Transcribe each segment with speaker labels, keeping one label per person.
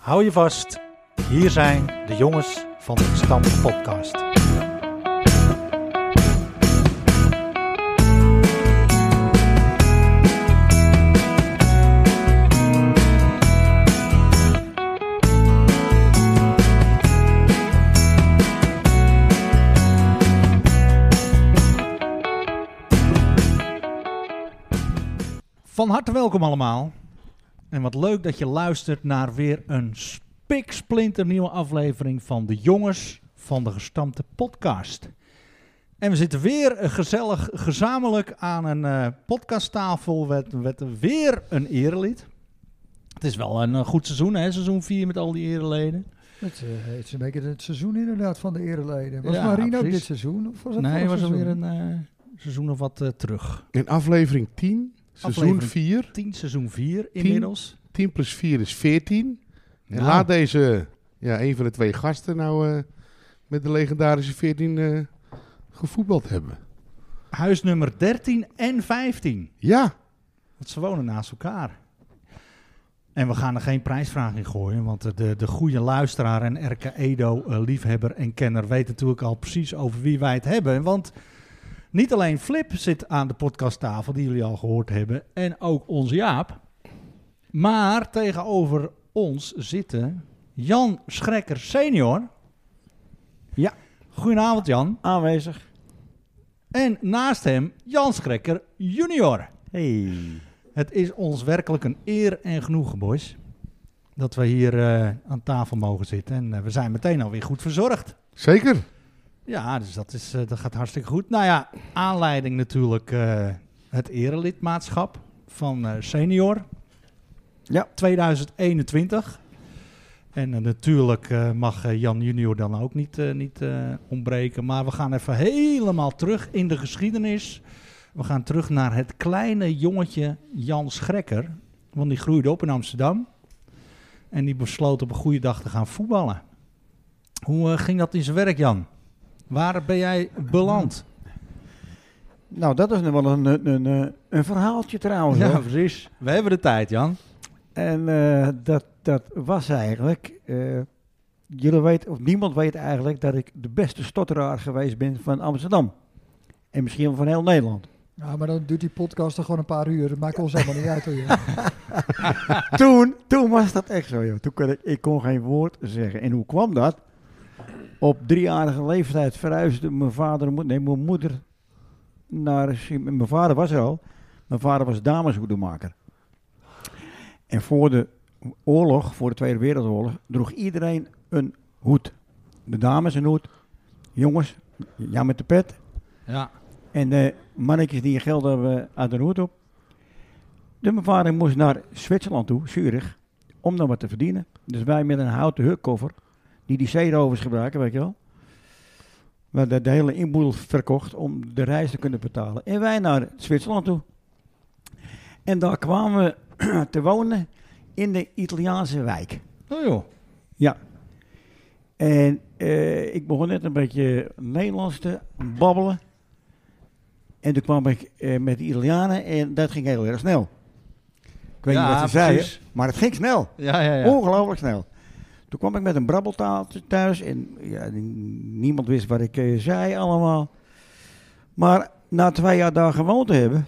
Speaker 1: Hou je vast. Hier zijn de jongens van de Stam Podcast.
Speaker 2: Van harte welkom allemaal. En wat leuk dat je luistert naar weer een spiksplinternieuwe aflevering van de Jongens van de Gestampte Podcast. En we zitten weer gezellig gezamenlijk aan een eh, podcasttafel met, met weer een erelid. Het is wel een eh, goed seizoen, hè? seizoen 4 met al die ereleden.
Speaker 3: Het, eh, het is een beetje het seizoen inderdaad van de ereleden. Was
Speaker 2: Ja,
Speaker 3: Marino
Speaker 2: precies.
Speaker 3: dit seizoen? Of was het
Speaker 2: Nee,
Speaker 3: vorig
Speaker 2: was
Speaker 3: seizoen?
Speaker 2: alweer een eh, seizoen of wat eh, terug.
Speaker 4: In aflevering 10, seizoen
Speaker 2: Aflevering
Speaker 4: 4.
Speaker 2: 10 seizoen 4 inmiddels.
Speaker 4: 10 plus 4 is 14. En
Speaker 2: Nou.
Speaker 4: laat deze, ja, een van de twee gasten nou eh, met de legendarische 14 eh, gevoetbald hebben.
Speaker 2: Huisnummer 13 en 15.
Speaker 4: Ja,
Speaker 2: Want ze wonen naast elkaar. En we gaan er geen prijsvraag in gooien, want de, de goede luisteraar en RK Edo, eh, liefhebber en kenner, weet natuurlijk al precies over wie wij het hebben. Want niet alleen Flip zit aan de podcasttafel, die jullie al gehoord hebben, en ook onze Jaap. Maar tegenover ons zitten Jan Schrekker senior.
Speaker 5: Ja.
Speaker 2: Goedenavond Jan.
Speaker 5: Aanwezig.
Speaker 2: En naast hem Jan Schrekker junior.
Speaker 5: Hey.
Speaker 2: Het is ons werkelijk een eer en genoegen, boys. Dat we hier eh, aan tafel mogen zitten. En eh, we zijn meteen alweer goed verzorgd.
Speaker 4: zeker.
Speaker 2: Ja, dus dat, is, eh, dat gaat hartstikke goed. Nou ja, aanleiding natuurlijk eh, het erelidmaatschap van eh, Senior.
Speaker 5: Ja.
Speaker 2: 2021. En eh, natuurlijk eh, mag eh, Jan Junior dan ook niet, eh, niet eh, ontbreken. Maar we gaan even helemaal terug in de geschiedenis. We gaan terug naar het kleine jongetje Jan Schrekker. Want die groeide op in Amsterdam. En die besloot op een goede dag te gaan voetballen. Hoe eh, ging dat in zijn werk, Jan? Waar ben jij beland?
Speaker 5: Nou, dat is nog wel een, een, een, eh, een verhaaltje trouwens. hoor.
Speaker 2: precies. We hebben de tijd, Jan.
Speaker 5: En eh, dat, dat was eigenlijk. eh, jullie weten, of niemand weet eigenlijk, dat ik de beste stotteraar geweest ben van Amsterdam. En misschien wel van heel Nederland.
Speaker 3: Ja, Nou, maar dan duurt die podcast toch gewoon een paar uur. Dat maakt ons allemaal niet uit hoor. joh.
Speaker 5: toen, toen was dat echt zo, joh. Toen kon ik, ik kon geen woord zeggen. En hoe kwam dat? Op driejarige leeftijd verhuisde mijn vader, en moed- nee, mijn moeder naar. Sim- Mijn vader was er al. Mijn vader was dameshoedenmaker. En voor de oorlog, voor de Tweede Wereldoorlog, droeg iedereen een hoed. De dames een hoed. Jongens, ja met de pet.
Speaker 2: Ja.
Speaker 5: En de mannetjes die geld hebben uit de hoed op. De mijn vader moest naar Zwitserland toe, Zurich, om dan wat te verdienen. Dus wij met een houten hukkoffer, die die zeerovers gebruiken, weet je wel. We hadden de hele inboedel verkocht om de reis te kunnen betalen. En wij naar Zwitserland toe. En daar kwamen we te wonen in de Italiaanse wijk.
Speaker 2: Nou joh.
Speaker 5: En eh, ik begon net een beetje Nederlands te babbelen. En toen kwam ik eh, met de Italianen en dat ging heel erg snel. Ik weet
Speaker 2: Ja,
Speaker 5: niet wat ze zeiden,
Speaker 2: precies.
Speaker 5: maar het ging snel.
Speaker 2: Ja, ja, ja.
Speaker 5: Ongelooflijk snel. Toen kwam ik met een brabbeltaaltje thuis en ja, n- niemand wist wat ik eh, zei allemaal. Maar na twee jaar daar gewoond te hebben,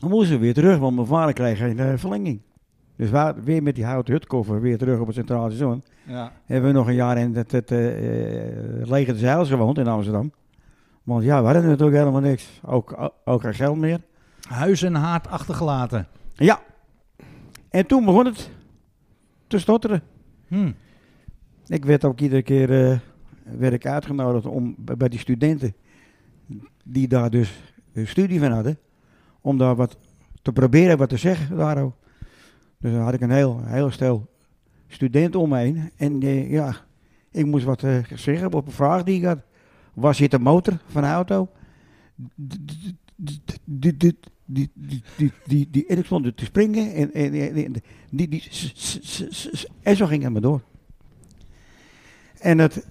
Speaker 5: moesten we weer terug, want mijn vader kreeg geen eh, verlenging. Dus we weer met die houten hutkoffer weer terug op het Centraal Station
Speaker 2: ja.
Speaker 5: hebben we nog een jaar in het, het eh, eh, lege de Zeils gewoond in Amsterdam. Want ja, we hadden natuurlijk helemaal niks. Ook, o- ook geen geld meer.
Speaker 2: Huis en haard achtergelaten.
Speaker 5: Ja. En toen begon het te stotteren.
Speaker 2: Hm.
Speaker 5: Ik werd ook iedere keer eh, werd ik uitgenodigd om b- bij die studenten, die daar dus een studie van hadden, om daar wat te proberen wat te zeggen daarover. Dus dan had ik een heel, heel stel studenten om me heen. En eh, ja, ik moest wat eh, zeggen op een vraag die ik had. Waar zit de motor van de auto? Die, die, die, die, die, die, en ik stond te springen en, en, en, en die, die, s- s- s- s- en zo ging het maar door. En het,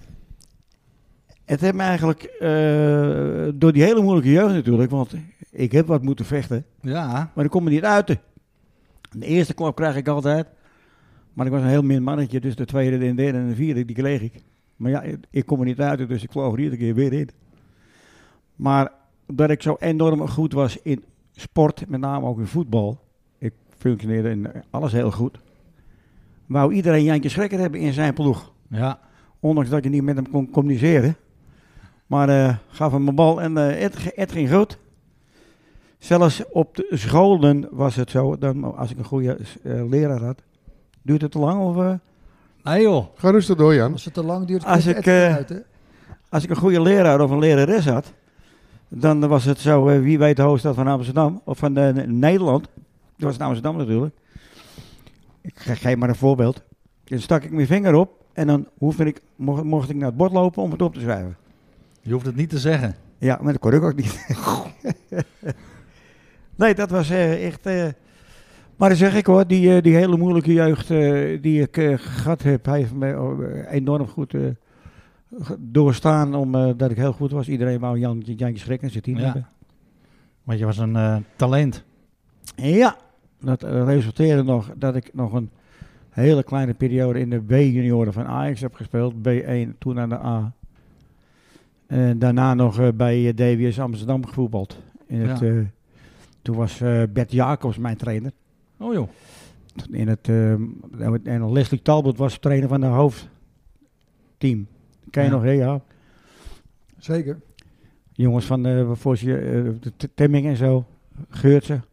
Speaker 5: het heeft me eigenlijk eh, door die hele moeilijke jeugd natuurlijk, want ik heb wat moeten vechten,
Speaker 2: Ja.
Speaker 5: maar ik kon me niet uiten. De eerste klap krijg ik altijd, Maar ik was een heel min mannetje, dus de tweede, de derde en de vierde, die kreeg ik. Maar ja, ik- ik kom er niet uit, dus ik vloog er iedere keer weer in. Maar dat ik zo enorm goed was in sport, met name ook in voetbal. Ik functioneerde in eh, alles heel goed. Wou iedereen Jantje Schrekker hebben in zijn ploeg.
Speaker 2: Ja.
Speaker 5: Ondanks dat je niet met hem kon communiceren. Maar eh, gaf hem een bal en eh, het, ge- het ging goed. Zelfs op de scholen was het zo, dan, als ik een goede eh, leraar had. Duurt het te lang? Of, eh,
Speaker 2: Nee joh.
Speaker 4: Ga rustig door, Jan.
Speaker 3: Als het te lang duurt,
Speaker 5: Als
Speaker 3: knipt
Speaker 5: ik,
Speaker 3: Ed
Speaker 5: eh,
Speaker 3: eruit, hè?
Speaker 5: als ik een goede leraar of een lerares had, dan was het zo, eh, wie weet de hoofdstad van Amsterdam, of van eh, Nederland. Dat was het Amsterdam natuurlijk. Ik ge- geef maar een voorbeeld. Dan stak ik mijn vinger op en dan hoefde ik, mocht, mocht ik naar het bord lopen om het op te schrijven.
Speaker 2: Je hoeft het niet te zeggen.
Speaker 5: Ja, maar dat kon ik ook niet. nee, dat was eh, echt. eh, maar dan zeg ik hoor, die, eh, die hele moeilijke jeugd eh, die ik eh, gehad heb, hij heeft me eh, enorm goed eh, ge- doorstaan omdat dat ik heel goed was. Iedereen wou Jan, Jantje Schrekken zit hier.
Speaker 2: Ja. Want je was een eh, talent.
Speaker 5: Ja, dat eh, resulteerde nog dat ik nog een hele kleine periode in de B-junioren van Ajax heb gespeeld. B1, toen aan de A. En daarna nog eh, bij eh, DWS Amsterdam gevoetbald. In het,
Speaker 2: Ja.
Speaker 5: eh, toen was eh, Bert Jacobs mijn trainer.
Speaker 2: Oh joh.
Speaker 5: In het, eh, en Leslie Talbot was trainer van de hoofdteam. Ken je
Speaker 2: Ja.
Speaker 5: nog, hè? Ja.
Speaker 3: Zeker.
Speaker 5: Jongens van eh voor je, eh, de T- Temming en zo. Geurtsen.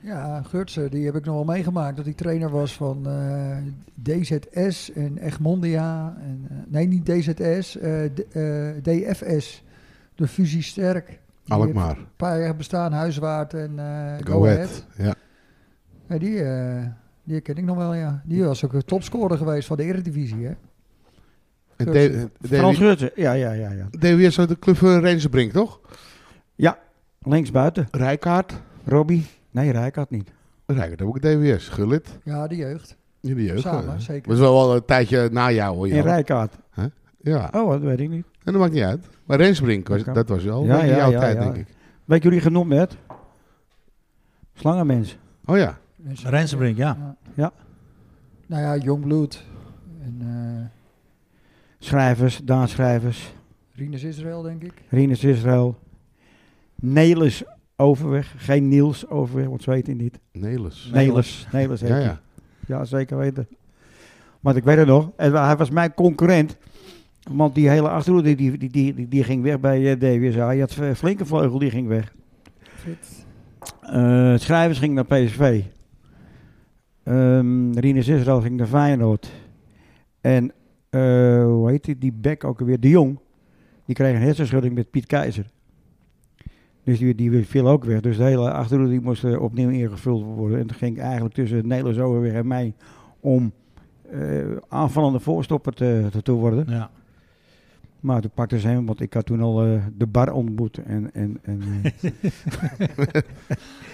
Speaker 3: Ja, Gutsen, die heb ik nog wel meegemaakt. Dat hij trainer was van eh, DZS en Egmondia. En, eh, nee, niet DZS, eh, D- eh, DFS. De Fusie Sterk. Die
Speaker 4: Alkmaar.
Speaker 3: heeft Een paar jaar bestaan, Huiswaard en eh,
Speaker 4: Go
Speaker 3: Go
Speaker 4: Ahead,
Speaker 3: Ahead.
Speaker 4: ja.
Speaker 3: Ja, die, eh, die ken ik nog wel, ja. Die was ook een topscorer geweest van de Eredivisie, hè?
Speaker 4: En
Speaker 3: Geurtsen.
Speaker 4: D-
Speaker 5: Frans
Speaker 4: D-
Speaker 5: Geurtsen. Ja, ja, ja. ja.
Speaker 4: DWS uit de club van Rensenbrink, toch?
Speaker 5: Links buiten.
Speaker 4: Rijkaard.
Speaker 5: Robbie? Nee, Rijk had niet.
Speaker 4: Rijkaard heb ook DWS. Gullit.
Speaker 3: Ja, de jeugd.
Speaker 4: Jullie jeugd.
Speaker 3: Samen,
Speaker 4: eh.
Speaker 3: zeker.
Speaker 4: Dat is wel een tijdje na jou, hoor.
Speaker 5: In
Speaker 4: Jan.
Speaker 5: Rijkaard.
Speaker 4: Ja,
Speaker 5: Oh, dat weet ik niet.
Speaker 4: en dat maakt niet uit. Maar Rensbrink, was,
Speaker 5: Oké.
Speaker 4: dat was wel
Speaker 5: Ja,
Speaker 4: in
Speaker 5: ja,
Speaker 4: jouw
Speaker 5: ja,
Speaker 4: tijd,
Speaker 5: ja.
Speaker 4: denk ik.
Speaker 5: Weet jullie genoemd net? Slangenmens.
Speaker 4: Oh ja.
Speaker 3: Mensen-
Speaker 2: Rensenbrink, ja.
Speaker 5: Ja.
Speaker 3: Nou ja, Jongbloed. En eh
Speaker 5: Schrijvers, daadschrijvers.
Speaker 3: Rinus Israël, denk ik.
Speaker 5: Rinus Israël. Nelis Overweg. Geen Niels Overweg, want ze weten het niet.
Speaker 4: Nelis.
Speaker 5: Nelis. Nelis heet
Speaker 4: Ja,
Speaker 5: hij.
Speaker 4: ja.
Speaker 5: Ja, zeker weten. Want ik weet het nog. En hij was mijn concurrent. Want die hele achterhoede die, die, die, die, die ging weg bij eh, DWSA. Je had eh, flinke vleugel, die ging weg.
Speaker 3: Frits.
Speaker 5: Eh, Schrijvers ging naar PSV. Ehm Rinus Israël ging naar Feyenoord. En eh, hoe heet die, die bek ook alweer? De Jong. Die kreeg een hersenschudding met Piet Keizer. Dus die, die viel ook weg. Dus de hele achterhoede die moest eh, opnieuw ingevuld worden. En het ging eigenlijk tussen Nederlands Overweg en mij om eh, aanvallende voorstopper te, te, te worden.
Speaker 2: Ja.
Speaker 5: Maar toen pakte ze hem, want ik had toen al eh, de bar ontmoet. En, en, en, eh,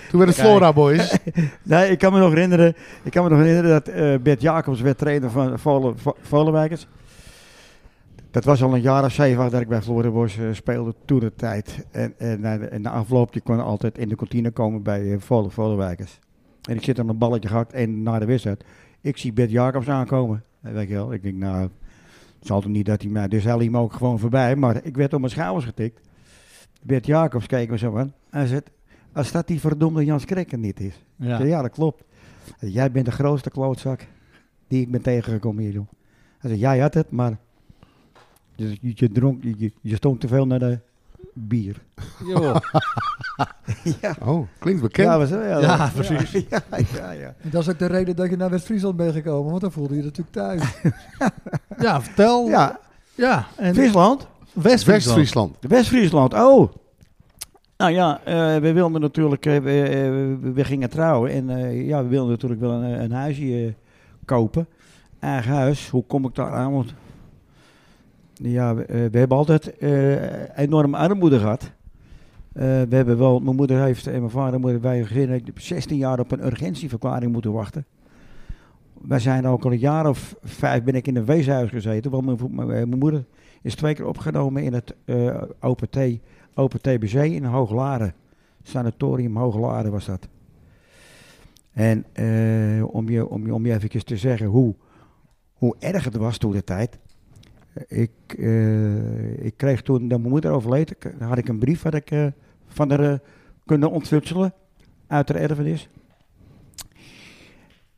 Speaker 4: Toen werden het
Speaker 5: Kijk.
Speaker 4: Flora Boys.
Speaker 5: Nee, ik kan me nog herinneren, ik kan me nog herinneren dat eh, Bert Jacobs werd trainer van Volen, Vo- Volenwijkers. Dat was al een jaar of zeven acht dat ik bij Florida Boys eh, speelde toen de tijd. En, en, na de- en de afloop, je kon altijd in de kantine komen bij eh, Volen, Volenwijkers. En ik zit aan een balletje gehakt en na de wedstrijd, ik zie Bert Jacobs aankomen. En weet je wel, ik denk nou, het zal toch niet dat hij mij, dus hij liep me ook gewoon voorbij. Maar ik werd op mijn schouders getikt. Bert Jacobs keek me zo aan. Hij zegt, als dat die verdomde Jans Krekker niet is. Ik
Speaker 2: Ja.
Speaker 5: zei, Ja. dat klopt. Hij zei, Jij bent de grootste klootzak die ik ben tegengekomen hier, joh. Hij zei, jij had het, maar dus je, je, je dronk, je- je, je stond te veel naar de bier.
Speaker 2: Joh.
Speaker 5: ja,
Speaker 4: Oh, klinkt bekend.
Speaker 5: Ja, was, ja,
Speaker 2: Ja,
Speaker 5: dat-
Speaker 2: precies.
Speaker 5: Ja, ja, ja.
Speaker 3: En dat is ook de reden dat je naar West-Friesland bent gekomen, want dan voelde je je natuurlijk thuis.
Speaker 2: Ja, vertel. Ja.
Speaker 5: ja
Speaker 2: En
Speaker 5: Friesland?
Speaker 2: West-Friesland.
Speaker 4: West-Friesland.
Speaker 5: West-Friesland, oh. Nou ja, eh, we wilden natuurlijk, eh, we, eh, we- we gingen trouwen en eh, ja, we wilden natuurlijk wel een, een huisje eh, kopen. Eigen huis, hoe kom ik daar aan? Want ja, we, eh, we hebben altijd eh enorme armoede gehad. Eh, we hebben wel, mijn moeder heeft en mijn vader en moeder, wij hebben gezin, ik heb 16 jaar op een urgentieverklaring moeten wachten. Wij zijn ook al een jaar of vijf ben ik in een weeshuis gezeten, want mijn, vo- mijn, eh, mijn moeder is twee keer opgenomen in het eh open, T, open TBC in Hooglaren. Sanatorium Hooglaren was dat. En eh, om, je, om, je, om je eventjes te zeggen hoe hoe erg het was toen de tijd. Ik, eh, ik kreeg toen, dat mijn moeder overleed, ik- had ik een brief had ik, eh, van haar eh, kunnen ontfutselen uit haar erfenis.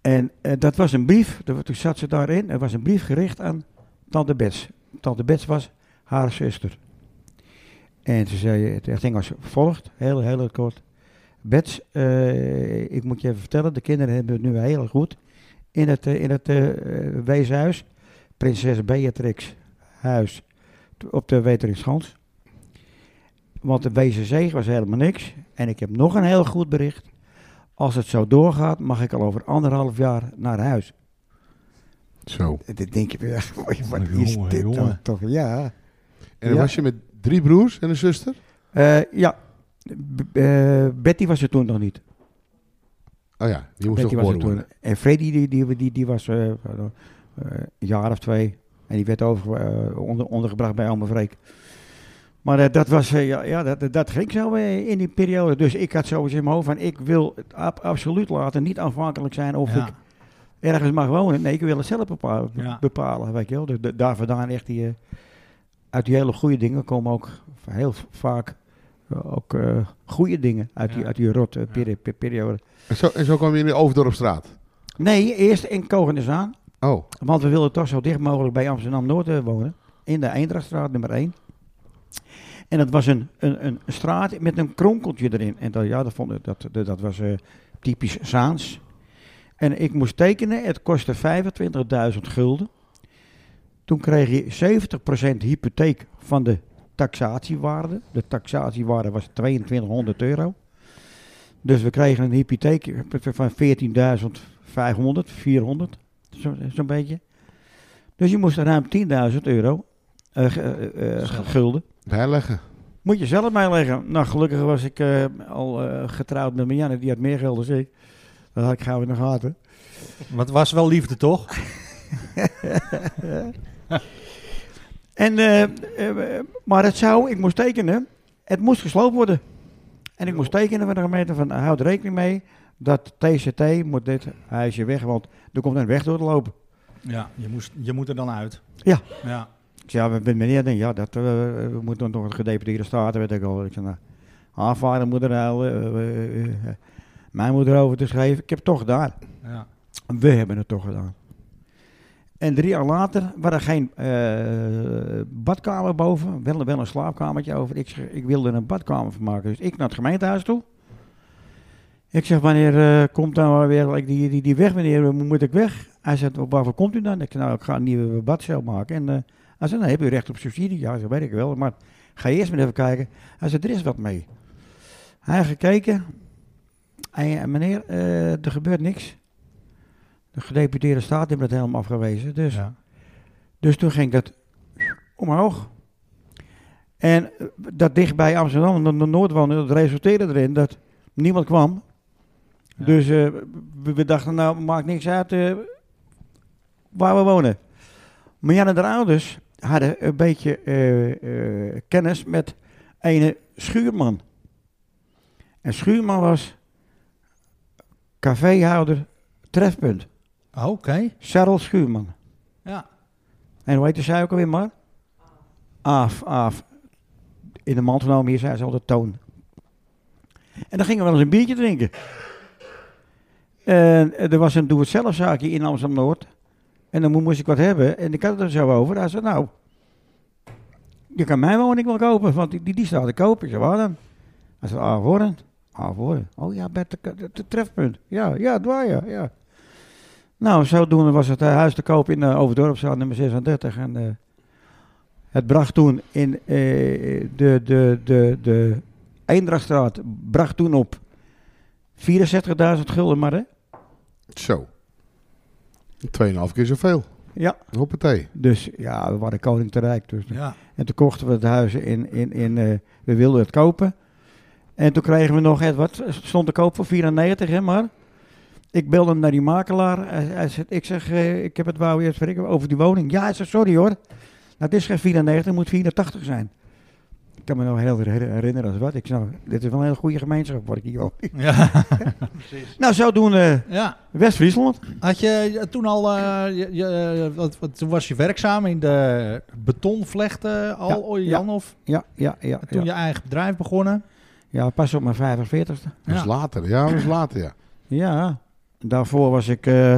Speaker 5: En eh, dat was een brief, dat, toen zat ze daarin, er was een brief gericht aan tante Bets. Tante Bets was haar zuster. En ze zei, het het ging als volgt, heel, heel kort. Bets, eh, ik moet je even vertellen, de kinderen hebben het nu heel goed in het, eh, in het eh, eh, weeshuis. Prinses Beatrix huis t- op de Weteringsgans. Want de Wezenzee was helemaal niks. En ik heb nog een heel goed bericht. Als het zo doorgaat, mag ik al over anderhalf jaar naar huis.
Speaker 4: Zo.
Speaker 5: En Dan denk je, weer, echt, wat
Speaker 2: Jongen,
Speaker 5: is dit dan
Speaker 2: jongen.
Speaker 5: toch? Ja.
Speaker 4: En dan
Speaker 5: Ja.
Speaker 4: was je met drie broers en een zuster?
Speaker 5: Eh, ja, B- eh, Betty was er toen nog niet.
Speaker 4: Oh ja, die moest nog
Speaker 5: Betty was er
Speaker 4: geboren
Speaker 5: toen.
Speaker 4: worden.
Speaker 5: En Freddy die, die, die, die was eh, eh, een jaar of twee. En die werd over, eh, onder, ondergebracht bij Alma Vreek. Maar eh, dat, was, eh, ja, ja, dat, dat ging zo eh, in die periode. Dus ik had sowieso in mijn hoofd van... ik wil het ab- absoluut laten niet afhankelijk zijn of
Speaker 2: Ja.
Speaker 5: ik ergens mag wonen. Nee, ik wil het zelf bepalen.
Speaker 2: Ja.
Speaker 5: bepalen weet je wel. Dus da- daar vandaan echt die... eh, uit die hele goede dingen komen ook heel v- vaak... eh, ook eh, goede dingen uit die,
Speaker 2: Ja.
Speaker 5: uit die rot eh,
Speaker 2: Ja.
Speaker 5: peri- pe- periode.
Speaker 4: En zo, en zo kwam je in de Overdorpstraat.
Speaker 5: Nee, eerst in Kogenes aan.
Speaker 4: Oh,
Speaker 5: Want we wilden toch zo dicht mogelijk bij Amsterdam-Noord eh, wonen. In de Eindrachtstraat nummer 1. En dat was een, een, een straat met een kronkeltje erin. En dat, ja, dat, vond, ik- dat, dat, dat was eh, typisch Zaans. En ik moest tekenen. Het kostte 25.000 gulden. Toen kreeg je 70% hypotheek van de taxatiewaarde. De taxatiewaarde was 2200 euro. Dus we kregen een hypotheek van 14.500, 400, zo- zo'n beetje. Dus je moest ruim 10.000 euro eh, ge- eh, eh,
Speaker 2: Zelf.
Speaker 5: gulden.
Speaker 4: bijleggen.
Speaker 5: Moet je zelf meeleggen. Nou, gelukkig was ik eh, al eh, getrouwd met Marianne. Die had meer geld dan ik. Dat had ik gauw in de gaten.
Speaker 2: Maar het was wel liefde, toch?
Speaker 5: En, eh, eh, maar het zou, ik moest tekenen. Het moest gesloopt worden. En ik moest tekenen van de gemeente van eh, houd rekening mee dat TCT moet dit huisje weg, want er komt een weg door te lopen.
Speaker 2: Ja, je, moest, je moet er dan uit.
Speaker 5: Ja.
Speaker 2: Ja.
Speaker 5: Ik zei, ja, met meneer, denk, ja, dat, eh, we moeten nog een gedeputeerde staten, weet ik al. Ik zei, nou, haar vader moet er huilen, eh, eh, eh, mij moet erover te schrijven. Ik heb het toch gedaan.
Speaker 2: ja.
Speaker 5: We hebben het toch gedaan. En drie jaar later waren er geen eh, badkamer boven, wel, wel een slaapkamertje over. Ik, zeg, ik wilde er een badkamer van maken, dus ik naar het gemeentehuis toe. Ik zeg, wanneer eh, komt dan maar weer like, die, die, die weg, meneer, Hoe moet ik weg? Hij zegt, waarvoor komt u dan? Ik zeg, nou, ik ga een nieuwe badcel maken. En eh, hij zegt, nou, heb u recht op subsidie? Ja, dat weet ik wel, maar ga eerst maar even kijken. Hij zegt, er is wat mee. Hij heeft gekeken. Hij, eh, meneer, eh, er gebeurt niks. De gedeputeerde staat heeft het helemaal afgewezen. Dus,
Speaker 2: Ja.
Speaker 5: dus toen ging dat omhoog. En eh, dat dicht bij Amsterdam, de, de Noordwonen, dat resulteerde erin dat niemand kwam.
Speaker 2: Ja.
Speaker 5: Dus eh, we, we dachten, nou maakt niks uit eh, waar we wonen. Maar Jan en de ouders hadden een beetje eh, eh, kennis met ene Schuurman. En Schuurman was caféhouder Trefpunt.
Speaker 2: Oké.
Speaker 5: Charles Schuurman.
Speaker 2: Ja.
Speaker 5: En hoe heette zij ook alweer, maar? Aaf, Aaf. In de mand genomen, hier zei ze altijd Toon. En dan gingen we wel eens een biertje drinken. En eh, er was een doe-het-zelf-zaakje in Amsterdam-Noord. En dan mo- moest ik wat hebben. En ik had het er zo over. Hij zei, nou, je kan mijn woning wel kopen, want die, die, die staat te koop. Ik zei, waar dan? Hij zei, Aafhoorn. Aafhoorn. Oh ja, Bert, de- de- de trefpunt. Ja, ja, dwaar, ja, ja. Nou, zodoende was het eh, huis te koop in eh, Overdorpstraat nummer 36. En eh, het bracht toen in eh, de, de, de, de Eindrachtstraat bracht toen op 64.000 gulden maar, hè?
Speaker 4: Zo. 2,5 keer zoveel.
Speaker 5: Ja.
Speaker 4: Hoppatee.
Speaker 5: Dus ja, we waren koning te rijk. Dus.
Speaker 2: Ja.
Speaker 5: En toen kochten we het huis in, in, in eh, we wilden het kopen. En toen kregen we nog, het, wat stond te koop voor 94, hè, maar. Ik belde hem naar die makelaar. Hij, hij zegt, ik zeg, eh, ik heb het wou eerst verrekken over die woning. Ja, hij zegt, sorry hoor. Nou, het is geen 94, het moet 84 zijn. Ik kan me nog heel her- herinneren als wat. Ik snap, dit is wel een hele goede gemeenschap waar ik hier woon.
Speaker 2: Ja.
Speaker 5: Nou, zodoende
Speaker 2: ja.
Speaker 5: West-Friesland.
Speaker 2: Had je toen al, eh, je, je- wat, wat- toen was je werkzaam in de betonvlechten al,
Speaker 5: Ja,
Speaker 2: oh,
Speaker 5: ja.
Speaker 2: Jan, of
Speaker 5: Ja, ja, ja.
Speaker 2: toen
Speaker 5: ja.
Speaker 2: je eigen bedrijf begonnen?
Speaker 5: ja, pas op mijn 45ste.
Speaker 4: Dat
Speaker 2: Ja.
Speaker 4: is later, ja, dat is later, ja.
Speaker 5: Ja, daarvoor was ik eh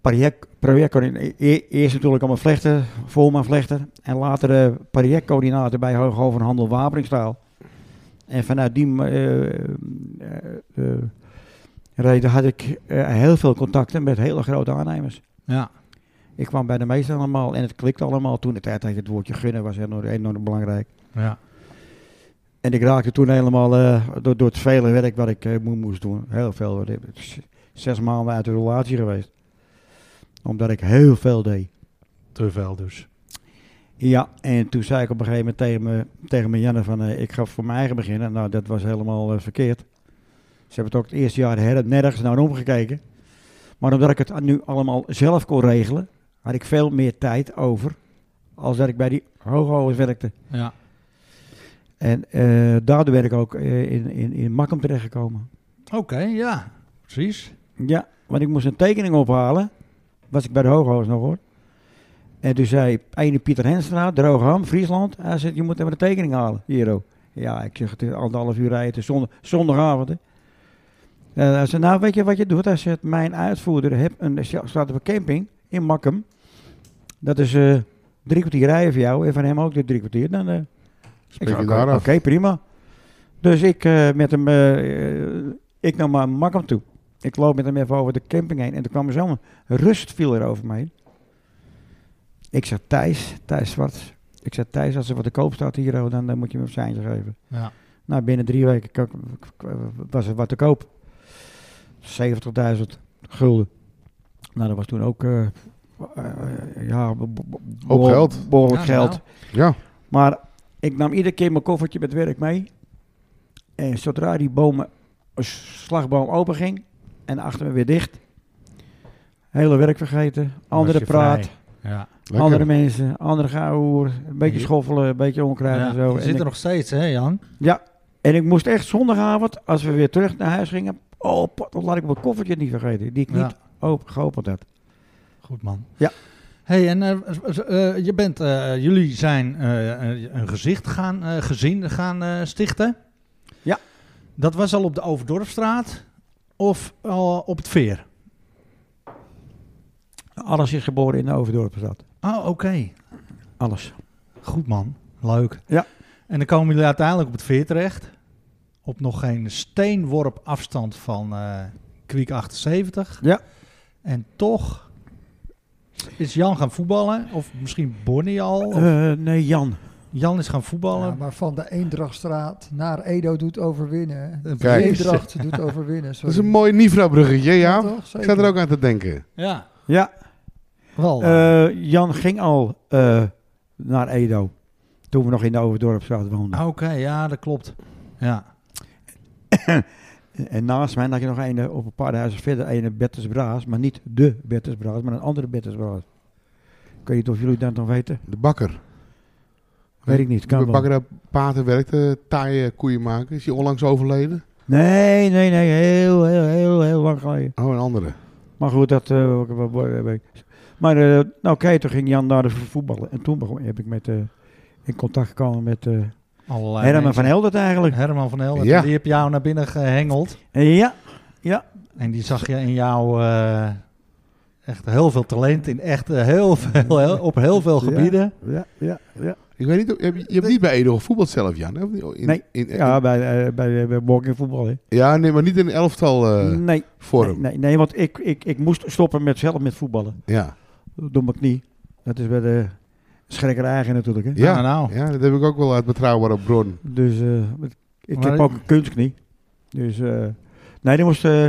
Speaker 5: project, projectcoördinator. E- Eerst natuurlijk allemaal vlechter, voorman vlechter. En later eh, projectcoördinator bij Hooghoven Handel Waperingstaal. En vanuit die eh, eh, eh, reden had ik eh, heel veel contacten met hele grote aannemers.
Speaker 2: Ja.
Speaker 5: Ik kwam bij de meesten allemaal en het klikte allemaal. Toen de tijd had je het woordje gunnen was enorm, enorm belangrijk.
Speaker 2: ja.
Speaker 5: En ik raakte toen helemaal eh, door, door het vele werk wat ik eh, mo- moest doen. Heel veel. Ik ben z- Zes maanden uit de relatie geweest. Omdat ik heel veel deed.
Speaker 2: Te veel dus.
Speaker 5: Ja, en toen zei ik op een gegeven moment tegen, me, tegen mijn Janne van... eh, ik ga voor mijn eigen beginnen. Nou, dat was helemaal eh, verkeerd. Ze hebben het ook het eerste jaar her, nergens naar omgekeken. Maar omdat ik het nu allemaal zelf kon regelen... had ik veel meer tijd over... als dat ik bij die hooghouders werkte.
Speaker 2: Ja.
Speaker 5: En eh, daardoor ben ik ook eh, in, in, in Makkum terechtgekomen.
Speaker 2: Oké, ja. Precies.
Speaker 5: Ja, want ik moest een tekening ophalen. Was ik bij de Hooghoos nog hoor. En toen zei ene Pieter Henstra, Droogham, Friesland. Hij zei, je moet even een tekening halen, Hero. Ja, ik zeg, het is anderhalf uur rijden, het is zondag, zondagavond. hè. En hij zei, nou weet je wat je doet? Hij zegt, mijn uitvoerder heb een, er staat op een camping in Makkum. Dat is eh, drie kwartier rijden voor jou en van hem ook de drie kwartier. Dan, eh, ik
Speaker 4: Spreek
Speaker 5: zei,
Speaker 4: je
Speaker 5: oké,
Speaker 4: daar
Speaker 5: Oké,
Speaker 4: af.
Speaker 5: prima. Dus ik eh, met hem, eh, eh, ik nam maar Makkum toe. Ik loop met hem even over de camping heen en er kwam er zo'n rust viel er over me heen. Ik zei Thijs, Thijs Zwart. Ik zei Thijs, als er wat te koop staat hier, oh, dan, dan moet je me een seintje geven.
Speaker 2: Ja.
Speaker 5: Nou, binnen drie weken k- k- k- was er wat te koop. 70.000 gulden. Nou, dat was toen ook, eh, eh, ja, be- be- be-
Speaker 4: Ook geld.
Speaker 5: behoorlijk
Speaker 2: Ja,
Speaker 5: geld.
Speaker 2: nou.
Speaker 4: Ja,
Speaker 5: Maar ik nam iedere keer mijn koffertje met werk mee. En zodra die bomen, slagboom open ging en achter me weer dicht. Hele werk vergeten, andere
Speaker 2: Was je
Speaker 5: praat,
Speaker 2: vrij. Ja.
Speaker 4: lekker.
Speaker 5: andere mensen, andere gauwhoer, een beetje
Speaker 2: Ja.
Speaker 5: schoffelen, een beetje onkruid
Speaker 2: Ja,
Speaker 5: en zo.
Speaker 2: je
Speaker 5: En
Speaker 2: zit er
Speaker 5: ik,
Speaker 2: nog steeds, hè Jan?
Speaker 5: en ik moest echt zondagavond, als we weer terug naar huis gingen, oh, pot, dan laat ik mijn koffertje niet vergeten, die ik
Speaker 2: Ja.
Speaker 5: niet open, geopend had.
Speaker 2: Goed man.
Speaker 5: Ja.
Speaker 2: hey, en eh, z- z- eh, je bent, eh, jullie zijn eh, eh, een gezicht gaan, eh, gezin gaan eh, stichten.
Speaker 5: Ja.
Speaker 2: Dat was al op de Overdorpstraat of al op het Veer?
Speaker 5: Alles is geboren in de Overdorpenstad.
Speaker 2: Oh, oké.
Speaker 5: Alles.
Speaker 2: Goed man. Leuk.
Speaker 5: Ja.
Speaker 2: En dan komen jullie uiteindelijk op het Veer terecht. Op nog geen steenworp afstand van eh Kwiek 78.
Speaker 5: Ja.
Speaker 2: En toch is Jan gaan voetballen. Of misschien Bonnie al. of-
Speaker 5: Eh, nee, Jan.
Speaker 2: Jan is gaan
Speaker 3: Ja,
Speaker 2: voetballen.
Speaker 3: maar van de Eendrachtstraat naar Edo doet overwinnen. hè.
Speaker 2: Eh,
Speaker 4: Kijk.
Speaker 2: precies.
Speaker 3: Eendracht doet overwinnen.
Speaker 4: Dat is een mooi Nivra-bruggetje, ja.
Speaker 3: toch?
Speaker 4: Ik
Speaker 3: Zeker.
Speaker 4: zat er ook aan te denken.
Speaker 2: Ja,
Speaker 5: Ja,
Speaker 2: wel.
Speaker 5: Eh, Jan ging al eh, naar Edo. Toen we nog in de Overdorpstraat woonden.
Speaker 2: eh, Oké, ja, dat klopt. Ja.
Speaker 5: En naast mij had je nog een eh, op een paar huizen verder. Een eh, Bertus Braas. Maar niet de Bertus Braas. Maar een andere Bertus Braas. Ik weet niet of jullie dat nog weten.
Speaker 4: De bakker.
Speaker 5: Weet ik niet.
Speaker 4: De
Speaker 5: Kan wel.
Speaker 4: bakker op Paten werkte, taaie koeien maken. Is hij onlangs overleden?
Speaker 5: Nee, nee, nee. Heel, heel, heel, heel lang geleden.
Speaker 4: Oh, een andere.
Speaker 5: Maar goed, dat... eh, wat- wat- wat- wat- maar eh, nou oké, toen ging Jan naar de vo- voetballen. En toen begon, heb ik met, eh, in contact gekomen met eh
Speaker 2: Allerlei
Speaker 5: Herman
Speaker 2: mensen.
Speaker 5: van Heldert eigenlijk.
Speaker 2: Herman van Helden,
Speaker 4: Ja.
Speaker 2: die heb jou naar binnen gehengeld.
Speaker 5: Ja,
Speaker 2: En die zag je in jou eh, echt heel veel talent. In echt eh, heel veel, heel- op heel veel
Speaker 5: Ja.
Speaker 2: gebieden.
Speaker 5: ja, ja, ja.
Speaker 4: Ik weet niet, of- je hebt, je hebt niet bij Edo gevoetbald zelf, Jan? hè? Of niet? In,
Speaker 5: Nee.
Speaker 4: in- in-
Speaker 5: Ja, bij, eh, bij, bij walking voetbal. Hè.
Speaker 4: ja, nee, maar niet in elftal eh,
Speaker 5: nee, nee,
Speaker 4: vorm.
Speaker 5: nee, nee, want ik, ik, ik moest stoppen met zelf met voetballen.
Speaker 4: Ja.
Speaker 5: Door mijn knie. Dat is bij de schrekkerij eigen natuurlijk. Hè.
Speaker 4: Ja.
Speaker 2: Nou, nou.
Speaker 4: ja, dat heb ik ook wel uit betrouwbare bron.
Speaker 5: Dus eh, ik- ik
Speaker 2: Maar-
Speaker 5: heb ook een kunstknie. Dus eh, nee, ik moest eh,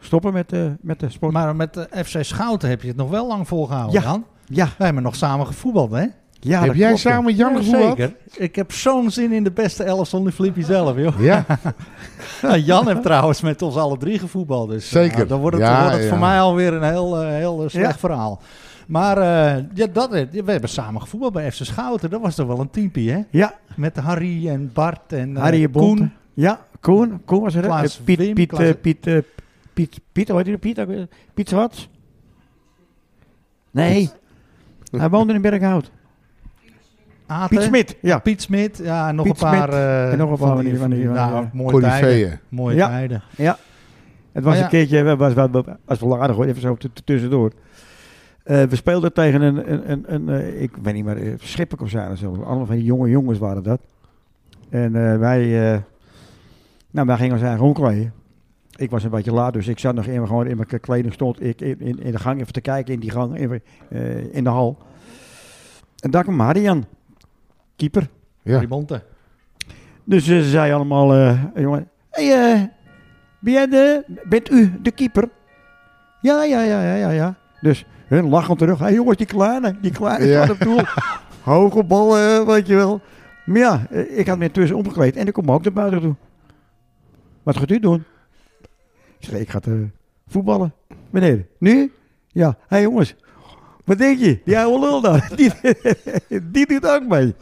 Speaker 5: stoppen met, eh, met de sport.
Speaker 2: Maar met de FC Schouten heb je het nog wel lang volgehouden,
Speaker 5: Ja.
Speaker 2: Jan.
Speaker 5: ja,
Speaker 2: Wij hebben nog samen gevoetbald, hè?
Speaker 5: ja,
Speaker 4: heb
Speaker 5: dat
Speaker 4: jij
Speaker 5: klopt, ja.
Speaker 4: samen met Jan gevoetbald?
Speaker 2: Ik heb zo'n zin in de beste elf zonder Flippy zelf, joh.
Speaker 4: Ja,
Speaker 2: Nou, Jan heeft trouwens met ons alle drie gevoetbald. Dus, eh,
Speaker 4: Zeker.
Speaker 2: nou, dan wordt het,
Speaker 4: Ja,
Speaker 2: dan wordt het
Speaker 4: ja.
Speaker 2: voor mij alweer een heel, eh, heel eh, slecht
Speaker 5: Ja.
Speaker 2: verhaal. Maar eh, ja, dat, we hebben samen gevoetbald bij FC Schouten. Dat was toch wel een teampie, hè?
Speaker 5: Ja,
Speaker 2: Met Harry en Bart en eh,
Speaker 5: Harry
Speaker 2: Koen.
Speaker 5: Bonte. Ja, Koen. Koen was er. hè?
Speaker 2: Klaas
Speaker 5: Eh, Piet,
Speaker 2: Wim,
Speaker 5: Piet,
Speaker 2: Klaas-
Speaker 5: eh, Piet, eh, Piet, Piet, hoe heet die? Piet, ook weer? Piet Zwart? Nee. Hij woonde in Berghout.
Speaker 2: Ate.
Speaker 5: Piet Smit, ja.
Speaker 2: Piet Smit, ja, nog
Speaker 5: Piet
Speaker 2: een paar.
Speaker 5: Smit.
Speaker 2: eh,
Speaker 5: En nog een paar van die- van die- van
Speaker 2: nou,
Speaker 5: die-
Speaker 2: mooie tijden.
Speaker 4: Corifeeën.
Speaker 2: Mooie
Speaker 5: Ja.
Speaker 2: tijden.
Speaker 5: Het was
Speaker 2: Ah, ja.
Speaker 5: een keertje, we- was, was, was, was wel aardig hoor, even zo t- t- tussendoor. Eh, we speelden tegen een, een, een, een eh, ik weet niet meer, eh, Schipper of zo. zo. Allemaal van die jonge jongens waren dat. En eh, wij, eh, nou, wij gingen ons eigen omkleden. Ik was een beetje laat, dus ik zat nog in, gewoon in mijn k- kleding stond. Ik in, in, in de gang even te kijken, in die gang, in, eh, in de hal. En daar kwam Marian, keeper.
Speaker 4: Ja.
Speaker 2: Die bonte.
Speaker 5: Dus eh, ze zei allemaal, eh, jongen, hey, eh, ben jij de, bent u de keeper? Ja, ja, ja, ja, ja, ja. Dus hun lachen terug. Hé hey, jongens, die kleine, die kleine
Speaker 4: Ja.
Speaker 5: staat op doel. Hoge bal, eh, weet je wel. Maar ja, eh, ik had me intussen omgekleed en ik kom ook naar buiten toe. Wat gaat u doen? Ik zeg, ik ga eh, voetballen. Meneer, nu? Ja, hé hey, jongens, wat denk je? Die oude lul daar, die, die doet ook mee.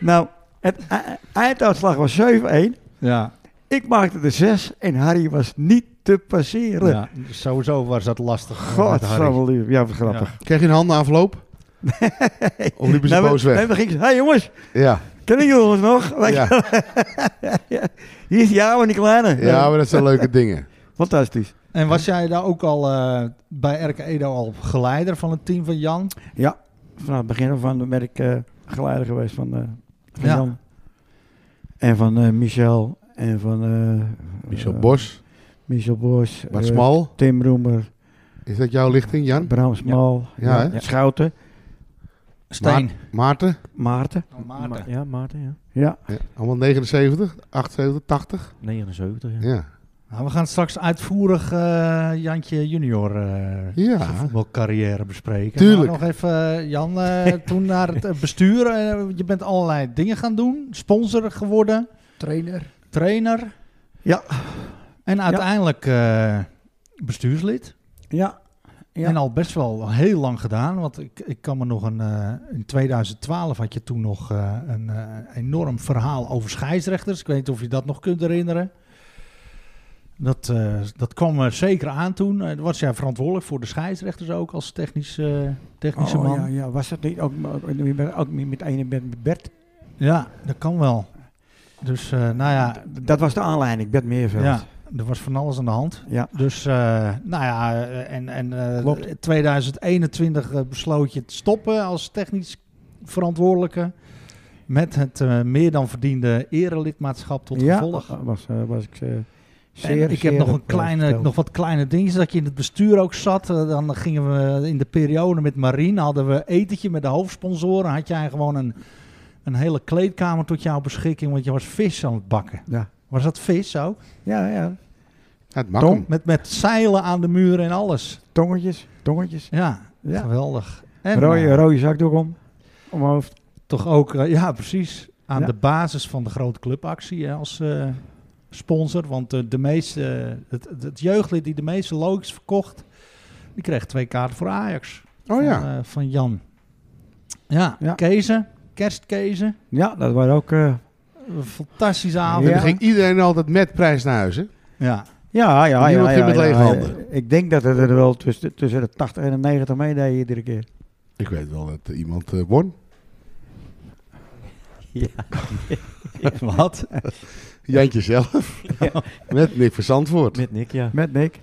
Speaker 5: Nou, het e- einduitslag was 7-1.
Speaker 2: Ja,
Speaker 5: Ik maakte de 6 en Harry was niet te passeren. Ja.
Speaker 2: ja, sowieso was dat lastig. eh, met Harry.
Speaker 5: Godsamme, ja, wat grappig.
Speaker 4: Krijg je een handen afloop? Of liepen ze
Speaker 5: Nou, we-
Speaker 4: boos weg?
Speaker 5: nee, we gingen, hé hey, jongens,
Speaker 4: Ja,
Speaker 5: kennen jullie ons nog? Wij-
Speaker 4: ja.
Speaker 5: Hier is die oude en die kleine.
Speaker 4: ja, maar dat zijn leuke dingen.
Speaker 5: Fantastisch.
Speaker 2: En was jij daar ook al eh, bij RK Edo al geleider van het team van Jan?
Speaker 5: Ja, vanaf het begin af aan ben ik eh, geleider geweest van, eh, van
Speaker 2: Ja.
Speaker 5: Jan. En van eh, Michel. En van... eh,
Speaker 4: Michel
Speaker 5: eh,
Speaker 4: Bos,
Speaker 5: Michel Bos.
Speaker 4: Bart
Speaker 5: eh,
Speaker 4: Smal.
Speaker 5: Tim Roemer.
Speaker 4: Is dat jouw lichting, Jan?
Speaker 5: Bram Smal.
Speaker 4: Ja, hè?
Speaker 5: Schouten.
Speaker 2: Steen.
Speaker 4: Maarten?
Speaker 5: Maarten.
Speaker 2: Oh, Maarten.
Speaker 6: Ma- ja, Maarten, ja.
Speaker 5: Ja.
Speaker 4: Ja, allemaal 79, 78, 80?
Speaker 6: 79, ja.
Speaker 4: Ja.
Speaker 2: Nou, we gaan straks uitvoerig eh, Jantje junior eh zijn
Speaker 4: Ja.
Speaker 2: voetbalcarrière bespreken.
Speaker 4: Tuurlijk.
Speaker 2: Maar nog even, eh, Jan, eh, toen naar het eh, bestuur. eh, je bent allerlei dingen gaan doen. Sponsor geworden,
Speaker 3: Trainer.
Speaker 2: trainer.
Speaker 5: Ja.
Speaker 2: En uiteindelijk eh, bestuurslid.
Speaker 5: Ja. Ja.
Speaker 2: En al best wel heel lang gedaan. Want ik, ik kan me nog een. eh, in 2012 had je toen nog eh, een eh, enorm verhaal over scheidsrechters. Ik weet niet of je dat nog kunt herinneren. Dat, eh, dat kwam er zeker aan toen. Eh, was jij verantwoordelijk voor de scheidsrechters ook als technisch, eh, technische
Speaker 5: Oh,
Speaker 2: man?
Speaker 5: Ja,
Speaker 2: Ja.
Speaker 5: ja, was dat niet ook, eh, ook, ook met ene met Bert?
Speaker 2: dat kan wel. Dus eh, nou ja,
Speaker 5: D- Dat was de aanleiding, Bert Meerveld.
Speaker 2: ja, er was van alles aan de hand.
Speaker 5: Ja.
Speaker 2: Dus, eh, nou ja, eh, en, en eh,
Speaker 5: Klopt.
Speaker 2: 2021 eh, besloot je te stoppen als technisch verantwoordelijke. Met het eh, meer dan verdiende erelidmaatschap tot
Speaker 5: Ja,
Speaker 2: gevolg.
Speaker 5: wa- was, eh, was ik eh,
Speaker 2: En
Speaker 5: zeer,
Speaker 2: ik
Speaker 5: zeer
Speaker 2: heb nog,
Speaker 5: op,
Speaker 2: een
Speaker 5: eh,
Speaker 2: kleine,
Speaker 5: verteld.
Speaker 2: nog wat kleine dingetjes. Dat je in het bestuur ook zat. Eh, Dan gingen we in de periode met Marine. Hadden we etentje met de hoofdsponsoren. Had jij gewoon een, een hele kleedkamer tot jouw beschikking. Want je was vis aan het bakken.
Speaker 5: Ja.
Speaker 2: Was dat vis ook?
Speaker 5: Ja, ja,
Speaker 4: Ja, het mag hem.
Speaker 2: Met, met zeilen aan de muren en alles.
Speaker 5: tongetjes, tongetjes.
Speaker 2: Ja,
Speaker 5: Ja.
Speaker 2: geweldig. En
Speaker 5: Rode,
Speaker 2: eh,
Speaker 5: rode zakdoek om, om mijn hoofd.
Speaker 2: toch ook, eh, ja precies, aan
Speaker 5: Ja.
Speaker 2: de basis van de grote clubactie hè, als eh, sponsor. Want eh, de meeste, eh, het, het- het jeugdlid die de meeste logisch verkocht, die kreeg twee kaarten voor Ajax.
Speaker 4: Oh
Speaker 2: van,
Speaker 4: ja.
Speaker 2: eh, van Jan. Ja,
Speaker 5: Ja.
Speaker 2: Kezen, kerstkezen.
Speaker 5: Ja, dat waren ook... eh,
Speaker 2: Een fantastische
Speaker 4: En
Speaker 2: avond.
Speaker 4: dan
Speaker 5: Ja.
Speaker 4: ging iedereen altijd met prijs naar huis, hè?
Speaker 2: Ja.
Speaker 5: ja, ja, ja.
Speaker 4: Niemand
Speaker 5: ja,
Speaker 4: die met
Speaker 5: ja,
Speaker 4: lege
Speaker 5: ja.
Speaker 4: handen.
Speaker 5: Eh, Ik denk dat het er wel tussen, tussen de 80 en de 90 meedeed iedere keer.
Speaker 4: Ik weet wel dat eh, iemand eh, won.
Speaker 2: Wat?
Speaker 4: Jantje zelf. Met Nick van Zandvoort.
Speaker 6: Met Nick, ja.
Speaker 5: Met Nick.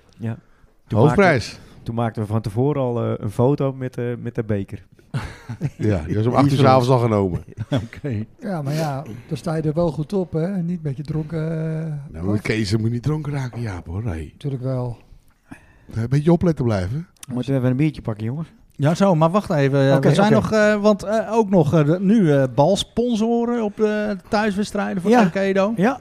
Speaker 4: Hoofdprijs.
Speaker 6: Toen maakten we van tevoren al eh, een foto met, eh, met de beker.
Speaker 4: Ja, die was om
Speaker 6: Die
Speaker 4: 8 uur
Speaker 6: is
Speaker 4: 's avonds al genomen.
Speaker 2: Oké.
Speaker 3: Ja, maar ja, dan sta je er wel goed op, hè? Niet met je dronken. eh,
Speaker 4: Nou, maar Kees, je moet niet dronken raken, Jaap, hoor. Hey.
Speaker 3: Natuurlijk wel.
Speaker 4: Een beetje opletten blijven.
Speaker 5: Moeten we even een biertje pakken, jongens?
Speaker 2: Ja, zo, maar wacht even. Eh,
Speaker 5: Oké,
Speaker 2: er zijn
Speaker 5: oké.
Speaker 2: nog, eh, want eh, ook nog eh, de- nu eh, balsponsoren op de thuiswedstrijden van
Speaker 5: Ja.
Speaker 2: Arcado.
Speaker 5: Ja.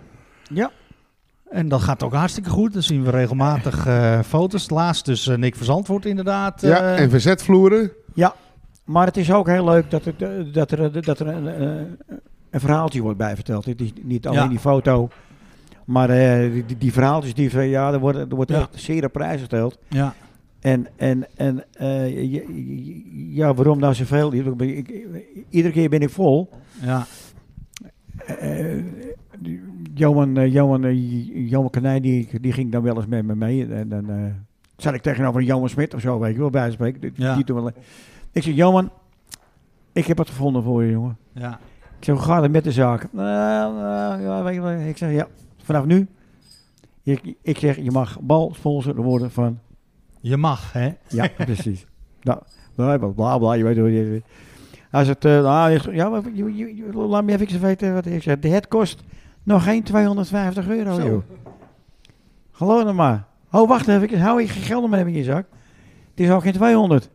Speaker 2: En dat gaat ook hartstikke goed. Dan zien we regelmatig eh, foto's. Laatst dus eh, Nick Verzandvoort inderdaad. eh,
Speaker 4: Ja, en verzetvloeren.
Speaker 5: Maar het is ook heel leuk dat, het, eh, dat er, dat er een, eh, een verhaaltje wordt bijverteld. Het is niet alleen
Speaker 2: Ja.
Speaker 5: die foto. Maar eh, die, die verhaaltjes die van ja, er wordt, er wordt
Speaker 2: Ja.
Speaker 5: echt zeer op prijs gesteld.
Speaker 2: ja.
Speaker 5: En, en, en eh, je- je- ja, waarom nou zoveel? Ik- ik- ik- Iedere keer ben ik vol.
Speaker 2: Ja,
Speaker 5: Eh, die- Johan, eh, Johan, eh, Johan Kanij, die, die ging dan wel eens met me mee. En dan eh, zat ik tegenover een Johan Smit of zo, weet je wel, bij wijze van spreken. Die-
Speaker 2: Ja.
Speaker 5: die doen wel- eh, Ik zeg, Johan, ik heb wat gevonden voor je, jongen.
Speaker 2: ja.
Speaker 5: Ik zeg, hoe gaat het met de zaak? Nou, nou, ja, weet je wel. Ik zeg, ja, vanaf nu. Ik, ik zeg, je mag balsponsor worden van...
Speaker 2: Je mag, hè?
Speaker 5: Ja, precies. Nou, bla, bla, bla, bla, je weet hoe je... Hij zegt, eh, nou, hij zegt, ja, maar je- je- je- laat me even weten wat ik zeg. Het kost nog geen 250 euro, joh. Geloof het maar. Oh, wacht even, hou je geld nog maar even in je zak. Het is al geen 200.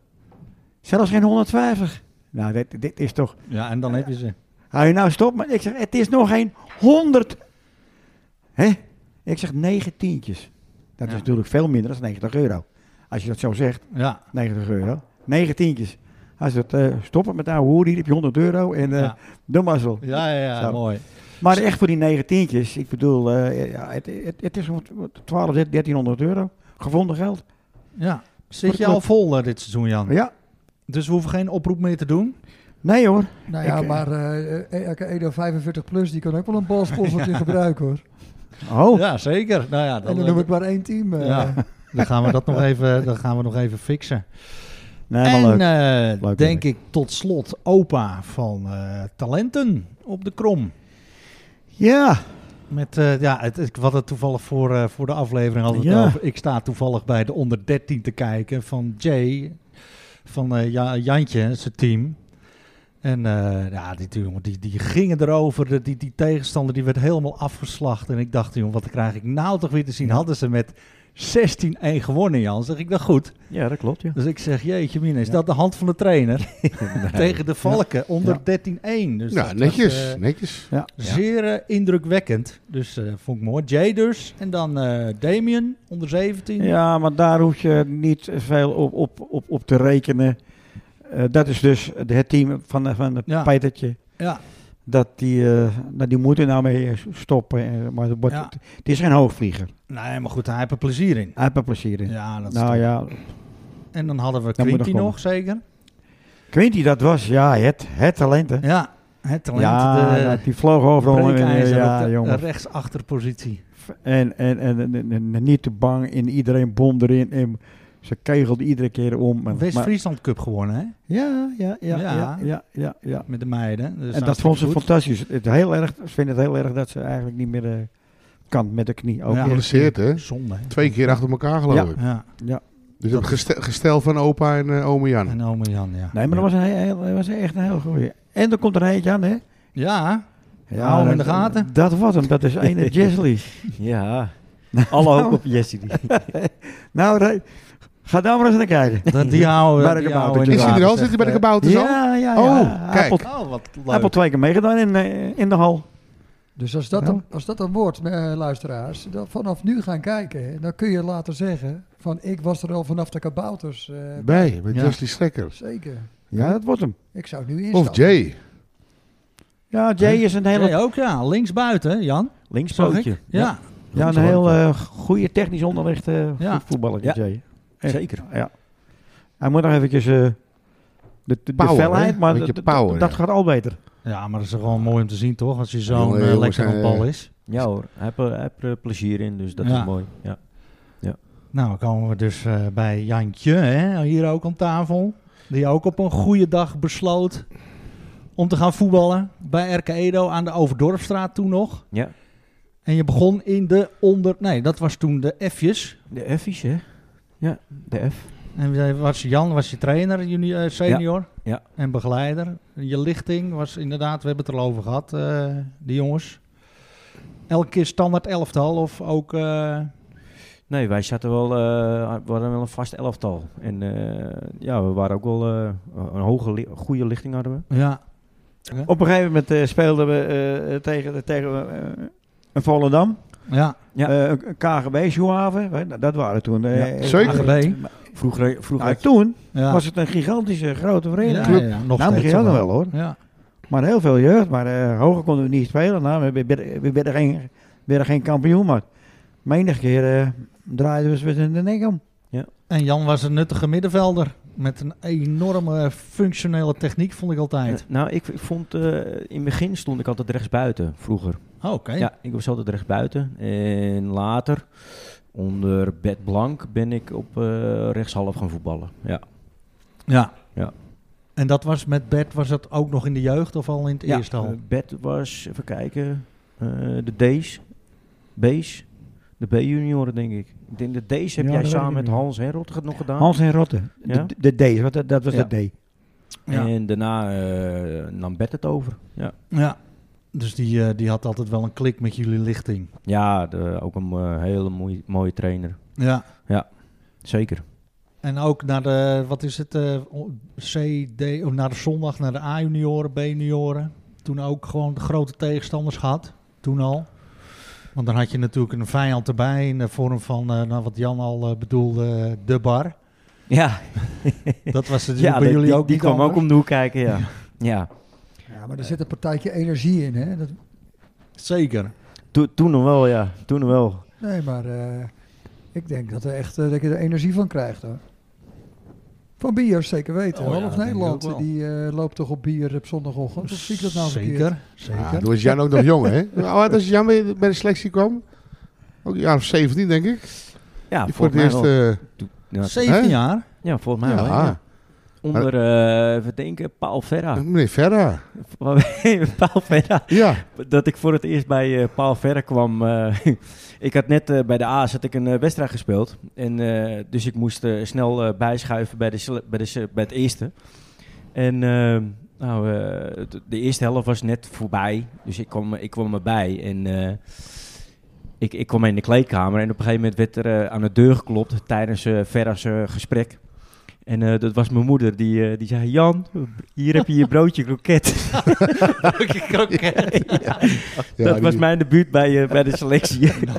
Speaker 5: Zelfs geen 150. Nou, dit, dit is toch...
Speaker 2: Ja, en dan heb je ze.
Speaker 5: Hou je nou stop, maar ik zeg, het is nog geen 100. Hè? Ik zeg negen tientjes. Dat
Speaker 2: Ja.
Speaker 5: is natuurlijk veel minder dan 90 euro. Als je dat zo zegt,
Speaker 2: Ja.
Speaker 5: 90 euro. Negen tientjes. Als het eh stoppen met oude hoer, hier heb je 100 euro en eh
Speaker 2: Ja.
Speaker 5: de mazzel.
Speaker 2: Ja, ja, ja,
Speaker 5: Zo.
Speaker 2: mooi.
Speaker 5: Maar echt voor die negen tientjes, ik bedoel, eh, ja, het, het, het is wat- wat 12, 1300 euro. Gevonden geld.
Speaker 2: Ja.
Speaker 5: Voor
Speaker 2: Zit
Speaker 5: de
Speaker 2: je
Speaker 5: club.
Speaker 2: al vol eh, dit seizoen, Jan?
Speaker 5: Ja,
Speaker 2: Dus we hoeven geen oproep meer te doen?
Speaker 5: nee hoor.
Speaker 3: Nou ja,
Speaker 5: Ik, eh,
Speaker 3: maar eh, elke Edo 45 plus, die kan ook wel een balsponsortje gebruiken hoor.
Speaker 5: Oh,
Speaker 2: Ja, zeker. Nou ja,
Speaker 3: En
Speaker 2: dan,
Speaker 3: dan noem ik maar één team. eh.
Speaker 2: Ja. dan gaan we dat nog even, dan gaan we nog even fixen.
Speaker 5: nee, maar leuk.
Speaker 2: en eh,
Speaker 5: Leuk,
Speaker 2: denk
Speaker 5: leuk.
Speaker 2: ik tot slot opa van eh, Talenten op de Krom.
Speaker 5: ja,
Speaker 2: Met, eh, ja, het, ik had het toevallig voor, eh, voor de aflevering had het
Speaker 5: Ja.
Speaker 2: over. Ik sta toevallig bij de onder 13 te kijken van Jay, van eh, ja, Jantje, zijn team. En eh, ja, die, die, jongen, die, die gingen erover, de- die, die tegenstander die werd helemaal afgeslacht. En ik dacht, joh, wat krijg ik nou toch weer te zien? Hadden ze met 16-1 gewonnen, Jan. Zeg ik dat goed?
Speaker 7: Ja, dat klopt, ja.
Speaker 2: Dus ik zeg, jeetje mina, is dat de hand van de trainer? Tegen de Valken, onder 13-1. Dus dat
Speaker 4: Ja,
Speaker 2: was,
Speaker 4: Nou, netjes,
Speaker 2: eh,
Speaker 4: netjes.
Speaker 5: Ja.
Speaker 2: Zeer eh, indrukwekkend. Dus eh, vond ik mooi. Jay dus. En dan eh, Damien, onder 17.
Speaker 5: Ja, maar daar hoef je niet veel op, op, op, op te rekenen. Eh, dat is dus het team van, van het
Speaker 2: Ja.
Speaker 5: Petertje.
Speaker 2: Ja.
Speaker 5: Dat die, eh, nou, die moeten nou mee stoppen. eh, Maar het, wordt-
Speaker 2: Ja.
Speaker 5: het is geen hoogvlieger.
Speaker 2: Nee, maar goed, hij heeft er plezier in.
Speaker 5: Hij heeft er plezier in.
Speaker 2: Ja, dat is
Speaker 5: nou
Speaker 2: top.
Speaker 5: ja,
Speaker 2: En dan hadden we
Speaker 5: Dan moet
Speaker 2: Quinty
Speaker 5: nog
Speaker 2: nog, zeker.
Speaker 5: Quinty, dat was ja, het, het talent. Hè.
Speaker 2: Ja, het talent. eh,
Speaker 5: ja,
Speaker 2: de
Speaker 5: ja, die vloog overal. in, eh,
Speaker 2: breekijzer
Speaker 5: ja,
Speaker 2: op de
Speaker 5: jongen.
Speaker 2: rechtsachterpositie.
Speaker 5: En, en, en, en- en- en niet te bang. En iedereen bom erin. En ze kegelden iedere keer om. Maar- maar-
Speaker 2: West-Friesland Cup gewonnen, hè?
Speaker 5: ja, ja,
Speaker 2: Ja.
Speaker 5: ja, ja, ja, ja, ja.
Speaker 2: Met de meiden. Dus
Speaker 5: en dat vond ze
Speaker 2: hartstikke
Speaker 5: fantastisch. Het heel erg, ze vinden het heel erg dat ze eigenlijk niet meer eh, kan met de knie. Ook.
Speaker 2: Ja.
Speaker 5: Ja.
Speaker 4: Geblesseerd, hè?
Speaker 2: goed. Zonde. hè?
Speaker 4: Twee keer achter elkaar, geloof
Speaker 5: Ja.
Speaker 4: ik.
Speaker 2: Ja,
Speaker 4: Dus het gestel, gestel van opa en eh ome Jan.
Speaker 2: en ome Jan, ja.
Speaker 5: Nee, maar dat was, een heel, heel- was echt een heel goeie. En er komt er eentje aan, hè?
Speaker 2: Ja, hou hem in de
Speaker 5: dat-
Speaker 2: gaten.
Speaker 5: Dat wordt hem, dat is ene Jesley.
Speaker 7: Ja. Alle hoop op Jesse. die-
Speaker 5: Nou, Ray, ga daar maar eens naar kijken.
Speaker 2: dat- die houden
Speaker 5: Bij
Speaker 2: we
Speaker 5: de
Speaker 2: die
Speaker 5: kabouter.
Speaker 2: houden we in
Speaker 4: Is
Speaker 2: de
Speaker 4: hij er al?
Speaker 2: gaten,
Speaker 4: Zit hij bij de
Speaker 2: zegt,
Speaker 4: kabouters al?
Speaker 5: ja, ja, ja.
Speaker 4: Oh,
Speaker 5: Hij heeft
Speaker 4: kijk.
Speaker 5: al-
Speaker 2: eh, Oh, wat leuk.
Speaker 5: hij heeft al twee keer meegedaan in, eh, in de hal.
Speaker 3: Dus als dat, dan, als dat dan wordt, eh, luisteraars, dan vanaf nu gaan kijken, hè, dan kun je later zeggen van ik was er al vanaf de kabouters. eh,
Speaker 4: Bij, met
Speaker 2: Ja.
Speaker 4: Justy Strekker.
Speaker 3: zeker.
Speaker 5: Ja, dat wordt hem.
Speaker 3: Ik zou nu instappen.
Speaker 4: Of Jay.
Speaker 5: Ja, Jay is een hele,
Speaker 2: Jij ook, ja. Linksbuiten, Jan. Zag ik.
Speaker 7: Linkspootje.
Speaker 2: Ja.
Speaker 5: ja, een heel eh, goede technisch onderrichte
Speaker 2: Ja.
Speaker 5: voetballertje voetballer,
Speaker 7: Ja.
Speaker 5: Jay. Echt.
Speaker 7: Zeker.
Speaker 5: Ja. Hij moet nog eventjes eh, de, de,
Speaker 4: Power,
Speaker 5: de
Speaker 4: hè?
Speaker 5: felheid, maar
Speaker 4: Beetje
Speaker 5: d- d-
Speaker 4: power,
Speaker 5: dat
Speaker 4: ja.
Speaker 5: gaat al beter.
Speaker 2: Ja, maar dat is gewoon mooi om te zien, toch? Als je zo'n
Speaker 4: Jongen,
Speaker 2: eh,
Speaker 4: jongens,
Speaker 2: lekker aan de
Speaker 4: hij,
Speaker 2: bal
Speaker 4: eh,
Speaker 2: is.
Speaker 7: Ja hoor, hij heeft er- hij heeft er plezier in, dus dat
Speaker 2: Ja.
Speaker 7: is mooi. Ja.
Speaker 2: Nou, dan komen we dus eh, bij Jantje, hè? hier ook aan tafel. Die ook op een goede dag besloot om te gaan voetballen. Bij RK Edo aan de Overdorpstraat toen nog.
Speaker 7: ja.
Speaker 2: En je begon in de onder... Nee, dat was toen de F'jes.
Speaker 7: De F's, hè? Ja, de F.
Speaker 2: En eh, was Jan was je trainer, juni- eh, senior
Speaker 7: ja.
Speaker 2: en begeleider. Je lichting was inderdaad, we hebben het er al over gehad, eh, die jongens. Elke keer standaard elftal of ook... eh,
Speaker 7: Nee, wij zaten wel, eh, we hadden wel een vast elftal. En eh, ja, we waren ook wel eh, een hoge, li- goede lichting hadden we.
Speaker 2: ja,
Speaker 5: Op een gegeven moment eh, speelden we eh, tegen, tegen eh, een Volendam,
Speaker 2: ja.
Speaker 7: Ja.
Speaker 5: eh, een KGB, Sjoehaven. hè, nou, Dat waren toen... eh,
Speaker 4: Ja, zeker.
Speaker 2: AGB.
Speaker 7: Vroeger, vroeger
Speaker 5: Nou, toen
Speaker 2: Ja.
Speaker 5: was het een gigantische grote
Speaker 2: ja,
Speaker 5: vereniging.
Speaker 2: ja, nog
Speaker 5: nou,
Speaker 2: steeds
Speaker 5: begin je wel hoor.
Speaker 2: Ja.
Speaker 5: Maar heel veel jeugd. Maar eh, hoger konden we niet spelen. Nou, we- we werden- we werden geen, we werden geen kampioen. Maar menig keer eh, draaiden we ze met de nek om.
Speaker 2: En Jan was een nuttige middenvelder. Met een enorme functionele techniek, vond ik altijd.
Speaker 5: Nou, ik, ik vond eh, in het begin stond ik altijd rechtsbuiten vroeger.
Speaker 2: Oh, Oké.
Speaker 5: Ja, ik was altijd rechtsbuiten. En later, onder Bed Blank, ben ik op eh, rechtshalf gaan voetballen. Ja.
Speaker 2: Ja.
Speaker 5: Ja.
Speaker 2: En dat was met Bert, was dat ook nog in de jeugd of al in het eerste
Speaker 5: ja,
Speaker 2: al?
Speaker 5: eh, Bed was, even kijken, eh, de D's, B's, de B-junioren denk ik. Ik denk de D's heb
Speaker 8: Ja,
Speaker 5: jij
Speaker 8: dat
Speaker 5: samen
Speaker 8: weet ik
Speaker 5: met
Speaker 8: niet.
Speaker 5: Hans Herold het nog gedaan.
Speaker 8: Hans en Rotte.
Speaker 5: Ja?
Speaker 8: De, de D, wat, dat- dat was
Speaker 5: Ja.
Speaker 8: de D.
Speaker 2: Ja.
Speaker 5: En daarna eh, nam Bed het over. Ja,
Speaker 2: Ja. Dus die, eh, die had altijd wel een klik met jullie lichting.
Speaker 5: ja de- ook een eh, hele moeie- mooie trainer.
Speaker 2: Ja.
Speaker 5: Zeker.
Speaker 2: En ook naar de, wat is het, eh, o- C, D, of naar de zondag, naar de A-junioren, B-junioren. Toen ook gewoon de grote tegenstanders gehad, toen al. Want dan had je natuurlijk een vijand erbij in de vorm van, eh, nou, wat Jan al eh, bedoelde, eh, de bar.
Speaker 5: Ja,
Speaker 2: Dat was het
Speaker 5: ja
Speaker 2: bij
Speaker 5: die-
Speaker 2: jullie
Speaker 5: die,
Speaker 2: ook
Speaker 5: die
Speaker 2: niet
Speaker 5: kwam ook
Speaker 2: anders.
Speaker 5: om de hoek kijken, ja. ja.
Speaker 3: Ja, maar er zit een partijtje energie in, hè? Dat,
Speaker 2: Zeker.
Speaker 5: Toen, toen nog wel, ja. Toen nog wel.
Speaker 3: nee, maar eh, ik denk dat, er echt, eh, dat je er energie van krijgt, hoor. Van bier, zeker weten.
Speaker 2: Oh ja,
Speaker 3: Half
Speaker 2: dat denk ik
Speaker 3: Nederland
Speaker 2: ook wel.
Speaker 3: die eh, loopt toch op bier op zondagochtend? Of zie ik dat nou verkeerd?
Speaker 2: Zeker, zeker.
Speaker 4: Ja, Ah, toen was Jan ook nog jong, hè? Hoe oud als Jan bij bij de selectie kwam? Ook een jaar of 17, denk ik.
Speaker 5: Ja,
Speaker 4: Die voor het
Speaker 5: volgens mij
Speaker 4: eerst...
Speaker 5: wel.
Speaker 4: eh,
Speaker 5: Ja,
Speaker 2: 17
Speaker 4: Hè?
Speaker 2: jaar?
Speaker 5: ja, volgens mij wel.
Speaker 4: ja, Ah.
Speaker 5: ja. Onder, eh even denken, Paul Verra.
Speaker 4: meneer Verra.
Speaker 5: Paul Verra.
Speaker 4: Ja,
Speaker 5: Dat ik voor het eerst bij eh, Paul Verra kwam. eh, ik had net eh, bij de A's had ik een eh, wedstrijd gespeeld. En, eh, dus ik moest eh, snel eh, bijschuiven bij, de, sele- bij, de, se- bij het eerste. En eh, nou, eh, het- de eerste helft was net voorbij. Dus ik kwam, ik kwam erbij. En eh, ik, ik kwam in de kleedkamer. En op een gegeven moment werd er eh, aan de deur geklopt tijdens eh Verra's eh, gesprek. En eh, dat was mijn moeder, die, eh, die zei... Jan, hier heb je je broodje kroket.
Speaker 4: ja
Speaker 5: dat
Speaker 4: die,
Speaker 5: was mijn debuut bij, eh, bij de selectie.
Speaker 8: nou.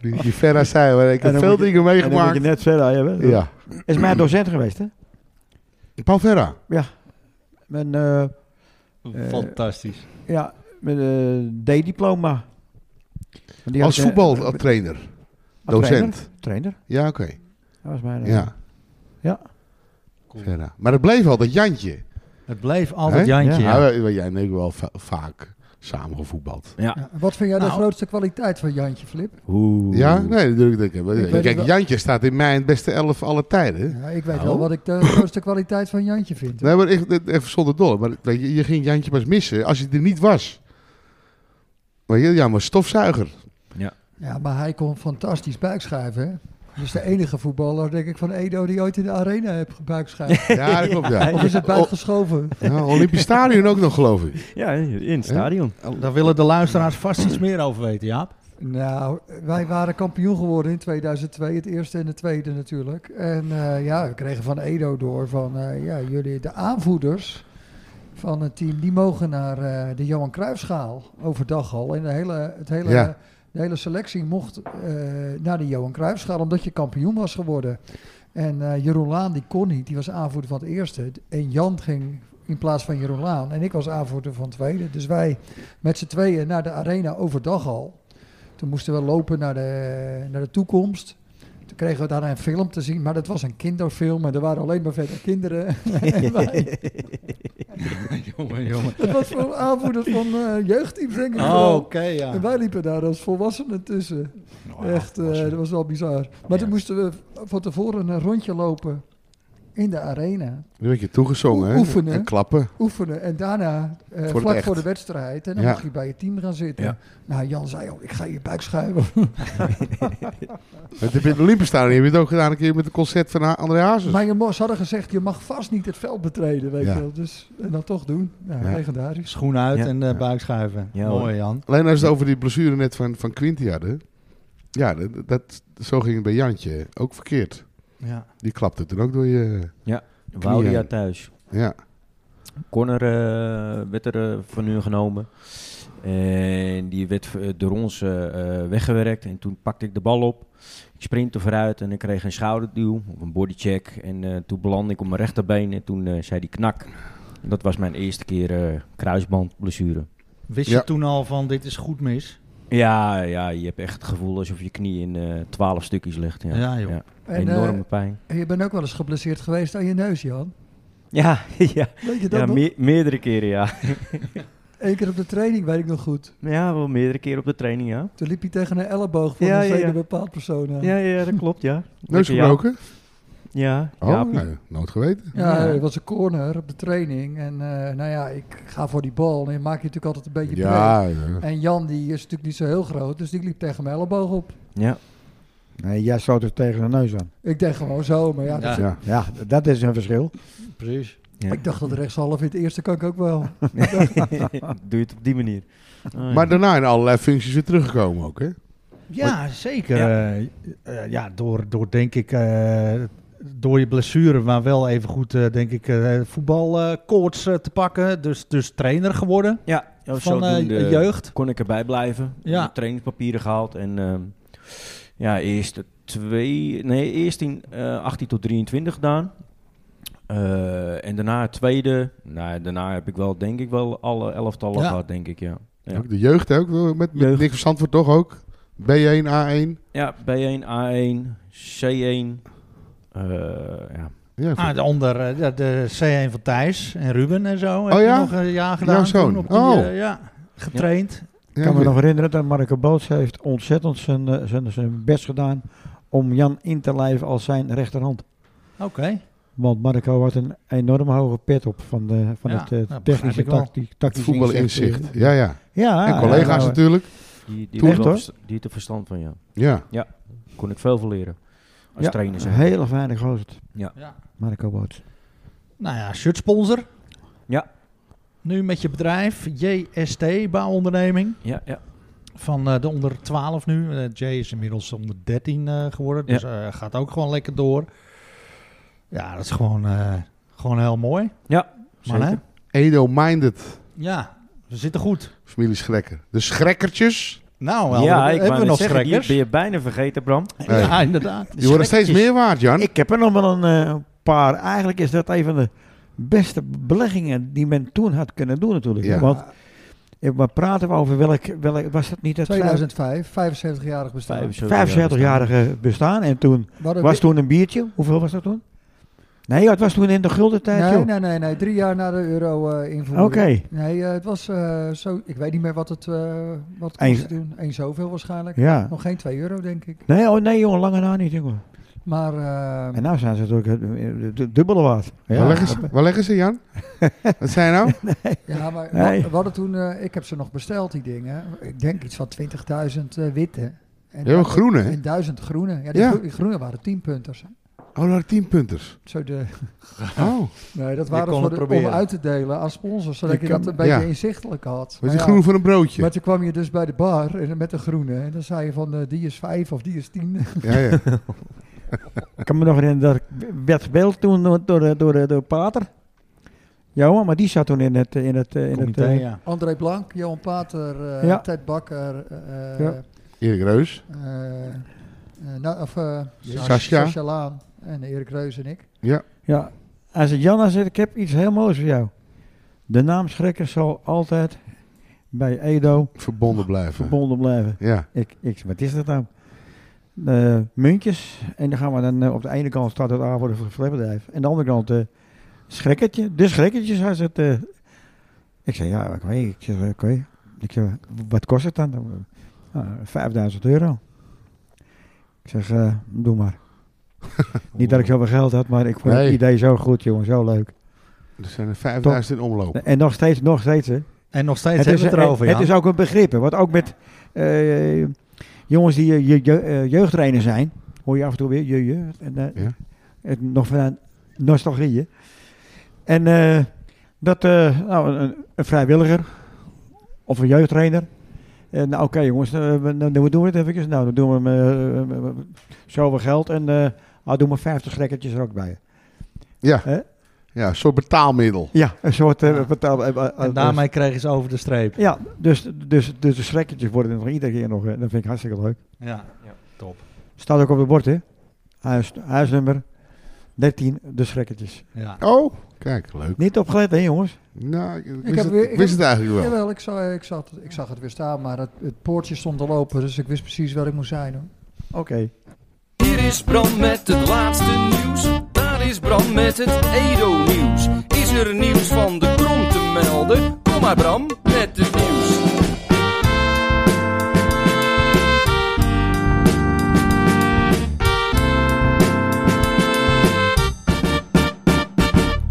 Speaker 4: Die, die Verra zei, maar ik
Speaker 8: En
Speaker 4: heb
Speaker 8: dan
Speaker 4: veel
Speaker 8: moet je-
Speaker 4: dingen
Speaker 8: En dan moet je
Speaker 4: meegemaakt.
Speaker 8: net verder hebben.
Speaker 4: Ja.
Speaker 8: Is mijn docent geweest, hè?
Speaker 4: Paul Verra.
Speaker 8: Mijn, eh,
Speaker 2: Fantastisch.
Speaker 8: ja, mijn eh, D-diploma. Want die had
Speaker 4: Als
Speaker 8: ik, eh, als
Speaker 4: voetbaltrainer. Docent.
Speaker 8: Trainer. trainer.
Speaker 4: Ja, oké.
Speaker 8: Dat was mijn... eh,
Speaker 4: Ja.
Speaker 8: Ja.
Speaker 4: Verra. Maar het bleef altijd Jantje.
Speaker 2: Het bleef altijd
Speaker 4: Hè?
Speaker 2: Jantje.
Speaker 4: Ja,
Speaker 2: ja.
Speaker 4: wij- wij- jij en ik wel va- vaak samen gevoetbald.
Speaker 5: ja.
Speaker 3: Ja, en wat vind jij de
Speaker 2: Nou.
Speaker 3: grootste kwaliteit van Jantje, Flip?
Speaker 5: Oeh.
Speaker 4: Ja, nee, dat doe ik- dat ik-
Speaker 3: weet het
Speaker 4: Kijk,
Speaker 3: wel.
Speaker 4: Jantje staat in mijn beste elf alle tijden.
Speaker 3: Ja, ik weet
Speaker 5: Nou.
Speaker 3: wel wat ik de grootste kwaliteit van Jantje vind.
Speaker 4: Nee, maar echt, dit- even zonder dolle. Maar weet je, je ging Jantje pas missen als je er niet was. Maar je, Jan was stofzuiger.
Speaker 3: Ja, maar hij kon fantastisch buikschuiven, hè? Dat is de enige voetballer, denk ik, van Edo die ooit in de arena heeft buikschuiven.
Speaker 4: Ja, dat klopt, ja. Oh.
Speaker 3: Of is het
Speaker 4: O-
Speaker 3: buikgeschoven?
Speaker 4: ja, Olympisch Stadion ook nog, geloof ik.
Speaker 5: Ja, in het stadion.
Speaker 2: Oh, Daar willen de luisteraars vast iets meer over weten, Jaap.
Speaker 3: Nou, wij waren kampioen geworden in 2002, het eerste en de tweede natuurlijk. En eh, ja, we kregen van Edo door van, eh, ja, jullie, de aanvoerders van het team, die mogen naar eh, de Johan Cruijffschaal overdag al. En de hele, het hele,
Speaker 4: Ja.
Speaker 3: de hele selectie mocht eh, naar de Johan Cruijffschaal, omdat je kampioen was geworden. En eh, Jeroen Laan, die kon niet, die was aanvoerder van het eerste. En Jan ging in plaats van Jeroen Laan. En ik was aanvoerder van het tweede. Dus wij met z'n tweeën naar de arena overdag al. Toen moesten we lopen naar de, naar de toekomst. Toen kregen we daar een film te zien, maar dat was een kinderfilm en er waren alleen maar verder kinderen. En wij-
Speaker 2: Jongen, jongen.
Speaker 3: dat was voor aanvoerders van eh, jeugdteams, denk ik.
Speaker 2: Oh,
Speaker 3: wel.
Speaker 2: oké, ja.
Speaker 3: En wij liepen daar als volwassenen tussen.
Speaker 2: Nou,
Speaker 3: Echt, eh, dat was wel bizar. Maar
Speaker 2: Ja.
Speaker 3: toen moesten we van tevoren een rondje lopen in de arena.
Speaker 4: Nu werd je toegezongen hè?
Speaker 3: Oefenen.
Speaker 4: en klappen.
Speaker 3: oefenen en daarna eh,
Speaker 4: het
Speaker 3: vlak
Speaker 4: echt.
Speaker 3: voor de wedstrijd. En dan
Speaker 4: Ja.
Speaker 3: mag je bij je team gaan zitten.
Speaker 2: Ja.
Speaker 3: Nou, Jan zei al, ik ga je buik schuiven.
Speaker 4: Het heb je in het Olympisch Stadion heb je het ook gedaan een keer met een concert van Ha- André Hazes.
Speaker 3: maar je mo- ze hadden gezegd, je mag vast niet het veld betreden, weet
Speaker 4: Ja.
Speaker 3: je wel. Dus, en dan toch doen. Nou,
Speaker 4: Ja.
Speaker 3: legendarisch.
Speaker 2: Schoen uit
Speaker 5: Ja.
Speaker 2: en eh buikschuiven.
Speaker 5: Ja, hoor.
Speaker 2: Mooi, Jan.
Speaker 4: Alleen als we het over die blessure net van, van Quinty hadden. Ja, dat, dat- zo ging het bij Jantje. Ook verkeerd.
Speaker 2: Ja.
Speaker 4: Die klapte toen ook door je...
Speaker 5: Woudia thuis.
Speaker 4: Ja,
Speaker 5: Connor eh, werd er eh, van hun genomen. En die werd eh, door ons eh, eh, weggewerkt. En toen pakte ik de bal op. Ik sprintte vooruit en ik kreeg een schouderduw of een bodycheck. En eh, toen belandde ik op mijn rechterbeen en toen eh, zei die knak. En dat was mijn eerste keer eh kruisbandblessure.
Speaker 2: Wist
Speaker 4: Ja.
Speaker 2: je toen al van dit is goed mis?
Speaker 5: Ja, ja, je hebt echt het gevoel alsof je knie in eh, twaalf stukjes ligt. Ja,
Speaker 2: Ja, joh.
Speaker 3: En,
Speaker 5: Enorme
Speaker 3: eh,
Speaker 5: pijn.
Speaker 3: je bent ook wel eens geblesseerd geweest aan je neus, Jan.
Speaker 5: Ja, ja,
Speaker 3: Weet je dat
Speaker 5: ja
Speaker 3: nog?
Speaker 5: me- meerdere keren, ja.
Speaker 3: Eén keer op de training, weet ik nog goed.
Speaker 5: Ja, wel meerdere keren op de training, ja.
Speaker 3: Toen liep hij tegen een elleboog van
Speaker 5: Ja,
Speaker 3: een
Speaker 5: ja,
Speaker 3: zeker
Speaker 5: ja.
Speaker 3: bepaald persoon aan.
Speaker 5: Ja, ja, dat klopt, ja.
Speaker 4: Neus
Speaker 5: Lekker, ja.
Speaker 4: gebroken?
Speaker 5: Ja,
Speaker 4: Oh,
Speaker 5: ja,
Speaker 4: nou, nooit geweten.
Speaker 3: Ja,
Speaker 5: Ja.
Speaker 3: het was een corner op de training. En eh, nou ja, ik ga voor die bal. En je maakt je natuurlijk altijd een beetje
Speaker 4: Ja, ja.
Speaker 3: breed. En Jan die is natuurlijk niet zo heel groot, dus die liep tegen mijn elleboog op.
Speaker 5: ja.
Speaker 8: Nee, jij stoot er tegen zijn neus aan.
Speaker 3: Ik deed gewoon zo, maar ja, dat-
Speaker 4: ja.
Speaker 8: Ja, d- dat is een verschil.
Speaker 2: Precies.
Speaker 5: Ja.
Speaker 3: ik dacht dat rechtshalf in het eerste kan ik ook wel.
Speaker 5: Doe je het op die manier. Oh, ja.
Speaker 4: Maar daarna in allerlei functies weer teruggekomen ook, hè?
Speaker 2: Ja, zeker. eh, eh, Ja, door, door denk ik... eh, door je blessure, maar wel even goed, eh, denk ik, voetbalkoorts te pakken. Dus, dus trainer geworden
Speaker 5: ja, ja,
Speaker 2: van eh,
Speaker 5: zodoende
Speaker 2: jeugd.
Speaker 5: kon ik erbij blijven.
Speaker 2: Ja.
Speaker 5: Ja. Trainingspapieren gehaald. En ehm, ja, eerst twee, nee, eerst in eh, 18 tot 23 gedaan. Eh, en daarna het tweede. Nou, daarna heb ik wel, denk ik, wel alle elftallen
Speaker 2: Ja.
Speaker 5: gehad, denk ik, ja. Ja.
Speaker 4: Ook De jeugd ook, wel, met, met
Speaker 5: Jeugd.
Speaker 4: Nick van Zandvoort toch ook? B1, A1.
Speaker 5: Ja, B1, A1, C1. eh, ja.
Speaker 4: Ja,
Speaker 2: Ah, de onder eh, de, de C1 van Thijs en Ruben en zo.
Speaker 4: Oh
Speaker 2: heb
Speaker 4: ja?
Speaker 2: je nog een jaar gedaan.
Speaker 4: Jouw zoon.
Speaker 2: toen op die,
Speaker 4: Oh.
Speaker 2: eh, ja, getraind.
Speaker 4: ja,
Speaker 8: Ik kan me
Speaker 4: ja.
Speaker 8: nog herinneren dat Marco Boots heeft ontzettend zijn, eh, zijn, zijn best gedaan om Jan in te lijven als zijn rechterhand.
Speaker 2: Oké.
Speaker 8: Want Marco had een enorm hoge pet op van, de, van
Speaker 2: Ja,
Speaker 8: het eh,
Speaker 2: dat begrijp
Speaker 8: technische
Speaker 2: ik wel.
Speaker 8: tacti-
Speaker 4: Het
Speaker 8: tactische
Speaker 4: voetbalinzicht. Ja, ja.
Speaker 8: Ja,
Speaker 4: En collega's
Speaker 8: ja, nou,
Speaker 4: natuurlijk.
Speaker 5: Die, die,
Speaker 8: Toen
Speaker 5: heeft wel
Speaker 8: toch?
Speaker 5: versta- die heeft er verstand van, ja.
Speaker 4: Ja.
Speaker 5: Kon ik veel van leren. Als
Speaker 8: Ja,
Speaker 5: trainer
Speaker 8: Een
Speaker 5: zijn.
Speaker 8: hele fijne gozer,
Speaker 2: Ja.
Speaker 8: Marco Boots.
Speaker 2: Nou ja, shirtsponsor.
Speaker 5: Ja.
Speaker 2: Nu met je bedrijf, JST, bouwonderneming.
Speaker 5: Ja, ja.
Speaker 2: Van eh, de onder 12 nu. Eh, Jay is inmiddels onder 13 eh, geworden. Dus eh, gaat ook gewoon lekker door. Ja, dat is gewoon, eh, gewoon heel mooi. Man, hè?
Speaker 5: zeker.
Speaker 4: Edo Minded.
Speaker 2: Ja, we zitten goed.
Speaker 4: Familie Schrekker. De Schrekkertjes.
Speaker 2: Nou, wel,
Speaker 5: ja, ik
Speaker 2: hebben
Speaker 5: wou
Speaker 2: we
Speaker 5: net
Speaker 2: nog
Speaker 5: zeggen, die
Speaker 2: schrekkers.
Speaker 5: ben je bijna vergeten, Bram.
Speaker 4: Nee.
Speaker 2: Ja, inderdaad.
Speaker 4: Die worden steeds meer waard, Jan.
Speaker 8: Ik heb er nog wel een eh, paar. Eigenlijk is dat een van de beste beleggingen die men toen had kunnen doen natuurlijk.
Speaker 4: Ja.
Speaker 8: Want eh, maar praten we over welk, welk was dat niet? eh, Dat
Speaker 3: 2005, 75-jarig bestaan.
Speaker 8: 75-jarige bestaan en toen
Speaker 3: We hadden
Speaker 8: was
Speaker 3: wi-
Speaker 8: toen een biertje. Hoeveel was dat toen? Nee, joh, het was toen in de gulden tijd.
Speaker 3: Nee,
Speaker 8: joh.
Speaker 3: nee, nee, nee. Drie jaar na de euro eh invoering.
Speaker 8: Nou. Oké.
Speaker 3: Nee, eh, het was eh, zo... Ik weet niet meer wat het, eh wat het
Speaker 8: Eén-
Speaker 3: kostte toen. Eén zoveel waarschijnlijk.
Speaker 8: Ja.
Speaker 3: Nog geen 2 euro, denk ik.
Speaker 8: Nee, oh, nee jongen, lange na niet jongen.
Speaker 3: Maar eh,
Speaker 8: En nou zijn ze natuurlijk eh, eh, de dubbele waard.
Speaker 4: waar, leggen ze, waar leggen ze, Jan? Wat zijn nou?
Speaker 3: ja, maar wa-
Speaker 8: Nee.
Speaker 3: we hadden toen... eh, ik heb ze nog besteld, die dingen. Ik denk iets van 20.000 eh, witte. En,
Speaker 4: Heel groene, hè?
Speaker 3: En 1000 groene. Ja, die,
Speaker 4: Ja.
Speaker 3: groe- die groene waren 10 punters.
Speaker 4: Oh, daar tienpunters.
Speaker 3: Zo de,
Speaker 4: Oh,
Speaker 3: nee, dat
Speaker 2: kon
Speaker 3: waren voor
Speaker 2: het
Speaker 3: de- om
Speaker 2: proberen.
Speaker 3: uit te delen aan sponsors, zodat
Speaker 8: Je
Speaker 3: je,
Speaker 8: kan-
Speaker 3: dat een beetje
Speaker 4: ja.
Speaker 3: inzichtelijk had.
Speaker 4: was
Speaker 3: Maar
Speaker 4: die
Speaker 3: ja,
Speaker 4: groen voor een broodje?
Speaker 3: Maar toen kwam je dus bij de bar en, met de groene en dan zei je van eh, die is 5 of die is 10.
Speaker 4: Ja, ja.
Speaker 8: Ik kan me nog herinneren dat ik werd gebeld toen door, eh, door, door, door Pater. Johan, maar die zat toen in het... In het, eh, in het
Speaker 2: Comité,
Speaker 8: eh,
Speaker 2: ja.
Speaker 3: André Blank, Johan Pater, eh
Speaker 8: Ja.
Speaker 3: Ted Bakker, eh,
Speaker 8: Ja.
Speaker 4: Erik Reus.
Speaker 3: eh, eh, nou, of, eh,
Speaker 4: Sascha.
Speaker 3: Sascha. Laan en Erik Reus en ik.
Speaker 8: ja. Hij zei, Jan, hij zei, ik heb iets heel moois voor jou. De naam Schrekker zal altijd bij Edo
Speaker 4: Verbonden blijven.
Speaker 8: verbonden blijven.
Speaker 4: Ja.
Speaker 8: Ik, ik zei, wat is dat nou? Eh, muntjes. En dan gaan we dan... eh, op de ene kant staat het A voor de flipbedrijf. En de andere kant eh Schrekkertje. De Schrekkertjes, hij zegt... eh, ik zei, ja, oké. Ik zeg, oké. Ik zeg, wat kost het dan? Nou, 5000 euro. Ik zeg, eh, doe maar. Niet dat ik zoveel geld had, maar ik vond
Speaker 4: Nee.
Speaker 8: het idee zo goed, jongen. Zo leuk.
Speaker 4: Er zijn er 5000 in omloop.
Speaker 8: En nog steeds, nog steeds, hè.
Speaker 2: En nog steeds hebben we het erover,
Speaker 8: het
Speaker 2: Jan.
Speaker 8: is ook een begrip, hè, want ook met eh, jongens die je, je, je- eh, jeugdtrainer zijn, hoor je af en toe weer je, je en, eh,
Speaker 4: Ja.
Speaker 8: het, nog vanuit nostalgie. hè. En eh, dat eh, nou, een- een, een vrijwilliger of een jeugdtrainer. eh, nou, oké jongens, eh, we- dan doen we het even. Nou, dan doen we hem, eh, zoveel geld en eh ah, doen we 50 schrekkertjes er ook bij. Hè?
Speaker 4: Ja. Ja, een soort betaalmiddel.
Speaker 8: Ja, een soort eh,
Speaker 2: Ja.
Speaker 8: betaal- eh, eh,
Speaker 2: En daarmee kregen ze over de streep.
Speaker 8: Ja, dus, dus, dus de schrekkertjes worden nog iedere keer nog. eh, Dat vind ik hartstikke leuk.
Speaker 2: Ja,
Speaker 5: Ja.
Speaker 2: top.
Speaker 8: Staat ook op het bord, hè? Huis, huisnummer 13, de schrekkertjes.
Speaker 2: Ja.
Speaker 4: Oh, Kijk, leuk.
Speaker 8: Niet opgelet, hè jongens?
Speaker 4: Nou, ik, wist,
Speaker 3: heb
Speaker 4: het,
Speaker 3: weer-
Speaker 4: ik
Speaker 3: ik
Speaker 4: wist
Speaker 3: heb-
Speaker 4: het eigenlijk wel.
Speaker 3: Jawel, ik zag, ik, zag, ik zag het weer staan, maar het, het poortje stond al open, dus ik wist precies waar ik moest zijn. Hoor.
Speaker 8: Oké.
Speaker 9: Hier is Bram met het laatste nieuws. Daar is Bram met het Edo-nieuws. Is er nieuws van de krom te melden? Kom maar Bram met het nieuws.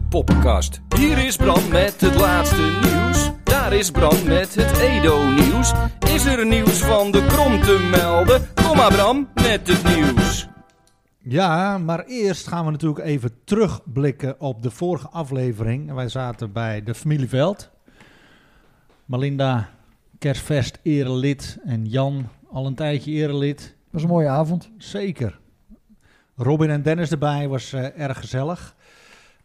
Speaker 9: Poppenkast. Hier is Bram met het laatste nieuws. Daar is Bram met het Edo-nieuws. Is er nieuws van de krom te melden? Kom maar Bram met het nieuws.
Speaker 2: Ja, maar eerst gaan we natuurlijk even terugblikken op de vorige aflevering. Wij zaten bij de familie Veld. Melinda, kerstfest, erelid. En Jan, al een tijdje erelid.
Speaker 3: was een mooie avond.
Speaker 2: Zeker. Robin en Dennis erbij was eh, erg gezellig.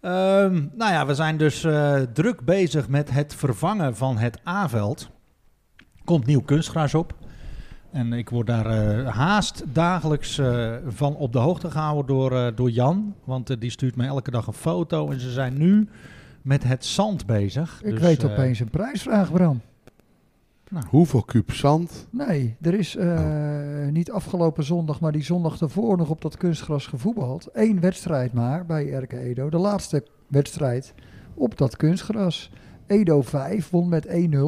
Speaker 2: Ehm, nou ja, we zijn dus eh, druk bezig met het vervangen van het A-veld. Komt nieuw kunstgras op. En ik word daar eh, haast dagelijks eh, van op de hoogte gehouden door, eh, door Jan. Want eh, die stuurt mij elke dag een foto. En ze zijn nu met het zand bezig.
Speaker 3: Ik
Speaker 2: Dus,
Speaker 3: weet
Speaker 2: eh,
Speaker 3: opeens een prijsvraag, Bram.
Speaker 4: Hoeveel kuub zand?
Speaker 3: Nee, er is eh,
Speaker 2: Oh.
Speaker 3: niet afgelopen zondag, maar die zondag daarvoor nog op dat kunstgras gevoetbald. Eén wedstrijd maar bij RK Edo. De laatste wedstrijd op dat kunstgras. Edo 5 won met 1-0.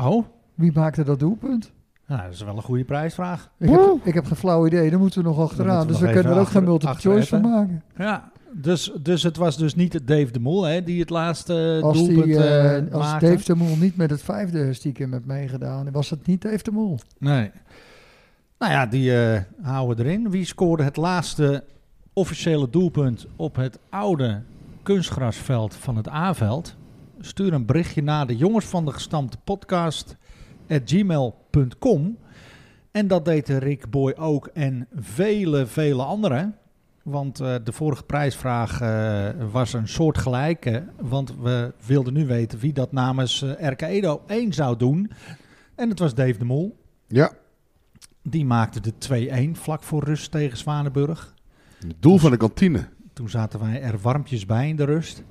Speaker 2: Oh,
Speaker 3: Wie maakte dat doelpunt?
Speaker 2: nou, dat is wel een goede prijsvraag.
Speaker 3: Ik heb, ik heb geen flauw idee, daar moeten we nog
Speaker 2: moeten
Speaker 3: achteraan.
Speaker 2: we
Speaker 3: Dus
Speaker 2: nog
Speaker 3: we kunnen
Speaker 2: even
Speaker 3: er ook geen
Speaker 2: achter-
Speaker 3: multiple
Speaker 2: achter
Speaker 3: choice van
Speaker 2: hebben.
Speaker 3: maken.
Speaker 2: Ja, dus, dus het was dus niet Dave de Mol hè, die het laatste
Speaker 3: Als, die,
Speaker 2: doelpunt
Speaker 3: eh,
Speaker 2: eh,
Speaker 3: als
Speaker 2: maakte.
Speaker 3: Dave de Mol niet met het vijfde stiekem heeft meegedaan, was het niet Dave de Mol.
Speaker 2: Nee. Nou ja, die eh, houden we erin. Wie scoorde het laatste officiële doelpunt op het oude kunstgrasveld van het A-veld? Stuur een berichtje naar de jongens van de gestampte podcast at gmail.com. En dat deed Rick Boy ook en vele, vele anderen. Want eh, de vorige prijsvraag eh, was een soortgelijke. Want we wilden nu weten wie dat namens eh, RK Edo 1 zou doen. En het was Dave de Mol.
Speaker 4: Ja.
Speaker 2: Die maakte de 2-1 vlak voor rust tegen Zwanenburg.
Speaker 4: Het doel van de kantine.
Speaker 2: Toen zaten wij er warmpjes bij in de rust.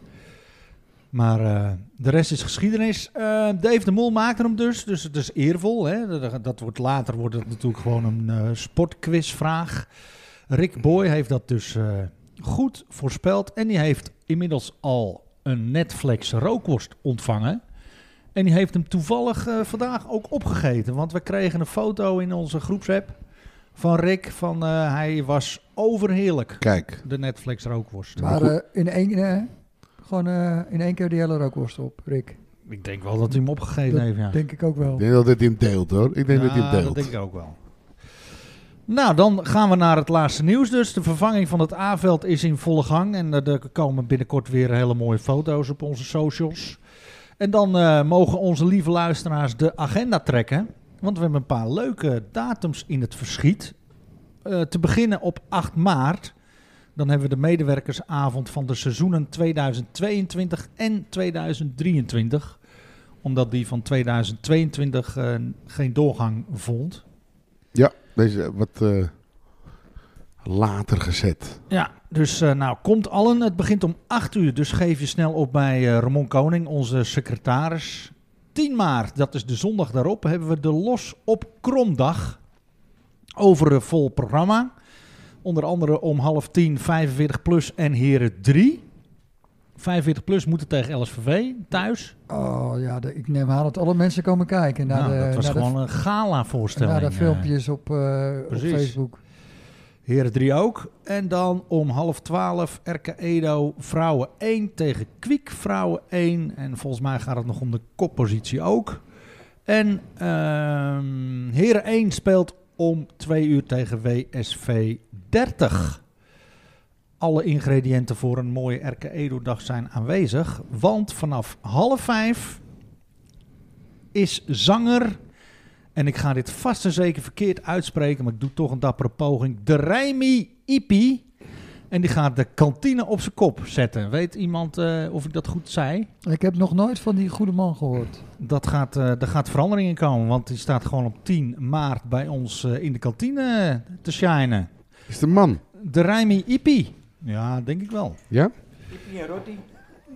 Speaker 2: Maar eh, de rest is geschiedenis. Eh, Dave de Mol maakte hem dus, dus het is eervol. Hè? Dat, dat wordt, later wordt het natuurlijk gewoon een eh, sportquizvraag. Rick Boy heeft dat dus eh, goed voorspeld. En die heeft inmiddels al een Netflix rookworst ontvangen. En die heeft hem toevallig eh, vandaag ook opgegeten. Want we kregen een foto in onze groepsapp van Rick. Van, eh, hij was overheerlijk.
Speaker 4: Kijk.
Speaker 2: De Netflix rookworst.
Speaker 3: Maar eh, in één, eh, gewoon, eh, in één keer die hele rookworst op, Rick.
Speaker 2: Ik denk wel dat hij hem opgegeven
Speaker 3: Dat
Speaker 2: heeft, ja.
Speaker 3: Denk ik ook wel.
Speaker 4: Ik denk dat dit hem deelt hoor. Ik denk dat dit
Speaker 2: Ja,
Speaker 4: hem
Speaker 2: dat
Speaker 4: deelt.
Speaker 2: denk ik ook wel. Nou, dan gaan we naar het laatste nieuws dus. De vervanging van het A-veld is in volle gang. En eh, er komen binnenkort weer hele mooie foto's op onze socials. En dan eh, mogen onze lieve luisteraars de agenda trekken. Want we hebben een paar leuke datums in het verschiet. Eh, te beginnen op 8 maart. Dan hebben we de medewerkersavond van de seizoenen 2022 en 2023 omdat die van 2022 eh, geen doorgang vond.
Speaker 4: Ja, deze eh, wat eh, later gezet.
Speaker 2: Ja, dus eh, nou, komt allen. Het begint om 8 uur, dus geef je snel op bij eh, Ramon Koning, onze secretaris. 10 maart, dat is de zondag daarop, hebben we de Los op Kromdag. Over een vol programma. Onder andere om half 10, 45 plus en heren 3. 45 plus moeten tegen LSVV thuis.
Speaker 3: Oh ja, de- ik neem aan dat alle mensen komen kijken naar
Speaker 2: Nou,
Speaker 3: de,
Speaker 2: dat was
Speaker 3: naar de-
Speaker 2: gewoon een gala
Speaker 3: naar
Speaker 2: voorstelling.
Speaker 3: de filmpjes op, eh, op
Speaker 2: precies.
Speaker 3: Facebook.
Speaker 2: Heren 3 ook. En dan om half 12 RK Edo vrouwen 1 tegen Kwiek vrouwen 1. En volgens mij gaat het nog om de koppositie ook. En ehm Heren 1 speelt om 2 uur tegen WSV 30. Alle ingrediënten voor een mooie RK Edo-dag zijn aanwezig. Want vanaf half 5 is zanger en ik ga dit vast en zeker verkeerd uitspreken, maar ik doe toch een dappere poging. De Rijmi Ipi. En die gaat de kantine op zijn kop zetten. Weet iemand eh, of ik dat goed zei?
Speaker 3: Ik heb nog nooit van die goede man gehoord.
Speaker 2: Dat gaat, eh er gaat verandering in komen, want die staat gewoon op 10 maart bij ons eh, in de kantine te shinen.
Speaker 4: Is de man.
Speaker 2: De Rijmi Ipi. Ja, denk ik wel.
Speaker 4: Ja?
Speaker 8: Ipi en Rotti.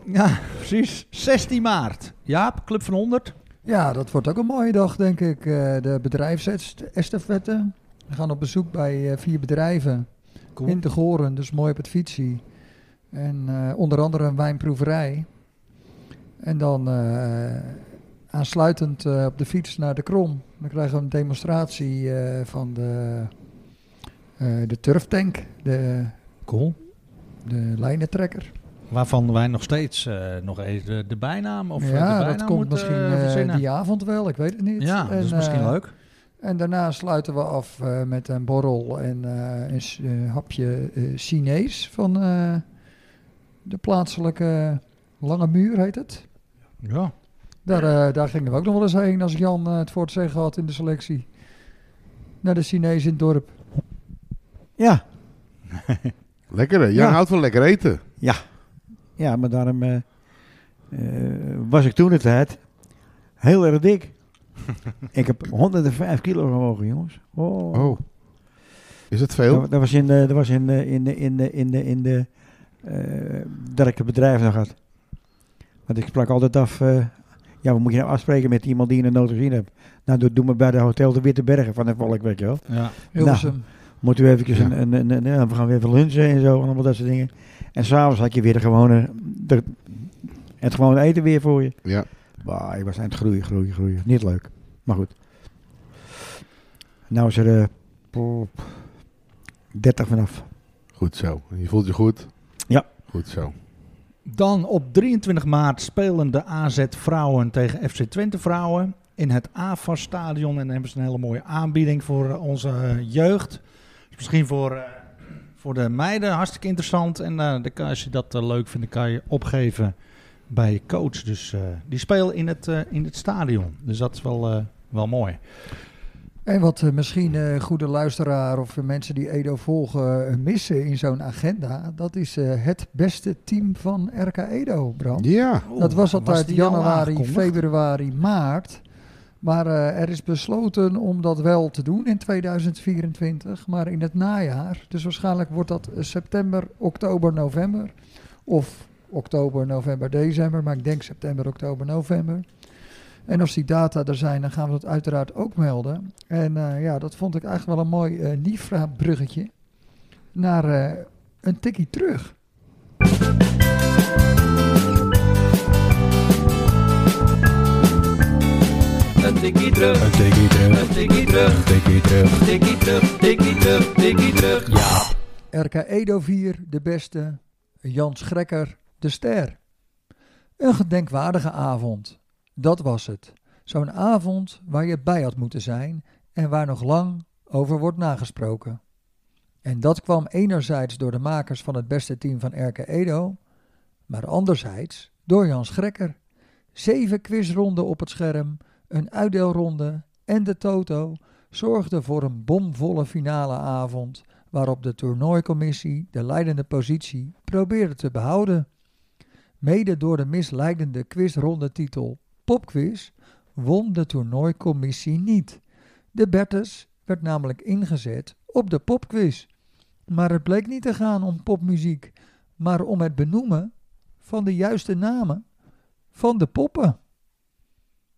Speaker 3: Ja,
Speaker 2: Precies. 16 maart. Jaap, Club van 100.
Speaker 3: ja, dat wordt ook een mooie dag, denk ik. Eh, de bedrijfsestafette. We gaan op bezoek bij eh, vier bedrijven
Speaker 2: Cool.
Speaker 3: in Tegoren, dus mooi op het fietsie. En eh, onder andere een wijnproeverij. En dan eh, aansluitend eh, op de fiets naar de Krom. Dan krijgen we een demonstratie eh, van de, eh de turftank, de,
Speaker 2: Cool.
Speaker 3: de lijnentrekker.
Speaker 2: Waarvan wij nog steeds eh, nog even de, de bijnaam of eh, de
Speaker 3: ja,
Speaker 2: bijnaam
Speaker 3: dat komt
Speaker 2: moeten,
Speaker 3: misschien
Speaker 2: eh,
Speaker 3: eh,
Speaker 2: verzinnen.
Speaker 3: die avond wel, ik weet het niet.
Speaker 2: Ja, dat is
Speaker 3: En,
Speaker 2: misschien
Speaker 3: eh,
Speaker 2: leuk.
Speaker 3: En daarna sluiten we af eh, met een borrel en eh, een s- eh, hapje eh, Chinees van eh, de plaatselijke Lange Muur, heet het.
Speaker 2: Ja.
Speaker 3: Daar, eh, daar gingen we ook nog wel eens heen als Jan eh, het voor het zeggen had in de selectie. Naar de Chinees in het dorp.
Speaker 8: Ja,
Speaker 4: Lekker hè? Jan
Speaker 8: Ja.
Speaker 4: houdt van lekker eten.
Speaker 8: ja maar daarom eh, eh, was ik toen de tijd heel erg dik. ik heb 105 kilo gewogen, jongens. Oh.
Speaker 4: Oh. Is dat veel?
Speaker 8: Dat, dat was in de, dat was in de, in de, in de, in de, in de eh, dat ik het bedrijf nog had. Want ik sprak altijd af, eh, ja, wat moet je nou afspreken met iemand die je nog nooit gezien hebt? Nou, doe, doe me bij de Hotel de Witte Bergen van het Volk, weet je wel.
Speaker 2: ja.
Speaker 3: Hilversum.
Speaker 8: Moet u eventjes
Speaker 4: Ja.
Speaker 8: een, een, een, een- ja, we gaan weer even lunchen en zo, en allemaal dat soort dingen. En s'avonds had je weer de gewone, de, het gewone eten weer voor je.
Speaker 4: Ja.
Speaker 8: Bah, ik was aan het groeien, groeien, groeien. Niet leuk, maar goed. Nou is er eh, pop, 30 vanaf.
Speaker 4: Goed zo. Je voelt je goed?
Speaker 8: Ja.
Speaker 4: Goed zo.
Speaker 2: Dan op 23 maart spelen de AZ Vrouwen tegen FC Twente Vrouwen in het AFAS Stadion. En dan hebben ze een hele mooie aanbieding voor eh, onze eh, jeugd. Dus misschien voor, eh, voor de meiden hartstikke interessant. En eh, dan kan- als je dat eh, leuk vindt, dan kan je opgeven bij je coach. Dus eh, die spelen in het, eh, in het stadion. Dus dat is wel, eh, wel mooi.
Speaker 3: En wat eh, misschien eh, goede luisteraar of eh, mensen die Edo volgen eh, missen in zo'n agenda. Dat is eh, het beste team van RK Edo,
Speaker 8: Oh.
Speaker 3: Bram.
Speaker 4: Ja.
Speaker 3: Dat was altijd
Speaker 2: Oh, die al
Speaker 3: januari,
Speaker 2: aangekondigd?
Speaker 3: februari, maart. Maar eh, er is besloten om dat wel te doen in 2024, maar in het najaar. Dus waarschijnlijk wordt dat eh, september, oktober, november. Of oktober, november, december. Maar ik denk september, oktober, november. En als die data er zijn, dan gaan we dat uiteraard ook melden. En eh, ja, dat vond ik eigenlijk wel een mooi eh Nifra-bruggetje naar eh, een tikkie terug.
Speaker 9: Een tikkie terug,
Speaker 10: Een tikkie terug,
Speaker 9: een tikkie terug,
Speaker 10: een tikkie terug.
Speaker 9: tikkie terug, tikkie terug, tikkie terug. Ja.
Speaker 3: RK Edo 4, de beste. Jans Grekker, de ster. Een gedenkwaardige avond. Dat was het. Zo'n avond waar je bij had moeten zijn en waar nog lang over wordt nagesproken. En dat kwam enerzijds door de makers van het beste team van RK Edo, maar anderzijds door Jans Grekker. Zeven quizronden op het scherm, een uitdeelronde en de toto zorgden voor een bomvolle finale avond waarop de toernooicommissie de leidende positie probeerde te behouden. Mede door de misleidende quizrondetitel Popquiz won de toernooicommissie niet. De Bertes werd namelijk ingezet op de popquiz. Maar het bleek niet te gaan om popmuziek, maar om het benoemen van de juiste namen van de poppen.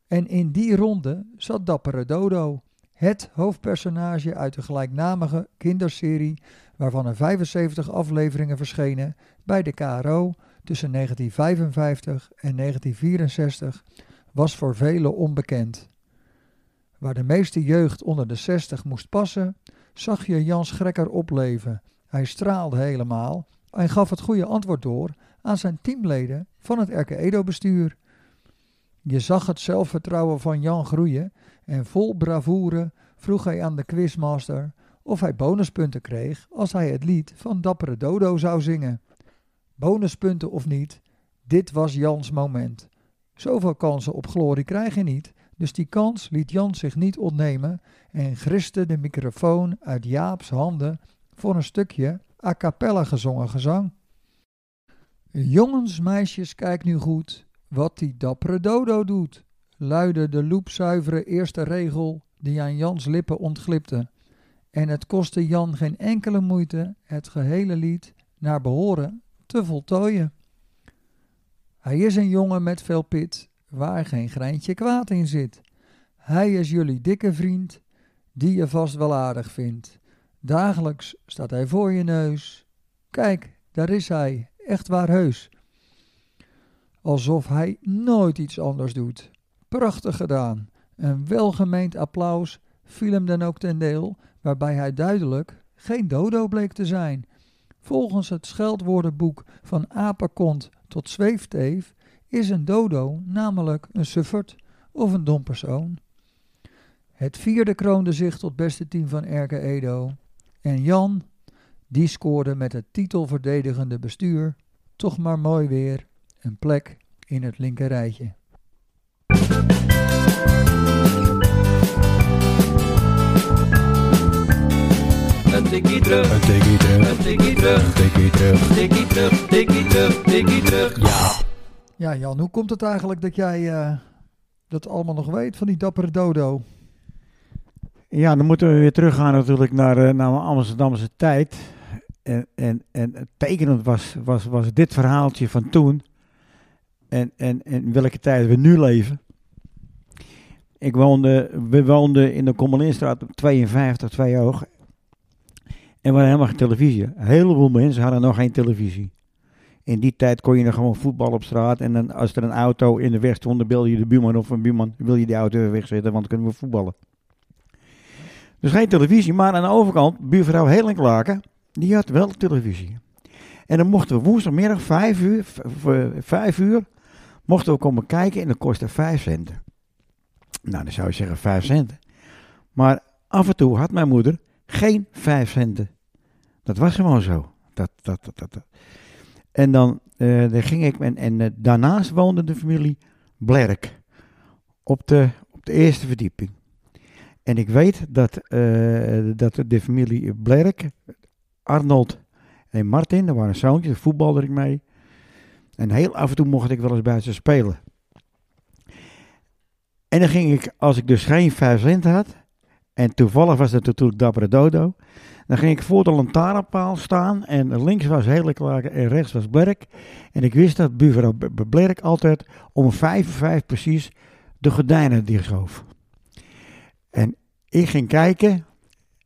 Speaker 3: En in die ronde zat Dappere Dodo het hoofdpersonage uit de gelijknamige kinderserie, waarvan er 75 afleveringen verschenen bij de KRO tussen 1955 en 1964, was voor velen onbekend. Waar de meeste jeugd onder de 60 moest passen, zag je Jans Grekker opleven. Hij straalde helemaal en gaf het goede antwoord door aan zijn teamleden van het RK Edo-bestuur. Je zag het zelfvertrouwen van Jan groeien en vol bravoure vroeg hij aan de quizmaster of hij bonuspunten kreeg als hij het lied van Dappere Dodo zou zingen. Bonuspunten of niet, dit was Jans moment. Zoveel kansen op glorie krijg je niet, dus die kans liet Jan zich niet ontnemen en griste de microfoon uit Jaaps handen voor een stukje a cappella gezongen gezang. Jongens, meisjes, kijk nu goed wat die dappere dodo doet luidde de loepzuivere eerste regel die aan Jans lippen ontglipte. En het kostte Jan geen enkele moeite het gehele lied naar behoren te voltooien. Hij is een jongen met veel pit, waar geen greintje kwaad in zit. Hij is jullie dikke vriend, die je vast wel aardig vindt. Dagelijks staat hij voor je neus. Kijk, daar is hij, echt waar heus. Alsof hij nooit iets anders doet. Prachtig gedaan. Een welgemeend applaus viel hem dan ook ten deel, waarbij hij duidelijk geen dodo bleek te zijn. Volgens het scheldwoordenboek van apenkont tot zweefteef is een dodo namelijk een suffert of een dom persoon. Het vierde kroonde zich tot beste team van RK Edo. En Jan, die scoorde met het titelverdedigende bestuur toch maar mooi weer een plek in het linkerrijtje.
Speaker 9: Een tikkie terug,
Speaker 10: Een tikkie terug,
Speaker 9: een tikkie terug,
Speaker 10: een tikkie terug.
Speaker 9: tikkie terug, tikkie terug, tikkie terug.
Speaker 3: Ja, Jan, hoe komt het eigenlijk dat jij eh, dat allemaal nog weet van die dappere dodo?
Speaker 8: Ja, dan moeten we weer teruggaan natuurlijk naar, eh, naar mijn Amsterdamse tijd. En, en, en tekenend was, was, was dit verhaaltje van toen. En, en, en welke tijd we nu leven. Ik woonde, we woonden in de Kommelinstraat op 52, twee hoog. En we hadden helemaal geen televisie. Een heleboel mensen hadden nog geen televisie. In die tijd kon je nog gewoon voetbal op straat. En dan, als er een auto in de weg stond, dan belde je de buurman of een buurman. Wil je die auto even wegzetten, want dan kunnen we voetballen. Dus geen televisie, maar aan de overkant, buurvrouw Helen Klaken, die had wel televisie. En dan mochten we woensdagmiddag vijf uur, v- v- vijf uur mochten we komen kijken en dat kostte vijf centen. Nou, dan zou je zeggen vijf centen. Maar af en toe had mijn moeder geen vijf centen. Dat was gewoon zo. Dat, dat, dat, dat, dat. En dan, eh, dan ging ik, en, en eh, daarnaast woonde de familie Blerk op de, op de eerste verdieping. En ik weet dat, eh, dat de familie Blerk, Arnold en Martin, dat waren zoontjes, daar voetbalde ik mee. En heel af en toe mocht ik wel eens bij ze spelen. En dan ging ik, als ik dus geen vijf cent had, en toevallig was dat natuurlijk Dappere Dodo, dan ging ik voor de lantaarnpaal staan en links was Heleklaken en rechts was Blerk. En ik wist dat buurvrouw B- B- Blerk altijd om vijf voor vijf precies de gordijnen dichtschoof. Ik ging kijken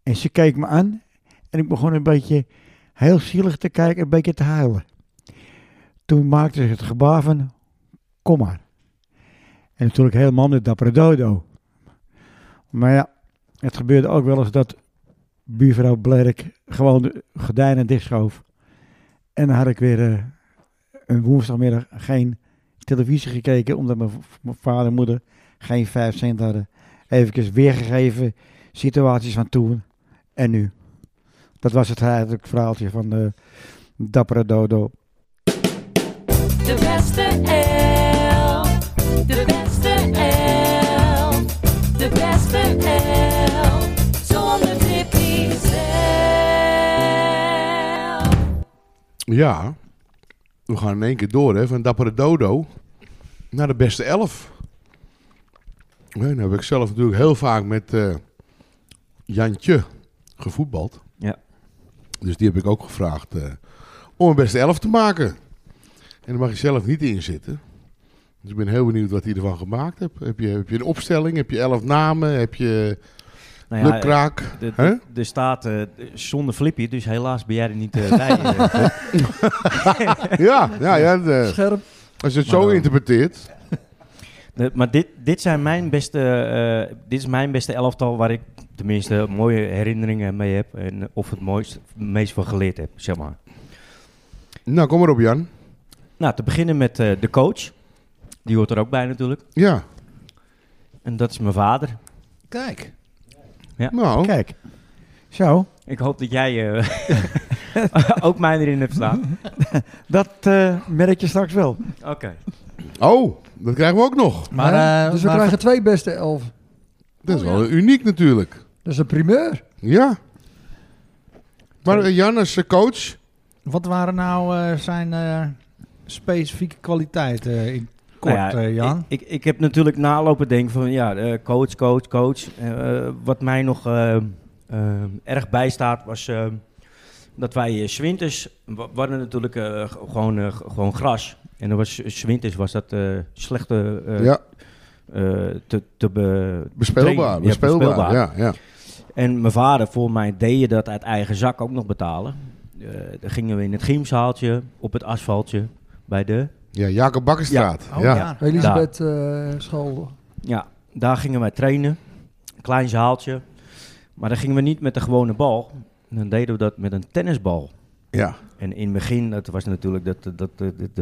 Speaker 8: en ze keek me aan en ik begon een beetje heel zielig te kijken, een beetje te huilen. Toen maakte ze het gebaar van, kom maar. En natuurlijk helemaal de dappere dodo. oh. Maar ja, het gebeurde ook wel eens dat buurvrouw Blerk gewoon de gordijnen dichtschoof. En dan had ik weer eh, een woensdagmiddag geen televisie gekeken, omdat mijn v- mijn vader en moeder geen vijf cent hadden even weergegeven situaties van toen en nu. Dat was het eigenlijk het verhaaltje van de dappere dodo.
Speaker 11: De beste elf. De beste elf. De beste elf. Zonder Tippy zelf.
Speaker 4: Ja, we gaan in één keer door, hè. Van Dappere Dodo naar de beste elf. Ja, nou heb ik zelf natuurlijk heel vaak met eh, Jantje gevoetbald.
Speaker 5: Ja.
Speaker 4: Dus die heb ik ook gevraagd eh, om een beste elf te maken. En daar mag je zelf niet in zitten. Dus ik ben heel benieuwd wat hij ervan gemaakt hebt. Heb je, heb je een opstelling? Heb je elf namen? Heb je
Speaker 5: Nou ja,
Speaker 4: lukraak?
Speaker 5: de-
Speaker 4: Hè?
Speaker 5: de- Er staat eh, zonder Flippy, dus helaas ben jij er niet eh, bij. eh, Bob.
Speaker 4: ja, ja, ja de-
Speaker 3: Scherp.
Speaker 4: als je het zo
Speaker 5: Maar dan-
Speaker 4: interpreteert.
Speaker 5: Nee, maar dit, dit, zijn mijn beste, eh, dit is mijn beste elftal waar ik tenminste mooie herinneringen mee heb. En of het mooist, meest van geleerd heb, zeg maar.
Speaker 4: Nou, kom maar op Jan.
Speaker 5: Nou, te beginnen met eh, de coach. Die hoort er ook bij natuurlijk.
Speaker 4: Ja,
Speaker 5: En dat is mijn vader.
Speaker 2: Kijk.
Speaker 4: nou.
Speaker 8: Kijk, zo,
Speaker 5: Ik hoop dat jij eh, ook mij erin hebt staan.
Speaker 8: dat eh, merk je straks wel.
Speaker 5: Oké.
Speaker 4: Oh, dat krijgen we ook nog.
Speaker 2: Maar,
Speaker 3: Hè?
Speaker 2: eh,
Speaker 3: dus we
Speaker 2: maar-
Speaker 3: krijgen twee beste elf.
Speaker 4: Dat is wel uniek natuurlijk.
Speaker 3: Dat is een primeur.
Speaker 4: Ja. Maar eh, Jan als eh, coach,
Speaker 2: Wat waren nou eh, zijn eh, specifieke kwaliteiten eh, in kort,
Speaker 5: Nou ja,
Speaker 2: eh, Jan?
Speaker 5: Ik, ik, ik heb natuurlijk nalopen denken van ja, eh, coach, coach, coach. Eh, wat mij nog eh, eh, erg bijstaat was eh, dat wij eh, 's winters, we hadden natuurlijk eh, g- gewoon, eh, g- gewoon gras. En En dan was s winters was dat eh slechte eh,
Speaker 4: ja,
Speaker 5: eh, te, te be-
Speaker 4: bespeelbaar.
Speaker 5: trainen. Ja,
Speaker 4: Bespeelbaar, ja. ja.
Speaker 5: En mijn vader, voor mij, deed je dat uit eigen zak ook nog betalen. Eh, dan gingen we in het gymzaaltje, op het asfaltje, bij de...
Speaker 4: Ja, Jacob Bakkerstraat. Ja.
Speaker 2: Oh,
Speaker 4: ja.
Speaker 2: ja.
Speaker 3: Elisabeth eh, school.
Speaker 5: Ja, daar gingen wij trainen. Klein zaaltje. Maar dan gingen we niet met de gewone bal. Dan deden we dat met een tennisbal. En in het begin, dat was natuurlijk, dat, dat, dat, dat, dat,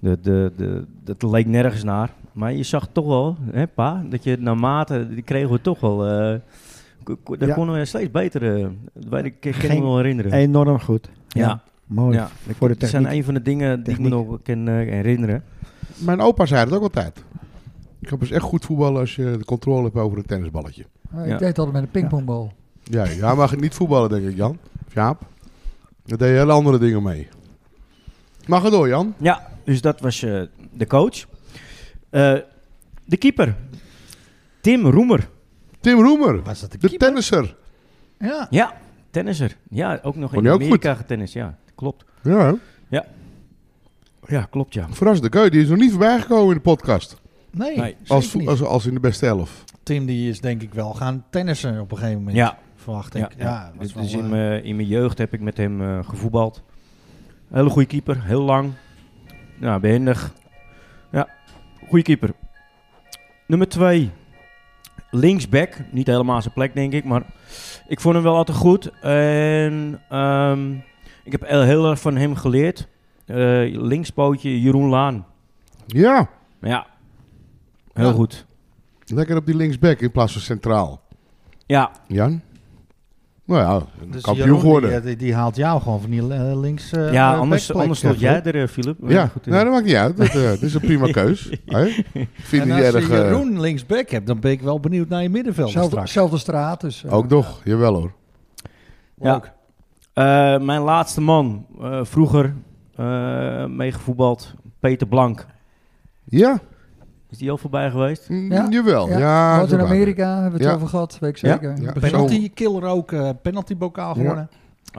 Speaker 5: dat, dat- dat- dat leek nergens naar. Maar je zag toch wel, hè pa, dat je naarmate, die kregen we toch wel, eh, ko- ko- dat
Speaker 8: Ja.
Speaker 5: konden we steeds beter, eh, dat weet ik, ik kan me
Speaker 8: Geen-
Speaker 5: wel herinneren.
Speaker 8: Enorm goed.
Speaker 5: ja,
Speaker 8: Mooi.
Speaker 5: ja.
Speaker 8: Voor de
Speaker 5: dat zijn
Speaker 8: techniek.
Speaker 5: een van de dingen die ik me
Speaker 8: Techniek.
Speaker 5: nog kan eh, herinneren.
Speaker 4: Mijn opa zei dat ook altijd. Ik heb dus echt goed voetballen als je de controle hebt over een tennisballetje.
Speaker 3: Ah,
Speaker 5: Ja.
Speaker 3: Ik deed altijd met een pingpongbal.
Speaker 4: Ja, jij mag niet voetballen, denk ik, Jan. Of Jaap. Daar deed je hele andere dingen mee. Mag het door, Jan?
Speaker 5: Ja, dus dat was eh, de coach. Eh, de keeper, Tim Roemer.
Speaker 4: Tim Roemer,
Speaker 2: Was dat de
Speaker 4: de tennisser.
Speaker 3: Ja.
Speaker 5: Ja, tennisser. Ja, ook nog
Speaker 4: Kon
Speaker 5: in
Speaker 4: hij ook
Speaker 5: Amerika getennis. Ja, klopt.
Speaker 4: Ja,
Speaker 5: Ja, klopt ja.
Speaker 4: verrassende keu. Die is nog niet voorbij gekomen in de podcast.
Speaker 2: Nee,
Speaker 5: Nee,
Speaker 4: Als,
Speaker 2: zeker
Speaker 4: vo-
Speaker 2: niet.
Speaker 4: als, als in de beste elf.
Speaker 2: Tim die is denk ik wel gaan tennissen op een gegeven moment.
Speaker 5: Ja,
Speaker 2: Verwacht ik.
Speaker 5: Ja,
Speaker 2: Ja,
Speaker 5: ja.
Speaker 2: was
Speaker 5: Dus,
Speaker 2: wel,
Speaker 5: dus in
Speaker 2: eh,
Speaker 5: mijn in mijn jeugd heb ik met hem eh, gevoetbald. Hele goede keeper, heel lang. Ja, behendig. Ja, goede keeper. Nummer 2. Linksback. Niet helemaal zijn plek, denk ik. Maar ik vond hem wel altijd goed. En ehm, ik heb heel, heel erg van hem geleerd. Eh, linkspootje Jeroen Laan.
Speaker 4: Ja,
Speaker 5: Ja, heel
Speaker 4: Ja.
Speaker 5: goed.
Speaker 4: lekker op die linksback in plaats van centraal.
Speaker 5: Ja,
Speaker 4: Jan? Nou ja,
Speaker 2: dus
Speaker 4: kampioen
Speaker 2: Jeroen,
Speaker 4: geworden.
Speaker 2: Die, die, die haalt jou gewoon van die eh, links. eh,
Speaker 5: ja
Speaker 2: eh,
Speaker 5: anders,
Speaker 2: backplek.
Speaker 5: anders stond jij er, eh, Philip.
Speaker 4: ja,
Speaker 5: Goed, eh.
Speaker 2: Nou,
Speaker 4: nee, dat maakt niet uit. Dat, eh, dat is een prima keus. Hè? Ik Vind
Speaker 2: En
Speaker 4: niet
Speaker 2: als je
Speaker 4: erg. eh,
Speaker 2: Jeroen linksback hebt, dan ben ik wel benieuwd naar je middenveld
Speaker 3: Zelfde,
Speaker 2: straks.
Speaker 3: zelfde straat. Dus, eh,
Speaker 4: ook nog, jawel hoor.
Speaker 5: Ja. Eh, mijn laatste man, eh, vroeger eh meegevoetbald, Peter Blank.
Speaker 4: Ja,
Speaker 5: Is die al voorbij geweest?
Speaker 4: mm,
Speaker 3: Ja,
Speaker 4: jawel. Ja,
Speaker 3: ja. Want
Speaker 4: zo
Speaker 3: in
Speaker 4: waren.
Speaker 3: Amerika hebben we het
Speaker 4: Ja.
Speaker 3: over gehad, weet ik
Speaker 4: Ja.
Speaker 3: zeker.
Speaker 4: Ja.
Speaker 2: Penalty killer ook, eh penalty bokaal
Speaker 4: Ja.
Speaker 2: geworden.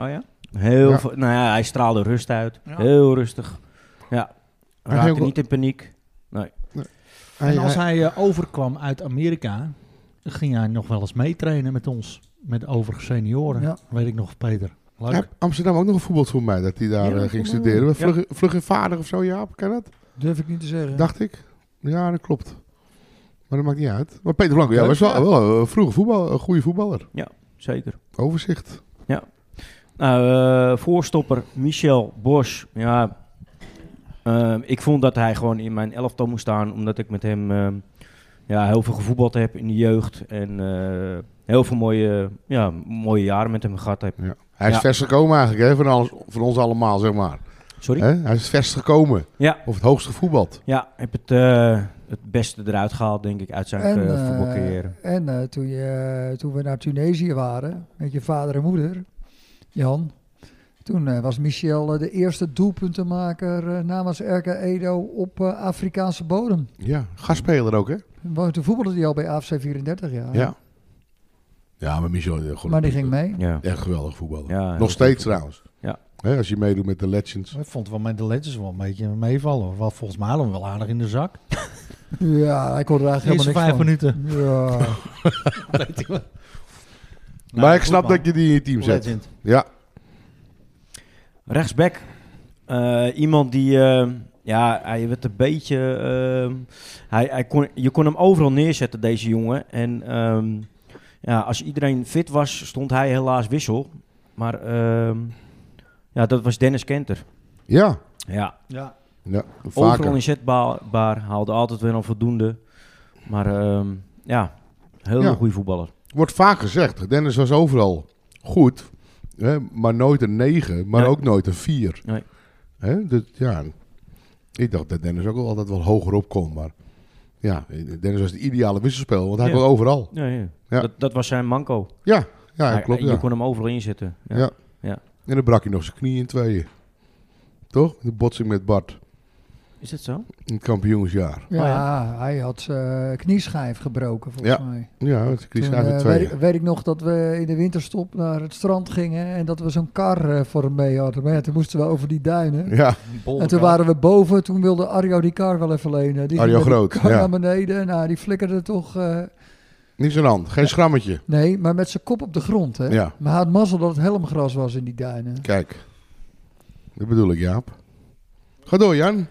Speaker 5: Oh ja? Heel
Speaker 4: Ja.
Speaker 5: veel- nou ja, hij straalde rust uit.
Speaker 2: Ja.
Speaker 5: Heel rustig. Ja,
Speaker 4: Hij
Speaker 5: raakte
Speaker 4: ging ook-
Speaker 5: niet in paniek.
Speaker 4: Hij-
Speaker 2: En als
Speaker 4: hij-
Speaker 2: hij eh, overkwam uit Amerika, ging hij nog wel eens meetrainen met ons. Met de overige senioren.
Speaker 3: Ja.
Speaker 2: Weet ik nog, Peter. Leuk.
Speaker 4: hij heeft Amsterdam ook nog een voetbal voor mij, dat hij daar
Speaker 5: Ja,
Speaker 4: eh, ging
Speaker 5: voetbal.
Speaker 4: studeren.
Speaker 5: Ja.
Speaker 4: Vlug, vlug en vaardig of zo, ja, kan dat?
Speaker 3: Durf ik niet te zeggen.
Speaker 4: Dacht ik. Ja, dat klopt. Maar dat maakt niet uit. Maar Peter Blanco, ja,
Speaker 2: Leuk,
Speaker 4: was wel,
Speaker 2: ja.
Speaker 4: wel een eh, vroege voetbal, een goede voetballer.
Speaker 5: Zeker.
Speaker 4: Overzicht.
Speaker 5: Nou, eh, voorstopper Michel Bosch. Ja, ehm, ik vond dat hij gewoon in mijn elftal moest staan, omdat ik met hem ehm, ja, heel veel gevoetbald heb in de jeugd. En eh, heel veel mooie, ja, mooie jaren met hem gehad heb.
Speaker 4: Hij is
Speaker 5: Ja.
Speaker 4: vers gekomen eigenlijk, hè, van, alles, van ons allemaal, zeg maar.
Speaker 5: Sorry?
Speaker 4: Hè? Hij is vers gekomen.
Speaker 5: Ja.
Speaker 4: Of het hoogste voetbal.
Speaker 5: Ja, heb het, eh, het beste eruit gehaald, denk ik, uit zijn
Speaker 3: En,
Speaker 5: eh,
Speaker 3: eh,
Speaker 5: voetbalcarrière.
Speaker 3: En eh, toen, je, toen we naar Tunesië waren, met je vader en moeder, Jan. Toen eh, was Michel eh, de eerste doelpuntenmaker eh, namens RK Edo op eh, Afrikaanse bodem.
Speaker 4: Ja, gastspeler ook, hè?
Speaker 3: Want Toen voetbalde hij al bij AFC 34 jaar.
Speaker 4: Ja. Ja, maar Michel... eh, gewoon
Speaker 3: Maar die
Speaker 4: een-
Speaker 3: ging mee.
Speaker 5: Ja.
Speaker 4: Echt geweldig voetballer.
Speaker 5: Ja, heel
Speaker 4: Nog steeds trouwens.
Speaker 5: Ja.
Speaker 4: Hè, als je meedoet met de Legends.
Speaker 2: Ik vond het wel met de Legends wel een beetje meevallen. Wel, volgens mij hadden we hem wel aardig in de zak.
Speaker 3: Ja, hij kon er
Speaker 2: De
Speaker 3: eigenlijk
Speaker 2: eerste
Speaker 3: helemaal
Speaker 2: vijf
Speaker 3: niks
Speaker 2: minuten.
Speaker 3: van. Ja.
Speaker 4: maar ik snap dat je die in je team zet.
Speaker 2: Legend.
Speaker 4: Ja.
Speaker 5: Rechtsback. Eh, iemand die, eh, ja, hij werd een beetje, ehm, hij, hij kon, je kon hem overal neerzetten, deze jongen. En ehm, ja, als iedereen fit was, stond hij helaas wissel. Maar ehm, ja, dat was Dennis Kenter.
Speaker 4: Ja.
Speaker 5: Ja,
Speaker 2: Ja.
Speaker 4: ja.
Speaker 5: Overal
Speaker 4: Vaker.
Speaker 5: inzetbaar, baar, haalde altijd weer een voldoende. Maar ehm, ja, heel
Speaker 4: Ja.
Speaker 5: goede voetballer.
Speaker 4: Wordt vaak gezegd. Dennis was overal goed. Hè, maar nooit een 9. Maar
Speaker 5: Nee.
Speaker 4: ook nooit een 4.
Speaker 5: Nee.
Speaker 4: Hè, dus, ja. Ik dacht dat Dennis ook wel altijd wel hoger op kon. Maar ja, Dennis was de ideale wisselspeler. Want hij
Speaker 5: Ja.
Speaker 4: kon overal.
Speaker 5: Ja, ja.
Speaker 4: Ja.
Speaker 5: Dat, dat was zijn manco.
Speaker 4: Ja. Ja,
Speaker 5: Hij-
Speaker 4: klopt.
Speaker 5: eh, Je
Speaker 4: Ja.
Speaker 5: kon hem overal inzetten. Ja.
Speaker 4: Ja.
Speaker 5: Ja.
Speaker 4: En dan brak hij nog zijn knie in tweeën. Toch? De botsing met Bart.
Speaker 5: Is dat zo?
Speaker 4: in het kampioensjaar.
Speaker 3: Ja,
Speaker 5: Oh
Speaker 3: hij had zijn knieschijf gebroken volgens
Speaker 4: Ja,
Speaker 3: mij.
Speaker 4: Ja, het is
Speaker 3: Toen,
Speaker 4: uit de
Speaker 3: eh,
Speaker 4: tweede.
Speaker 3: weet, ik- weet ik nog dat we in de winterstop naar het strand gingen en dat we zo'n kar eh, voor hem mee hadden. Maar ja, toen moesten we over die duinen.
Speaker 4: Ja,
Speaker 3: En toen waren we boven, toen wilde Arjo die kar wel even lenen. Die ging
Speaker 4: Arjo
Speaker 3: met die
Speaker 4: Groot,
Speaker 3: kar
Speaker 4: ja.
Speaker 3: naar beneden, nou die flikkerde toch... eh,
Speaker 4: niet zo'n hand. Geen schrammetje.
Speaker 3: nee, maar met zijn kop op de grond hè.
Speaker 4: Ja.
Speaker 3: Maar hij had mazzel dat het helmgras was in die duinen.
Speaker 4: Kijk. Dat bedoel ik, Jaap. Ga door, Jan.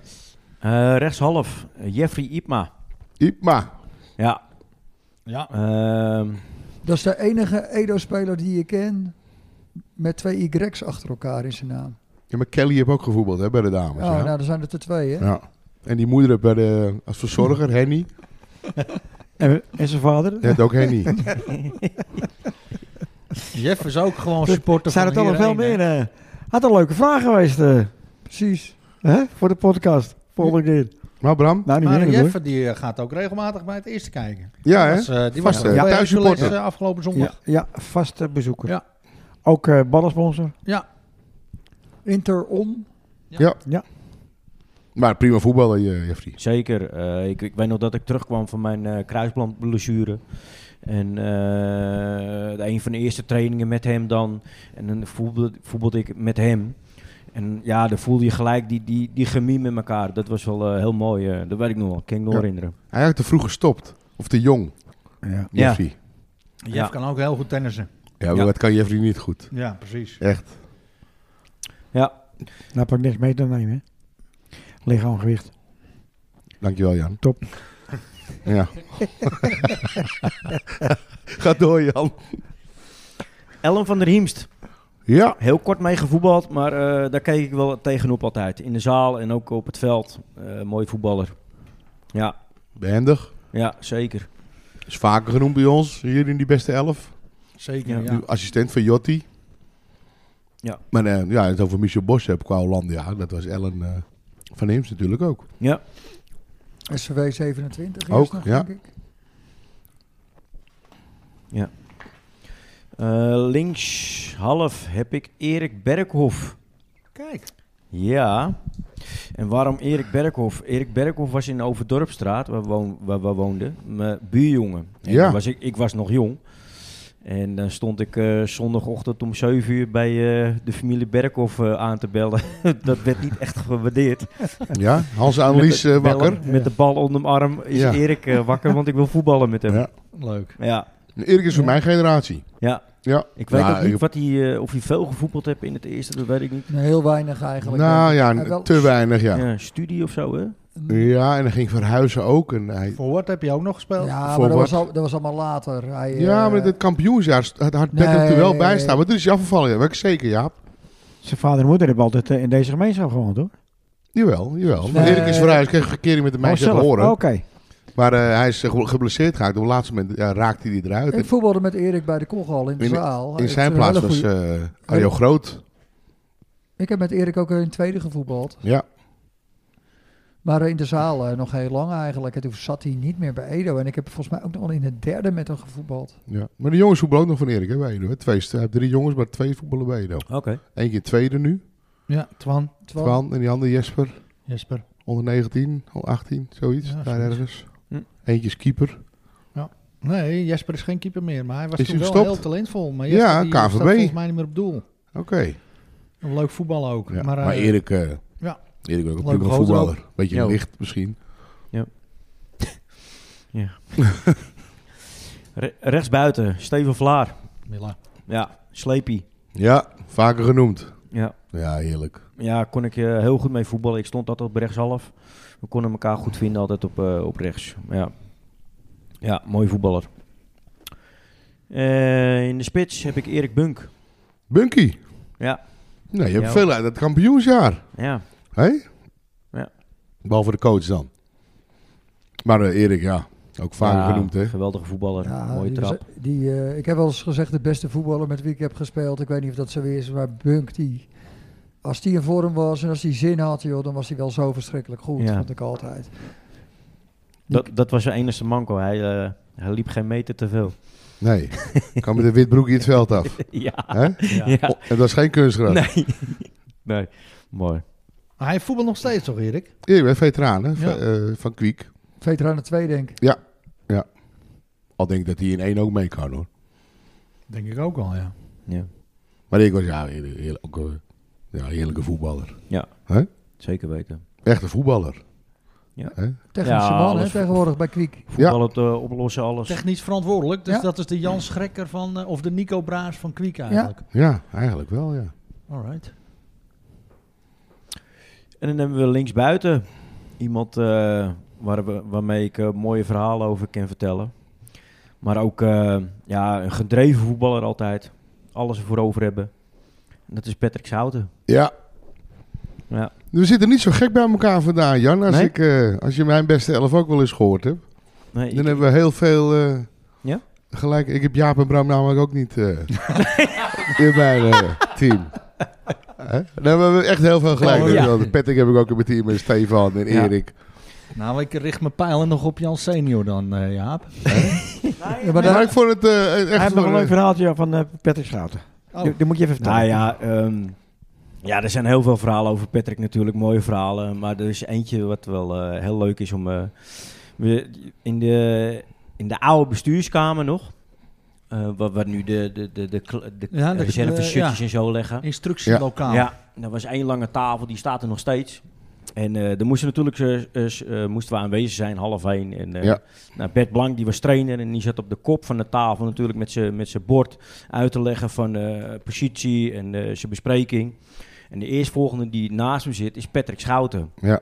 Speaker 5: Eh, rechtshalf, eh, Jeffrey Ipma.
Speaker 4: Ipma.
Speaker 5: Ja.
Speaker 2: Ja.
Speaker 5: Ehm,
Speaker 3: Dat is de enige Edo-speler die je ken met twee Y's achter elkaar in zijn naam.
Speaker 4: Ja, maar Kelly heeft ook gevoetbald hè, bij de dames.
Speaker 3: Oh,
Speaker 4: ja.
Speaker 3: nou, dan zijn het er twee hè.
Speaker 4: ja. En die moeder heeft bij de, als verzorger, Henny.
Speaker 8: En, en zijn vader?
Speaker 4: Die heeft ook Henny.
Speaker 2: Jeff is ook gewoon supporter
Speaker 8: Zijn
Speaker 2: van
Speaker 8: het er nog
Speaker 2: Heerenveen,
Speaker 8: veel
Speaker 2: hè?
Speaker 8: meer? eh? had een leuke vraag geweest eh,
Speaker 3: Precies.
Speaker 8: hè, voor de podcast. Volgende keer.
Speaker 4: Maar Bram?
Speaker 8: Nou, niet
Speaker 2: Maar
Speaker 8: meer hoor.
Speaker 2: Jeff die eh, gaat ook regelmatig bij het eerste kijken.
Speaker 4: Ja,
Speaker 2: Die
Speaker 4: hè?
Speaker 2: was, eh, die was
Speaker 4: Vast,
Speaker 2: er
Speaker 4: hè?
Speaker 2: bij
Speaker 4: Thuis
Speaker 2: Hercules,
Speaker 4: supporter.
Speaker 2: eh, afgelopen zondag.
Speaker 8: Ja, ja, vaste bezoeker.
Speaker 2: Ja.
Speaker 8: Ook eh ballensponsor.
Speaker 3: Interon.
Speaker 4: Maar prima voetballer, Je- Jeffrey.
Speaker 5: zeker. Eh, ik, ik weet nog dat ik terugkwam van mijn eh kruisbandblessure. En eh, de een van de eerste trainingen met hem dan. En dan voetbalde, voetbalde ik met hem. En ja, dan voelde je gelijk die, die, die chemie met elkaar. Dat was wel eh, heel mooi. eh, dat weet ik nog wel. Kan ik nog
Speaker 4: Ja.
Speaker 5: herinneren.
Speaker 4: Hij had te vroeg gestopt. Of te jong,
Speaker 8: Ja.
Speaker 5: Ja.
Speaker 4: Jeffrey. Ja,
Speaker 2: Jeff
Speaker 5: Ja.
Speaker 2: kan ook heel goed tennissen.
Speaker 4: maar
Speaker 5: Ja.
Speaker 4: dat kan Jeffrey niet goed.
Speaker 2: Ja, precies.
Speaker 4: Echt.
Speaker 5: Ja.
Speaker 8: Daar heb Nou, ik niks mee te nemen. hè. Lichaam, gewicht.
Speaker 4: Dankjewel, Jan.
Speaker 8: Top.
Speaker 4: Ja. Ga door, Jan.
Speaker 5: Ellen van der Hiemst.
Speaker 4: Ja.
Speaker 5: Heel kort mee gevoetbald, maar eh, daar keek ik wel tegenop altijd. In de zaal en ook op het veld. Eh mooi voetballer. Ja,
Speaker 4: Behendig.
Speaker 5: ja, zeker.
Speaker 4: Is vaker genoemd bij ons. Hier in die beste elf.
Speaker 2: Zeker,
Speaker 5: Ja.
Speaker 2: ja.
Speaker 4: Nu Assistent van Jotti.
Speaker 5: Ja.
Speaker 4: Maar eh, ja, het over Michel Bos heb qua Hollandia. Dat was Ellen eh, van Heems natuurlijk ook.
Speaker 5: Ja,
Speaker 3: SCW 27
Speaker 4: Ook,
Speaker 3: is nog,
Speaker 4: ja.
Speaker 3: denk ik.
Speaker 5: Eh, links half heb ik Erik Berkhof.
Speaker 2: Kijk.
Speaker 5: Ja. En waarom Erik Berkhof? Erik Berkhof was in Overdorpstraat, waar, woon, waar we woonden, mijn buurjongen. En
Speaker 4: Ja.
Speaker 5: dan Was ik, ik was nog jong. En dan stond ik eh, zondagochtend om 7 uur bij eh, de familie Berkhof eh, aan te bellen. Dat werd niet echt gewaardeerd.
Speaker 4: Ja. Hans Annelies
Speaker 5: Met
Speaker 4: eh,
Speaker 5: de-
Speaker 4: wakker.
Speaker 5: bellen- Met de bal onder mijn arm is
Speaker 4: Ja.
Speaker 5: Erik eh, wakker, want ik wil voetballen met hem.
Speaker 4: Ja.
Speaker 5: Ja,
Speaker 2: Leuk.
Speaker 5: ja.
Speaker 4: Erik is van mijn generatie. Ja.
Speaker 5: ik weet
Speaker 4: Nou,
Speaker 5: ook niet
Speaker 4: ik-
Speaker 5: wat hij, eh, of hij veel gevoetbald heeft in het eerste, dat weet ik niet.
Speaker 3: Nee, Heel weinig eigenlijk.
Speaker 4: Nou
Speaker 3: denk ik.
Speaker 4: ja,
Speaker 3: Hij wel-
Speaker 4: te weinig, ja.
Speaker 5: Ja.
Speaker 4: ja.
Speaker 5: studie of zo, hè?
Speaker 4: en hij ging verhuizen ook. En hij,
Speaker 2: Voor wat heb je ook nog gespeeld?
Speaker 3: Ja,
Speaker 4: Voor
Speaker 3: maar dat
Speaker 4: wat?
Speaker 3: was, al, dat was allemaal later. Hij,
Speaker 4: ja,
Speaker 3: eh,
Speaker 4: maar het kampioensjaar st- had had Beckham er wel bij
Speaker 3: Nee.
Speaker 4: staan. Maar toen is hij afgevallen, dat weet ik zeker, Jaap.
Speaker 8: Zijn vader en moeder hebben altijd eh, in deze gemeenschap gewoond hoor.
Speaker 4: Jawel, jawel. Maar
Speaker 3: Nee.
Speaker 4: Erik is verhuisd, kreeg een verkering met de meisje
Speaker 8: zelf?
Speaker 4: te horen.
Speaker 8: Oké.
Speaker 4: Maar eh, hij is eh, ge- geblesseerd geraakt. Op het laatste moment ja, raakte hij eruit.
Speaker 3: Ik voetbalde met Erik bij de Kochal in de
Speaker 4: In-
Speaker 3: zaal.
Speaker 4: in
Speaker 3: Het is
Speaker 4: zijn
Speaker 3: een
Speaker 4: plaats
Speaker 3: hele
Speaker 4: was
Speaker 3: goeie-
Speaker 4: eh Arjo Groot.
Speaker 3: Ik heb met Erik ook in tweede gevoetbald.
Speaker 4: Ja.
Speaker 3: Maar in de zaal eh, nog heel lang eigenlijk. En toen zat hij niet meer bij Edo. En ik heb volgens mij ook nog wel in het derde met hem gevoetbald.
Speaker 4: Ja. Maar de jongens voetballen ook nog van Erik, hè, bij Edo. hè. Twee, hij heeft drie jongens, maar twee voetballen bij Edo.
Speaker 5: Oké.
Speaker 4: Eén keer tweede nu,
Speaker 2: Ja, Twan,
Speaker 3: Twan.
Speaker 4: Twan. En die andere Jesper,
Speaker 2: Jesper.
Speaker 4: onder 19, onder 18, zoiets.
Speaker 2: Ja,
Speaker 4: daar
Speaker 2: zoiets.
Speaker 4: ergens.
Speaker 5: Hm.
Speaker 4: Eentje is keeper.
Speaker 2: Nee, Jesper is geen keeper meer, maar hij was
Speaker 4: Is
Speaker 2: toen
Speaker 4: hij
Speaker 2: wel
Speaker 4: gestopt?
Speaker 2: heel talentvol. Maar
Speaker 4: Ja,
Speaker 2: Jesper die staat
Speaker 4: KVB.
Speaker 2: volgens mij niet meer op doel.
Speaker 4: Oké.
Speaker 2: Een leuk voetbal ook.
Speaker 4: Ja, maar,
Speaker 2: maar, eh,
Speaker 4: Erik, eh
Speaker 2: ja.
Speaker 4: Erik ook een
Speaker 2: Leuk
Speaker 4: prima
Speaker 2: gozer
Speaker 4: voetballer. Beetje
Speaker 5: Ja.
Speaker 4: licht misschien.
Speaker 5: Re- rechtsbuiten, Steven Vlaar.
Speaker 2: Milla.
Speaker 5: Ja, sleepie.
Speaker 4: Ja, vaker genoemd.
Speaker 5: Ja.
Speaker 4: Ja, heerlijk.
Speaker 5: ja, kon ik eh, heel goed mee voetballen. Ik stond altijd op rechtshalf. We konden elkaar goed vinden altijd op, eh, op rechts. Ja. ja, mooi voetballer. Eh, in de spits heb ik Erik Bunk.
Speaker 4: Bunky.
Speaker 5: Ja,
Speaker 4: Nou, je hebt
Speaker 5: Ja.
Speaker 4: veel uit het kampioensjaar.
Speaker 5: ja.
Speaker 4: Hé?
Speaker 5: Ja.
Speaker 4: Behalve de coach dan. Maar eh, Erik, ja. Ook vaker
Speaker 5: Ja,
Speaker 4: genoemd, hè?
Speaker 5: Geweldige voetballer.
Speaker 3: Ja,
Speaker 5: Mooie
Speaker 3: die
Speaker 5: trap.
Speaker 3: was- die, eh, ik heb wel eens gezegd de beste voetballer met wie ik heb gespeeld. Ik weet niet of dat zo is, maar Bunk die... Als die in vorm was en als hij zin had, joh, dan was hij wel zo verschrikkelijk goed,
Speaker 5: Ja.
Speaker 3: vond ik altijd.
Speaker 5: Dat, dat was zijn enige manco. Hij, eh, hij liep geen meter te veel.
Speaker 4: Nee. kan met een wit broekje het veld af.
Speaker 5: ja.
Speaker 4: Hè?
Speaker 5: ja. Oh.
Speaker 4: Oh, en dat is geen kunstgras.
Speaker 5: Nee. nee. Mooi.
Speaker 2: Maar hij voetbalt nog steeds toch, Erik?
Speaker 4: Je bent veteraan hè, van,
Speaker 2: Ja.
Speaker 4: eh, van Kwiek.
Speaker 3: Veteranen 2, denk ik.
Speaker 4: Al denk ik dat hij in één ook mee kan hoor.
Speaker 2: Denk ik ook al, ja.
Speaker 5: Ja,
Speaker 4: Maar ik was ja, heerlijk, heerlijk, ook, eh, ja, heerlijke voetballer.
Speaker 5: zeker weten.
Speaker 4: Echte voetballer.
Speaker 3: Technische
Speaker 5: Ja,
Speaker 3: man, hè,
Speaker 5: alles-
Speaker 3: tegenwoordig bij Kwiek.
Speaker 5: Voetbal op de eh, oplossen, alles.
Speaker 2: Technisch verantwoordelijk. Dus
Speaker 3: Ja.
Speaker 2: dat is de Jan Schrekker van, eh, of de Nico Braas van Kwiek eigenlijk.
Speaker 4: Ja, eigenlijk wel ja.
Speaker 2: Alright.
Speaker 5: En dan hebben we linksbuiten iemand eh, waar we, waarmee ik eh, mooie verhalen over kan vertellen. Maar ook eh, ja, een gedreven voetballer altijd. Alles ervoor over hebben. En dat is Patrick Schouten.
Speaker 4: Ja.
Speaker 5: Ja.
Speaker 4: We zitten niet zo gek bij elkaar vandaan, Jan. Als,
Speaker 5: Nee?
Speaker 4: ik, eh, als je mijn beste elf ook wel eens gehoord hebt.
Speaker 5: Nee,
Speaker 4: Dan
Speaker 5: ik-
Speaker 4: hebben we heel veel eh,
Speaker 5: Ja?
Speaker 4: gelijk. Ik heb Jaap en Bram namelijk ook niet eh, in mijn eh, team. Hè? Dan hebben we echt heel veel gelijk.
Speaker 2: Oh,
Speaker 4: Dus
Speaker 5: ja.
Speaker 4: wel, de Patrick heb ik ook in mijn team. En Stefan en
Speaker 5: Ja.
Speaker 4: Erik.
Speaker 2: Nou, ik richt mijn pijlen nog op Jan Senior dan, eh, Jaap.
Speaker 3: Ja, maar
Speaker 4: Maar
Speaker 3: daar,
Speaker 4: ik vond het eh,
Speaker 8: Hij
Speaker 4: echt...
Speaker 8: heeft nog een
Speaker 4: wel,
Speaker 8: leuk
Speaker 4: eh,
Speaker 8: verhaaltje ja, van eh Patrick Schouten.
Speaker 2: Oh.
Speaker 8: Die, die moet je even vertellen.
Speaker 5: Nou ja, ehm, ja, er zijn heel veel verhalen over Patrick natuurlijk, mooie verhalen. Maar er is eentje wat wel eh, heel leuk is om... eh, we- in, de, in de oude bestuurskamer nog, eh, waar, waar nu de, de, de, de, kl- de
Speaker 2: Ja, de-
Speaker 5: reserve
Speaker 2: de-
Speaker 5: shirtjes
Speaker 2: ja.
Speaker 5: en zo leggen.
Speaker 2: Instructielokaal.
Speaker 5: Ja, er was één lange tafel, die staat er nog steeds. En eh er moesten natuurlijk eh, eh, s- eh, moesten we aanwezig zijn, half één. En, eh,
Speaker 4: Ja.
Speaker 5: nou, Bert Blank, die was trainer en die zat op de kop van de tafel natuurlijk met zijn met zijn bord uit te leggen van eh, positie en eh, zijn bespreking. En de eerstvolgende die naast hem zit is Patrick Schouten.
Speaker 4: Ja.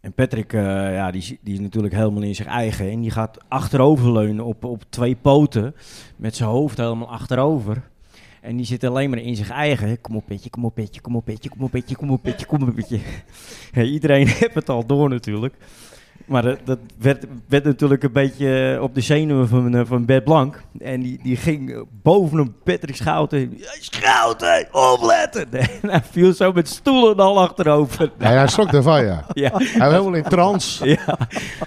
Speaker 5: En Patrick, eh, ja, die, is- die is natuurlijk helemaal in zijn eigen. En die gaat achteroverleunen op, op twee poten. Met zijn hoofd helemaal achterover. En die zit alleen maar in zijn eigen. Kom op, petje, kom op, petje, kom op, petje, kom op, petje, kom op, petje, kom op, petje. Ja, iedereen heeft het al door natuurlijk. Maar dat, dat werd, werd natuurlijk een beetje op de zenuwen van, eh, van Bert Blank. En die, die ging bovenop Patrick Schouten. Schouten, opletten! En hij viel zo met stoelen al achterover.
Speaker 4: ja, hij schrok daarvan, ja.
Speaker 5: Ja,
Speaker 4: Hij was helemaal in trance.
Speaker 5: ja.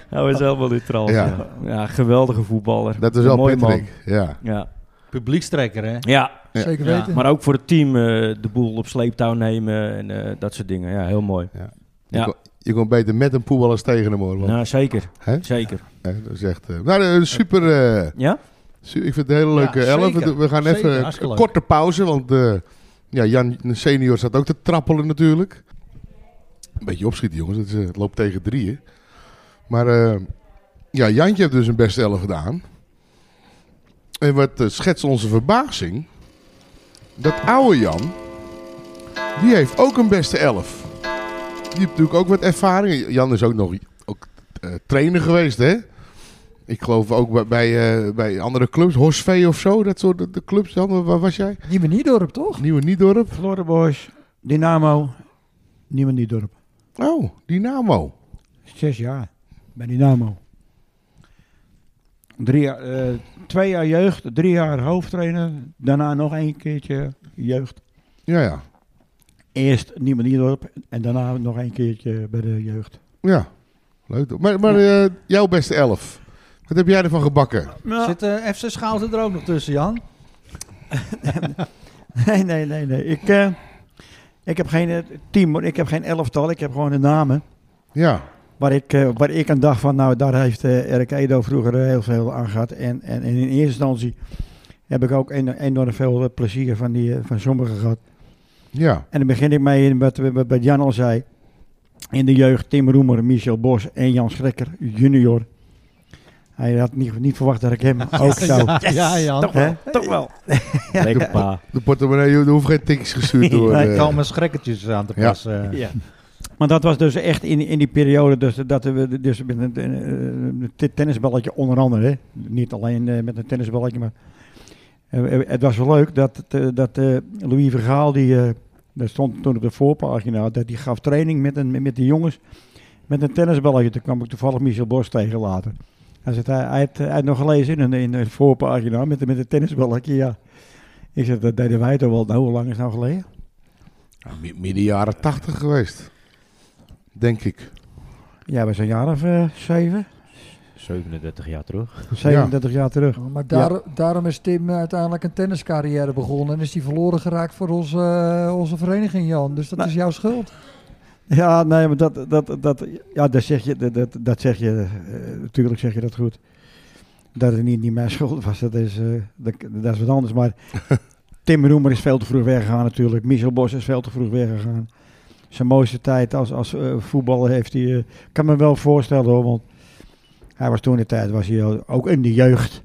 Speaker 5: hij was helemaal in trance.
Speaker 4: Ja.
Speaker 5: Ja. Ja, geweldige voetballer.
Speaker 4: Dat is
Speaker 5: Een
Speaker 4: wel
Speaker 5: mooi man.
Speaker 4: Patrick. Ja.
Speaker 5: Ja.
Speaker 2: Publiekstrekker, hè?
Speaker 5: ja,
Speaker 4: Ja.
Speaker 3: zeker
Speaker 2: Ja.
Speaker 3: weten.
Speaker 5: maar ook voor het team eh, de boel op sleeptouw nemen en eh, dat soort dingen. Ja, heel mooi.
Speaker 4: Je,
Speaker 5: Ja.
Speaker 4: kon, je kon beter met een poel als tegen hem hoor. Want,
Speaker 5: Nou, zeker.
Speaker 4: Hè?
Speaker 5: Zeker.
Speaker 4: hè, dat is echt... eh, nou, een super... eh,
Speaker 5: Ja?
Speaker 4: Su- Ik vind het een hele
Speaker 2: Ja,
Speaker 4: leuke elf.
Speaker 2: zeker.
Speaker 4: We- We gaan
Speaker 2: Zeker,
Speaker 4: even
Speaker 2: hartstikke
Speaker 4: een
Speaker 2: leuk.
Speaker 4: korte pauze, want eh, ja, Jan senior zat ook te trappelen natuurlijk. Een beetje opschieten jongens, het, is, eh, het loopt tegen drieën. Maar eh, ja, Jantje heeft dus een beste elf gedaan. En wat eh, schetst onze verbazing, dat oude Jan, die heeft ook een beste elf. Die heeft natuurlijk ook wat ervaring. Jan is ook nog ook, eh, trainer geweest, hè? Ik geloof ook bij, bij, eh, bij andere clubs, Horsvee of zo, dat soort de, de clubs. Jan, waar- waar was jij?
Speaker 3: Nieuwe Niedorp, toch?
Speaker 4: Nieuwe Niedorp.
Speaker 8: Florida Boys, Dynamo, Nieuwe Niedorp.
Speaker 4: Oh, Dynamo.
Speaker 8: Zes jaar bij Dynamo. Drie jaar, eh, twee jaar jeugd, drie jaar hoofdtrainer. Daarna nog een keertje jeugd.
Speaker 4: Ja, ja.
Speaker 8: Eerst Nieuwe Niedorp en daarna nog een keertje bij de jeugd.
Speaker 4: ja. Leuk. toch? Maar, maar eh, jouw beste elf. Wat heb jij ervan gebakken?
Speaker 2: Zit eh, FC Schouten er ook nog tussen, Jan?
Speaker 8: Nee, nee, nee, nee. Ik, eh, ik heb geen eh, team, hoor. ik heb geen elftal, ik heb gewoon de namen.
Speaker 4: Ja.
Speaker 8: Waar ik, eh, waar ik aan dacht van, nou daar heeft eh Erik Edo vroeger eh, heel veel aan gehad. En, en, en in eerste instantie heb ik ook en- enorm veel eh, plezier van, die, eh, van sommigen gehad.
Speaker 4: Ja.
Speaker 8: En dan begin ik mee in wat, wat, wat Jan al zei. In de jeugd Tim Roemer, Michel Bos en Jan Schrekker junior. Hij had niet, niet verwacht dat ik hem ook zou...
Speaker 2: Ja, ja, Jan.
Speaker 8: Toch wel, toch wel.
Speaker 5: Lekker pa.
Speaker 4: De portemonnee, er hoeft geen tikjes gestuurd te worden.
Speaker 8: Nee,
Speaker 2: Er komen schrekkertjes aan te
Speaker 4: Eh. Ja.
Speaker 2: passen. eh.
Speaker 8: Ja. Maar dat was dus echt in, in die periode dus, dat we dus met een, eh, een tennisballetje onder andere. Hè? Niet alleen eh, met een tennisballetje, maar eh, eh, het was wel leuk dat, het, eh, dat eh, Louis Vergaal, die eh, dat stond toen op de voorpagina, dat die gaf training met, een, met die jongens met een tennisballetje. Toen kwam ik toevallig Michel Bos tegen later. Hij zegt, hij, hij, heeft, hij heeft nog gelezen in een, in een voorpagina met, een- met een tennisballetje, ja. Ik zeg, dat deden wij toch wel. Nou, hoe lang is het nou geleden?
Speaker 4: Ja, mi- midden jaren tachtig geweest. Denk ik.
Speaker 8: Ja, we zijn een jaar of eh, zeven.
Speaker 5: 37 jaar terug.
Speaker 8: 37 jaar terug.
Speaker 3: Maar daar, daarom is Tim uiteindelijk een tenniscarrière begonnen. En is die verloren geraakt voor onze, eh, onze vereniging, Jan. Dus dat
Speaker 8: Nou.
Speaker 3: is jouw schuld.
Speaker 8: Ja, nee, maar dat, dat, dat, ja, dat zeg je, dat- dat, dat zeg je eh, natuurlijk zeg je dat goed. Dat het niet, niet mijn schuld was, dat is, eh, dat, dat is wat anders. Maar Tim Roemer is veel te vroeg weggegaan natuurlijk. Michel Bos is veel te vroeg weggegaan. Zijn mooiste tijd als, als eh, voetballer heeft hij, eh, kan me wel voorstellen hoor, want hij was toen de tijd, was hij al- ook in de jeugd.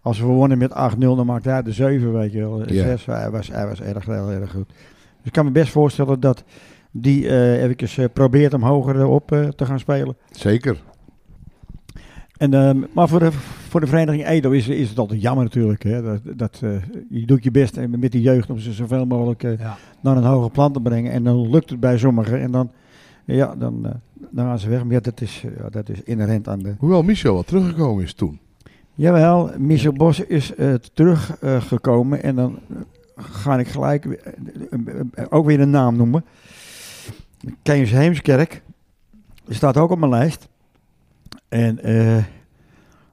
Speaker 8: Als we wonnen met 8-0, dan maakte hij de 7, weet je wel.
Speaker 4: Ja.
Speaker 8: 6, hij was, hij was erg, heel erg goed. Dus ik kan me best voorstellen dat die eh even eh, probeert hem hoger eh, op eh, te gaan spelen.
Speaker 4: Zeker.
Speaker 8: En, ehm, maar voor de, voor de vereniging Edo is, is het altijd jammer natuurlijk. Hè? Dat, dat, eh, je doet je best en met die jeugd om ze zoveel mogelijk eh,
Speaker 2: Ja.
Speaker 8: naar een hoger plan te brengen. En dan lukt het bij sommigen. En dan, ja, dan, eh, dan gaan ze weg. Maar ja, dat is, eh, ja, dat is inherent aan de...
Speaker 4: Hoewel Michel wel teruggekomen is toen.
Speaker 8: Jawel, Michel Bos is eh, teruggekomen. eh, en dan ga ik gelijk eh, ook weer een naam noemen. Kees Heemskerk. Die staat ook op mijn lijst. En eh,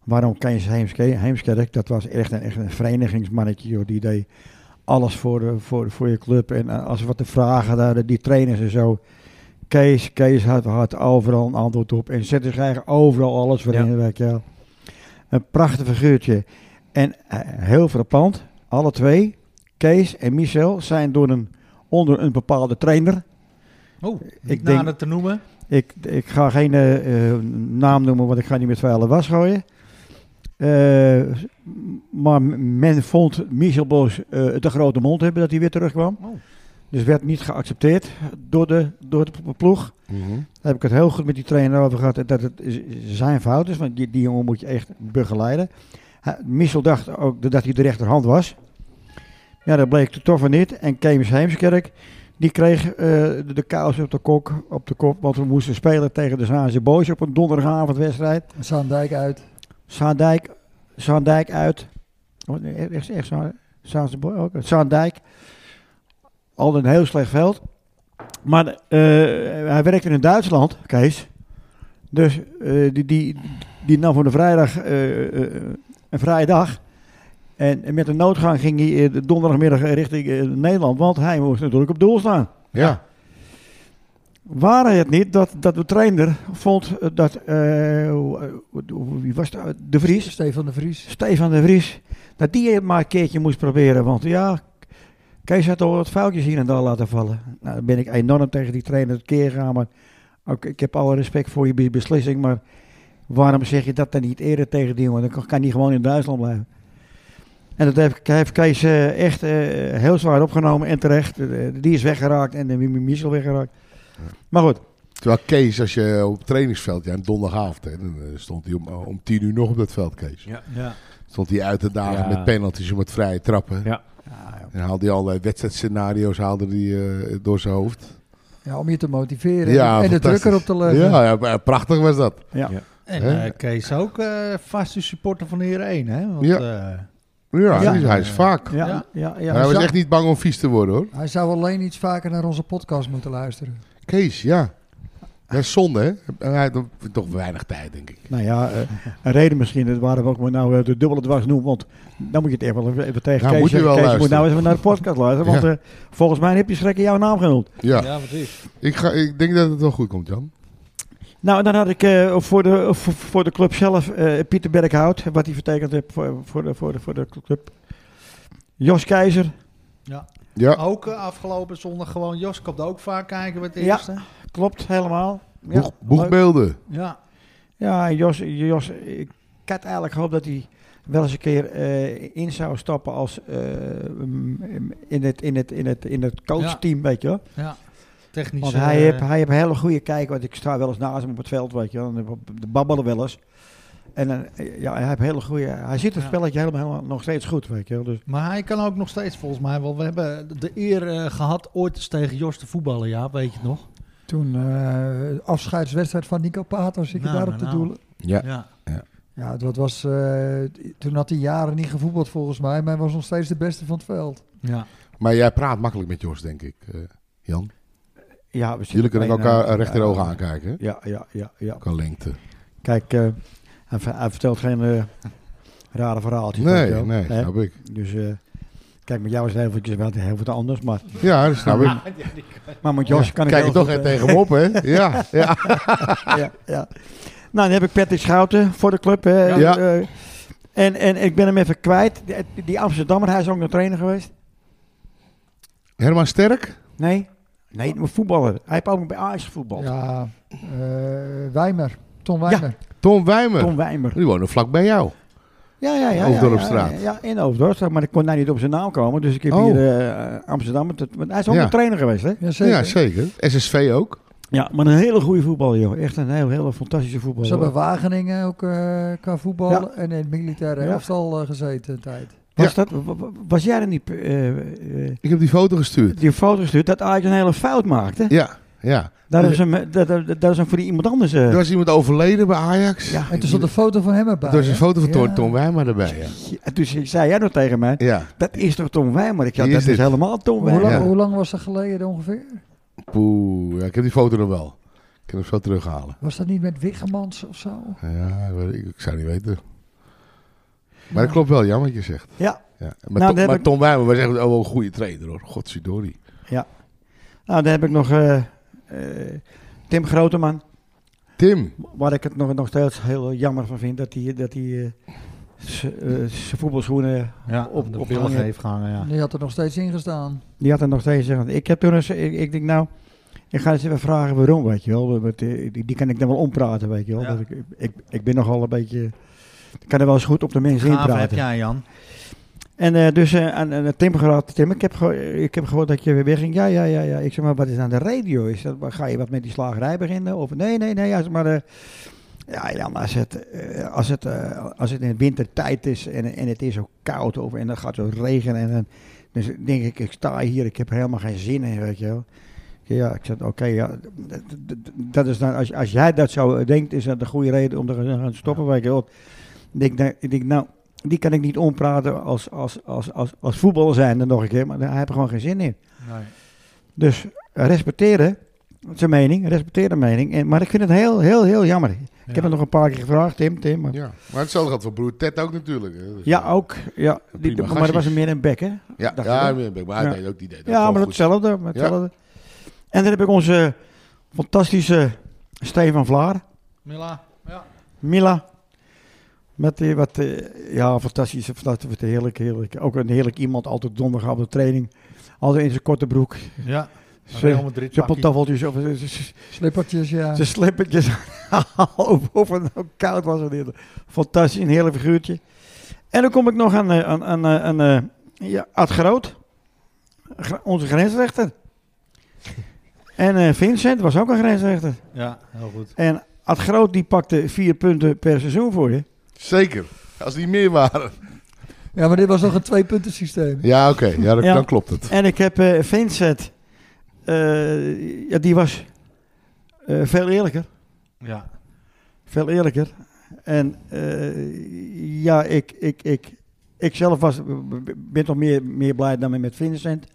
Speaker 8: waarom Kees Heemskerk? Heemskerk, dat was echt een, echt een verenigingsmannetje. Joh. Die deed alles voor, de, voor, voor je club. En eh, als er wat te vragen, daar, die trainers en zo. Kees, Kees had, had overal een antwoord op. En zette zich eigenlijk overal alles voor
Speaker 5: Ja.
Speaker 8: in. Weet je wel. Een prachtig figuurtje. En eh, heel frappant. Alle twee, Kees en Michel, zijn door een, onder een bepaalde trainer.
Speaker 2: Oh,
Speaker 8: Ik
Speaker 2: ik
Speaker 8: denk-
Speaker 2: denk het te noemen.
Speaker 8: Ik, ik ga geen eh, eh, naam noemen, want ik ga niet met vuile was gooien. Eh, maar men vond Michel Bos eh, te grote mond hebben dat hij weer terugkwam.
Speaker 2: Oh.
Speaker 8: Dus werd niet geaccepteerd door de, door de ploeg.
Speaker 5: Mhm.
Speaker 8: Daar heb ik het heel goed met die trainer over gehad. Dat het zijn fout is, want die, die jongen moet je echt begeleiden. Hij- Michel dacht ook dat hij de rechterhand was. Ja, dat bleek toch van niet. En Kees Heemskerk, die kreeg eh, de, de kous op de, kok, op de kop. Want we moesten spelen tegen de Zaanse Boys op een donderdagavondwedstrijd.
Speaker 3: Zaandijk uit.
Speaker 8: Zaandijk, Zaandijk uit. Oh, nee, Echt, echt Za- Zaanse Boy ook. Zaandijk. Al een heel slecht veld. Maar eh, hij werkte in Duitsland, Kees. Dus eh, die, die, die nam voor de vrijdag eh, eh, een vrije dag. En en met een noodgang ging hij eh, de donderdagmiddag richting eh, Nederland. Want hij moest natuurlijk op doel staan.
Speaker 4: Ja.
Speaker 8: Waren het niet dat, dat de trainer vond eh, dat... eh, hoe- hoe- wie was dat? De Vries.
Speaker 3: Stefan de Vries.
Speaker 8: Stefan de Vries, dat die het maar een keertje moest proberen. Want ja, Kees had al wat foutjes hier en daar laten vallen. Nou, dan ben ik enorm tegen die trainer keer gegaan. Maar ook, ik heb alle respect voor je be- beslissing. Maar waarom zeg je dat dan niet eerder tegen die jongen? Dan kan- kan hij gewoon in Duitsland blijven. En dat heeft, heeft Kees eh, echt eh, heel zwaar opgenomen en terecht. Eh, die is weggeraakt en de Michel weggeraakt. Maar goed,
Speaker 4: Terwijl Kees, als je op het trainingsveld, ja, een donderdagavond, hè, dan eh, stond hij om, om tien uur nog op dat veld, Kees.
Speaker 2: Ja.
Speaker 4: Stond hij uit te dagen
Speaker 5: Ja.
Speaker 4: met penalties en met vrije trappen.
Speaker 5: Ja.
Speaker 4: En haalde hij allerlei wedstrijdscenario's haalde die, eh, door zijn hoofd.
Speaker 3: Ja, om je te motiveren.
Speaker 4: Ja,
Speaker 3: en de
Speaker 4: fantastisch.
Speaker 3: druk erop te leggen.
Speaker 4: Ja, ja, maar prachtig was dat.
Speaker 2: En
Speaker 4: Hè?
Speaker 2: eh, Kees ook eh, vaste supporter van Heerenveen, hè? Want,
Speaker 4: Ja.
Speaker 2: eh,
Speaker 4: Ja,
Speaker 8: Ja.
Speaker 4: hij is- hij is vaak.
Speaker 8: ja, ja,
Speaker 2: Ja.
Speaker 8: ja,
Speaker 4: Maar hij was
Speaker 3: zo-
Speaker 4: echt niet bang om vies te worden, hoor.
Speaker 3: Hij zou alleen iets vaker naar onze podcast moeten luisteren.
Speaker 4: Kees, ja. Dat is zonde, hè? En Hij had toch weinig tijd, denk ik.
Speaker 8: Nou ja, eh, een reden misschien dat waarom we ook maar nou eh, de dubbele dwars noemen. Want dan moet je het echt wel even- even tegen
Speaker 4: Nou,
Speaker 8: Kees
Speaker 4: moet je
Speaker 8: zeggen.
Speaker 4: wel
Speaker 8: Kees, je moet
Speaker 4: luisteren.
Speaker 8: nou eens even naar de podcast luisteren. Want eh, volgens mij heb je schrikken jouw naam genoemd.
Speaker 4: Ja,
Speaker 2: ja, precies.
Speaker 4: Ik, ga, ik denk dat het wel goed komt, Jan.
Speaker 8: Nou, en dan had ik eh, voor, de, voor, voor de club zelf eh, Pieter Berghout. Wat hij vertekend heeft voor, voor, de, voor, de, voor de club. Jos Keizer.
Speaker 4: Ja,
Speaker 2: Ook eh, afgelopen zondag gewoon. Jos komt ook vaak kijken met de
Speaker 8: Ja.
Speaker 2: eerste.
Speaker 8: Klopt, helemaal. Ja,
Speaker 4: boeg,
Speaker 8: leuk.
Speaker 4: boegbeelden.
Speaker 2: Ja.
Speaker 8: Ja, Jos, Jos, ik had eigenlijk gehoopt dat hij wel eens een keer eh, in zou stappen als eh, mm, in, het, in, het, in, het, in het coachteam, weet je wel.
Speaker 2: ja. Technisch.
Speaker 8: Want
Speaker 2: eh,
Speaker 8: hij heeft hij heeft een hele goede kijk, want ik sta wel eens naast hem op het veld, weet je wel, en de babbelen wel eens. En dan, eh, ja, hij heeft een hele goede, hij ziet het
Speaker 2: Ja.
Speaker 8: spelletje helemaal, helemaal nog steeds goed, weet je wel. Dus,
Speaker 2: Maar hij kan ook nog steeds volgens mij wel. We hebben de eer eh, gehad ooit eens tegen Jos te voetballen, ja, weet je het nog?
Speaker 3: Toen eh, afscheidswedstrijd van Nico Pato, zit je
Speaker 2: Nou,
Speaker 3: daar op
Speaker 2: nou,
Speaker 3: te
Speaker 2: nou.
Speaker 3: doelen.
Speaker 4: Ja.
Speaker 3: Ja, dat was, eh, toen had hij jaren niet gevoetbald volgens mij, maar hij was nog steeds de beste van het veld.
Speaker 2: ja.
Speaker 4: Maar jij praat makkelijk met Jos, denk ik, eh, Jan.
Speaker 8: ja, we zitten
Speaker 4: Jullie kunnen
Speaker 8: bijna-
Speaker 4: elkaar eh, recht in de
Speaker 8: ja,
Speaker 4: ogen aankijken, hè?
Speaker 8: Ja, ja, ja, ja.
Speaker 4: Qua lengte.
Speaker 8: Kijk, eh, hij, ver- hij vertelt geen eh, rare verhaaltjes. weet
Speaker 4: Nee,
Speaker 8: je wel.
Speaker 4: nee,
Speaker 8: Hè?
Speaker 4: snap ik.
Speaker 8: Dus eh, Kijk, met jou is het heel eventjes wel heel wat anders, maar,
Speaker 4: Ja, dat snap ik.
Speaker 8: maar met Jos
Speaker 4: Ja,
Speaker 8: kan ik
Speaker 4: Kijk
Speaker 8: heel
Speaker 4: je toch echt
Speaker 8: goed, eh,
Speaker 4: tegen hem op, hè? Ja, ja.
Speaker 8: ja, ja. Nou, dan heb ik Patrick Schouten voor de club. hè.
Speaker 4: Ja.
Speaker 8: Eh, en, en ik ben hem even kwijt. Die, die Amsterdammer, hij is ook nog trainer geweest.
Speaker 4: Herman Sterk?
Speaker 8: Nee? Nee, maar voetballer. Hij heeft ook nog bij Ajax voetbal.
Speaker 3: Ja, eh, Wijmer. Tom Wijmer.
Speaker 4: Tom Wijmer?
Speaker 8: Tom Wijmer.
Speaker 4: Die woonde vlak bij jou.
Speaker 8: Ja, ja, ja.
Speaker 4: Hoofddorpstraat.
Speaker 8: Ja, ja, ja, in de Hoofddorpstraat. Maar ik kon daar niet op zijn naam komen. Dus ik heb
Speaker 4: Oh.
Speaker 8: hier eh, Amsterdam. met het- want Hij is ook
Speaker 4: Ja.
Speaker 8: nog trainer geweest, hè?
Speaker 3: Ja, zeker.
Speaker 4: Ja, zeker. SSV ook.
Speaker 8: Ja, maar een hele goede voetballer, joh. Echt een heel, hele fantastische
Speaker 3: Ze hebben
Speaker 8: voetballer.
Speaker 3: Wageningen ook eh qua voetbal
Speaker 8: Ja.
Speaker 3: en in het militaire
Speaker 8: Ja.
Speaker 3: elftal eh, gezeten een tijd.
Speaker 8: Was, dat, wa- wa- was jij er niet eh, eh,
Speaker 4: Ik heb die foto gestuurd.
Speaker 8: die foto gestuurd dat Ajax een hele fout maakte?
Speaker 4: Ja, ja.
Speaker 8: Daar is hem, eh, dat- dat- dat is hem voor die iemand anders. eh,
Speaker 4: Er was iemand overleden bij Ajax.
Speaker 8: Ja,
Speaker 3: En toen stond een foto van hem erbij.
Speaker 4: Er was een
Speaker 3: hè?
Speaker 4: foto van Tom,
Speaker 3: Ja.
Speaker 4: Tom Wijmer erbij. Ja.
Speaker 8: Ja, dus ik zei jij nog tegen mij,
Speaker 4: ja.
Speaker 8: dat is toch Tom Wijmer? Ik zei,
Speaker 4: Wie
Speaker 8: dat
Speaker 4: is
Speaker 8: is,
Speaker 4: dit?
Speaker 8: helemaal Tom
Speaker 3: Hoe
Speaker 8: Wijmer.
Speaker 3: lang,
Speaker 4: Ja.
Speaker 3: hoe lang was dat geleden ongeveer?
Speaker 4: Poeh. Ja, ik heb die foto nog wel. Ik kan hem zo terughalen.
Speaker 3: Was dat niet met Wiggemans of zo?
Speaker 4: Ja, ik, weet- ik, ik zou niet weten. Maar dat klopt wel, jammer wat je zegt.
Speaker 8: Ja.
Speaker 4: ja. Maar,
Speaker 8: dan
Speaker 4: Tom,
Speaker 8: Nou, heb
Speaker 4: maar
Speaker 8: ik-
Speaker 4: Tom Wijmer was echt oh, wel een goede trainer hoor. Godzijdorie.
Speaker 8: Nou, dan heb ik nog eh, eh, Tim Groteman.
Speaker 4: Tim.
Speaker 8: Waar ik het nog, nog steeds heel jammer van vind, dat hij dat hij, eh, z- eh, zijn voetbalschoenen
Speaker 2: Ja,
Speaker 8: op-
Speaker 2: op, de
Speaker 8: op
Speaker 2: billen
Speaker 8: hangen.
Speaker 2: heeft gehangen, ja.
Speaker 3: Die had er nog steeds in gestaan.
Speaker 8: Die had er nog steeds gezegd. Ik heb toen eens, ik, ik denk nou, ik ga eens even vragen waarom, weet je wel. Want, eh, die, die kan ik dan wel ompraten, weet je wel.
Speaker 2: Ja.
Speaker 8: Want Ik, ik, ik ben nogal een beetje, ik kan er wel eens goed op de mensen in
Speaker 2: Gave heb
Speaker 8: praten.
Speaker 2: jij, Jan.
Speaker 8: En eh, dus eh, aan, aan Tim geraad, Tim, ik heb, ge- ik heb gehoord dat je weer wegging. Ja, ja, ja, ja. Ik zeg maar, wat is aan de radio? Is dat, ga je wat met die slagerij beginnen? Of nee, nee, nee. Ja, zeg maar, eh, ja, ja, maar als het, eh, als, het, eh, als het in de wintertijd is en, en het is ook koud of, en dan gaat het zo regenen. En dan dus denk ik, ik sta hier, ik heb er helemaal geen zin in, weet je wel. Ja, ik zeg, oké, ja, dat, dat- dat is dan, als, als jij dat zo denkt, is dat een goede reden om te gaan gaan stoppen, weet je wel. Ik denk, nou, ik denk, nou, die kan ik niet ompraten als, als, als, als, als voetballer zijn dan nog een keer, maar daar heb ik gewoon geen zin in. Dus eh, respecteren zijn mening, respecteer de mening. En, maar ik vind het heel, heel, heel jammer. Ik heb het nog een paar keer gevraagd, Tim, Tim. maar-
Speaker 4: Ja. Maar hetzelfde geldt voor broer Ted ook natuurlijk. hè. Dus,
Speaker 8: Ja, ook. Ja, die,
Speaker 4: prima
Speaker 8: maar dat was
Speaker 4: gastjes.
Speaker 8: meer een bek, hè?
Speaker 4: Ja,
Speaker 8: dacht
Speaker 4: ja,
Speaker 8: ik
Speaker 4: maar hij
Speaker 8: Ja.
Speaker 4: deed ook die deed ook
Speaker 8: Ja,
Speaker 4: gewoon
Speaker 8: maar
Speaker 4: goed.
Speaker 8: hetzelfde, maar
Speaker 4: Ja.
Speaker 8: hetzelfde. En dan heb ik onze fantastische Stefan Vlaar,
Speaker 2: Mila, ja.
Speaker 8: Mila. Met die wat, eh, ja, fantastische, fantastische, heerlijk, heerlijk. Ook een heerlijk iemand, altijd donderdag op de training. Altijd in zijn korte broek.
Speaker 2: Ja, Real
Speaker 8: Zijn
Speaker 2: Madrid
Speaker 8: zijn
Speaker 2: pakkie.
Speaker 8: pantoffeltjes of z- z- z-
Speaker 3: Slippertjes, ja.
Speaker 8: zijn slippertjes. of, of het nou koud was. of niet. Fantastisch, een heerlijk figuurtje. En dan kom ik nog aan, eh, aan, aan, eh, aan eh, ja, Ad Groot. Gr- Onze grensrechter. En eh, Vincent was ook een grensrechter.
Speaker 2: Ja, heel goed.
Speaker 8: En Ad Groot die pakte vier punten per seizoen voor je.
Speaker 4: Zeker. Als die meer waren.
Speaker 3: Ja, maar dit was nog een twee-punten systeem.
Speaker 4: Ja, oké. Ja, dan,
Speaker 8: Ja.
Speaker 4: dan klopt het.
Speaker 8: En ik heb eh, Vincent. eh, ja, die was eh, veel eerlijker.
Speaker 2: Ja.
Speaker 8: Veel eerlijker. En eh, ja, ik, ik, ik, ik zelf was, ben toch meer, meer blij dan met Vincent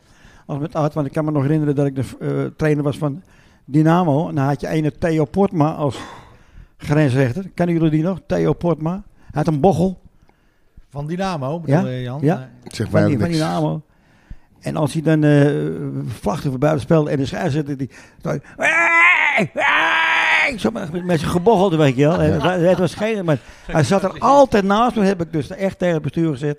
Speaker 8: als met Art. Want ik kan me nog herinneren dat ik de eh, trainer was van Dynamo. En dan had je ene Theo Portma als grensrechter. Kennen jullie die nog? Theo Portma. Hij had een bochel
Speaker 2: Van Dynamo, bedoel
Speaker 8: Ja?
Speaker 2: je, Jan? Eh,
Speaker 8: Ja.
Speaker 2: Nee.
Speaker 4: Zeg
Speaker 8: van,
Speaker 4: maar
Speaker 8: die, van Dynamo. En als hij dan eh vlachten voor buitenspel en de scheidsrechter die... dan- Hey! Hey! Zo met met zijn gebochelde, weet je wel. En
Speaker 4: Ja.
Speaker 8: Het was geen... Maar hij zat er altijd naast. Toen heb ik dus echt tegen het bestuur gezegd...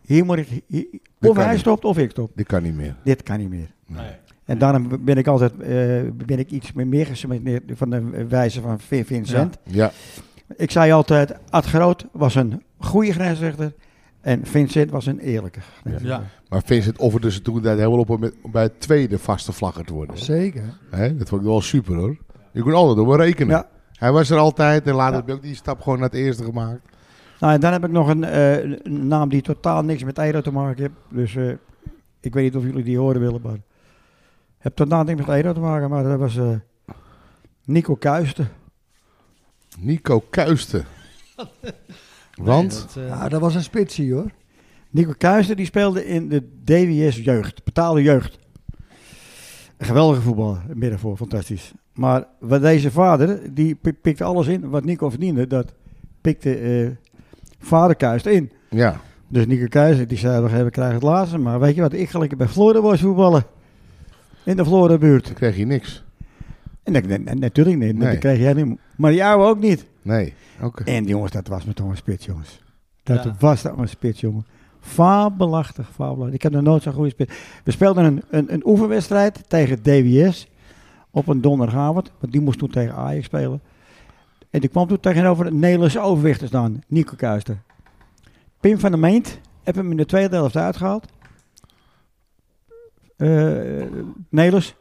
Speaker 8: Hier moet ik... hier-
Speaker 4: Dit
Speaker 8: of
Speaker 4: kan
Speaker 8: hij
Speaker 4: niet.
Speaker 8: stopt of ik stop.
Speaker 4: Dit kan niet meer.
Speaker 8: Dit kan niet meer.
Speaker 2: Nee.
Speaker 8: En daarom ben ik altijd eh, ben ik iets meer- meer gesmeerd van de wijze van Vin- Vincent.
Speaker 4: Ja.
Speaker 8: Ik zei altijd, Ad Groot was een goede grensrechter en Vincent was een eerlijke.
Speaker 2: Ja.
Speaker 4: Maar Vincent dus offerde ze toen tijd helemaal op om met- om bij het tweede vaste vlagger te worden.
Speaker 3: Zeker.
Speaker 4: Hè? Dat vond ik wel super hoor. Je kon altijd op hem rekenen.
Speaker 8: Ja.
Speaker 4: Hij was er altijd en later
Speaker 8: Ja.
Speaker 4: heb je ook die stap gewoon naar het eerste gemaakt.
Speaker 8: Nou, en dan heb ik nog een, eh, een naam die totaal niks met Edo te maken heeft. Dus eh, ik weet niet of jullie die horen willen, maar... Heb totaal niks met Edo te maken, maar dat was eh, Nico Kuisten.
Speaker 4: Nico Kuisten. Want?
Speaker 2: Nee, dat, eh,
Speaker 3: Ja, dat was een spitsie hoor.
Speaker 8: Nico Kuijster die speelde in de DWS jeugd, betaalde jeugd. Een geweldige voetballer, midden voor, fantastisch. Maar wat deze vader, die pi- pikte alles in wat Nico verdiende, dat pikte eh, vader Kuijster in.
Speaker 4: Ja.
Speaker 8: Dus Nico Keizer, die zei, we hebben- krijgen het laatste. Maar weet je wat, ik ga lekker bij Florida was voetballen. In de Florida buurt.
Speaker 4: Toen kreeg je niks.
Speaker 8: En ik, nee, nee, natuurlijk niet,
Speaker 4: Nee.
Speaker 8: dat kreeg jij niet. Maar jou ook niet.
Speaker 4: Nee, oké.
Speaker 8: En jongens, dat was me toch een spits, jongens. Dat
Speaker 5: Ja.
Speaker 8: was dat een spits, jongen. Fabelachtig, fabelachtig. Ik heb nog nooit zo'n goede spits. We speelden een, een, een oefenwedstrijd tegen DWS op een donderdagavond. Want die moest toen tegen Ajax spelen. En die kwam toen tegenover Nederlandse overwichters dan, Nico Kuister. Pim van der Meent heb hem in de tweede helft uitgehaald. Eh Nelis.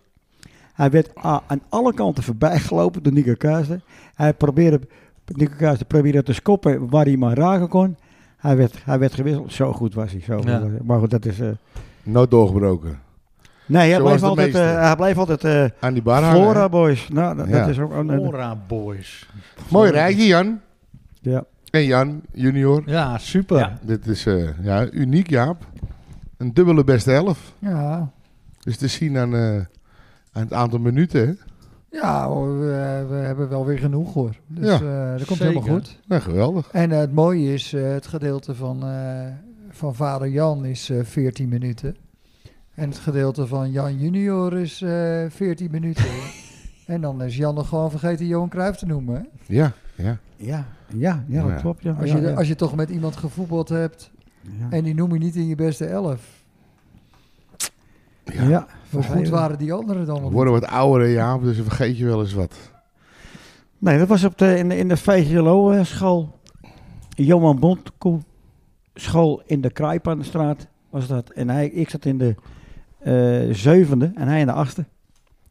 Speaker 8: Hij werd a- aan alle kanten voorbij gelopen door Nico Kuister. Hij probeerde, Nico Kuister probeerde te schoppen waar hij maar raken kon. Hij werd, hij werd gewisseld. Zo goed was hij. Zo goed
Speaker 5: Ja.
Speaker 8: was hij. Maar goed, dat is... eh,
Speaker 4: Nooit doorgebroken.
Speaker 8: Nee,
Speaker 4: Zo
Speaker 8: hij
Speaker 4: was
Speaker 8: blijft,
Speaker 4: de
Speaker 8: altijd,
Speaker 4: meeste.
Speaker 8: eh, hij blijft altijd eh,
Speaker 4: Aan die bar hangen,
Speaker 8: Flora
Speaker 4: hè?
Speaker 8: Boys. Nou, dat,
Speaker 4: Ja.
Speaker 8: dat is ook... een- een-
Speaker 2: Ora Boys.
Speaker 4: Mooi rijtje, Jan.
Speaker 8: ja.
Speaker 4: En Jan, junior.
Speaker 2: Ja, super.
Speaker 5: Ja.
Speaker 4: Dit is eh, ja, uniek, Jaap. Een dubbele beste elf.
Speaker 3: Ja,
Speaker 4: Dus te zien aan, eh, aan het aantal minuten. hè.
Speaker 3: ja hoor, we, we hebben wel weer genoeg hoor. Dus
Speaker 4: Ja,
Speaker 3: eh, dat komt
Speaker 2: zeker.
Speaker 3: helemaal goed.
Speaker 4: Nou, geweldig.
Speaker 3: En eh, het mooie is, eh, het gedeelte van, eh, van vader Jan is eh 14 minuten. En het gedeelte van Jan junior is eh 14 minuten. en dan is Jan nog gewoon vergeten Johan Cruijff te noemen. hè?
Speaker 4: Ja, ja.
Speaker 8: Ja, ja, ja,
Speaker 4: Nou
Speaker 8: dat
Speaker 4: ja.
Speaker 8: klopt. Ja,
Speaker 3: Als,
Speaker 8: ja,
Speaker 3: je,
Speaker 8: ja.
Speaker 3: als je toch met iemand gevoetbald hebt
Speaker 8: Ja.
Speaker 3: en die noem je niet in je beste elf.
Speaker 8: Ja.
Speaker 3: Hoe goed waren die anderen dan?
Speaker 4: We
Speaker 3: nog
Speaker 4: worden wat ouder, hè, Jaap, dus dan vergeet je wel eens wat.
Speaker 8: Nee, dat was op de, in, de- in de VGLO-school. Johan Bondkoe school in de Kruipanstraat was dat. En hij, ik zat in de eh, zevende en hij in de achtste.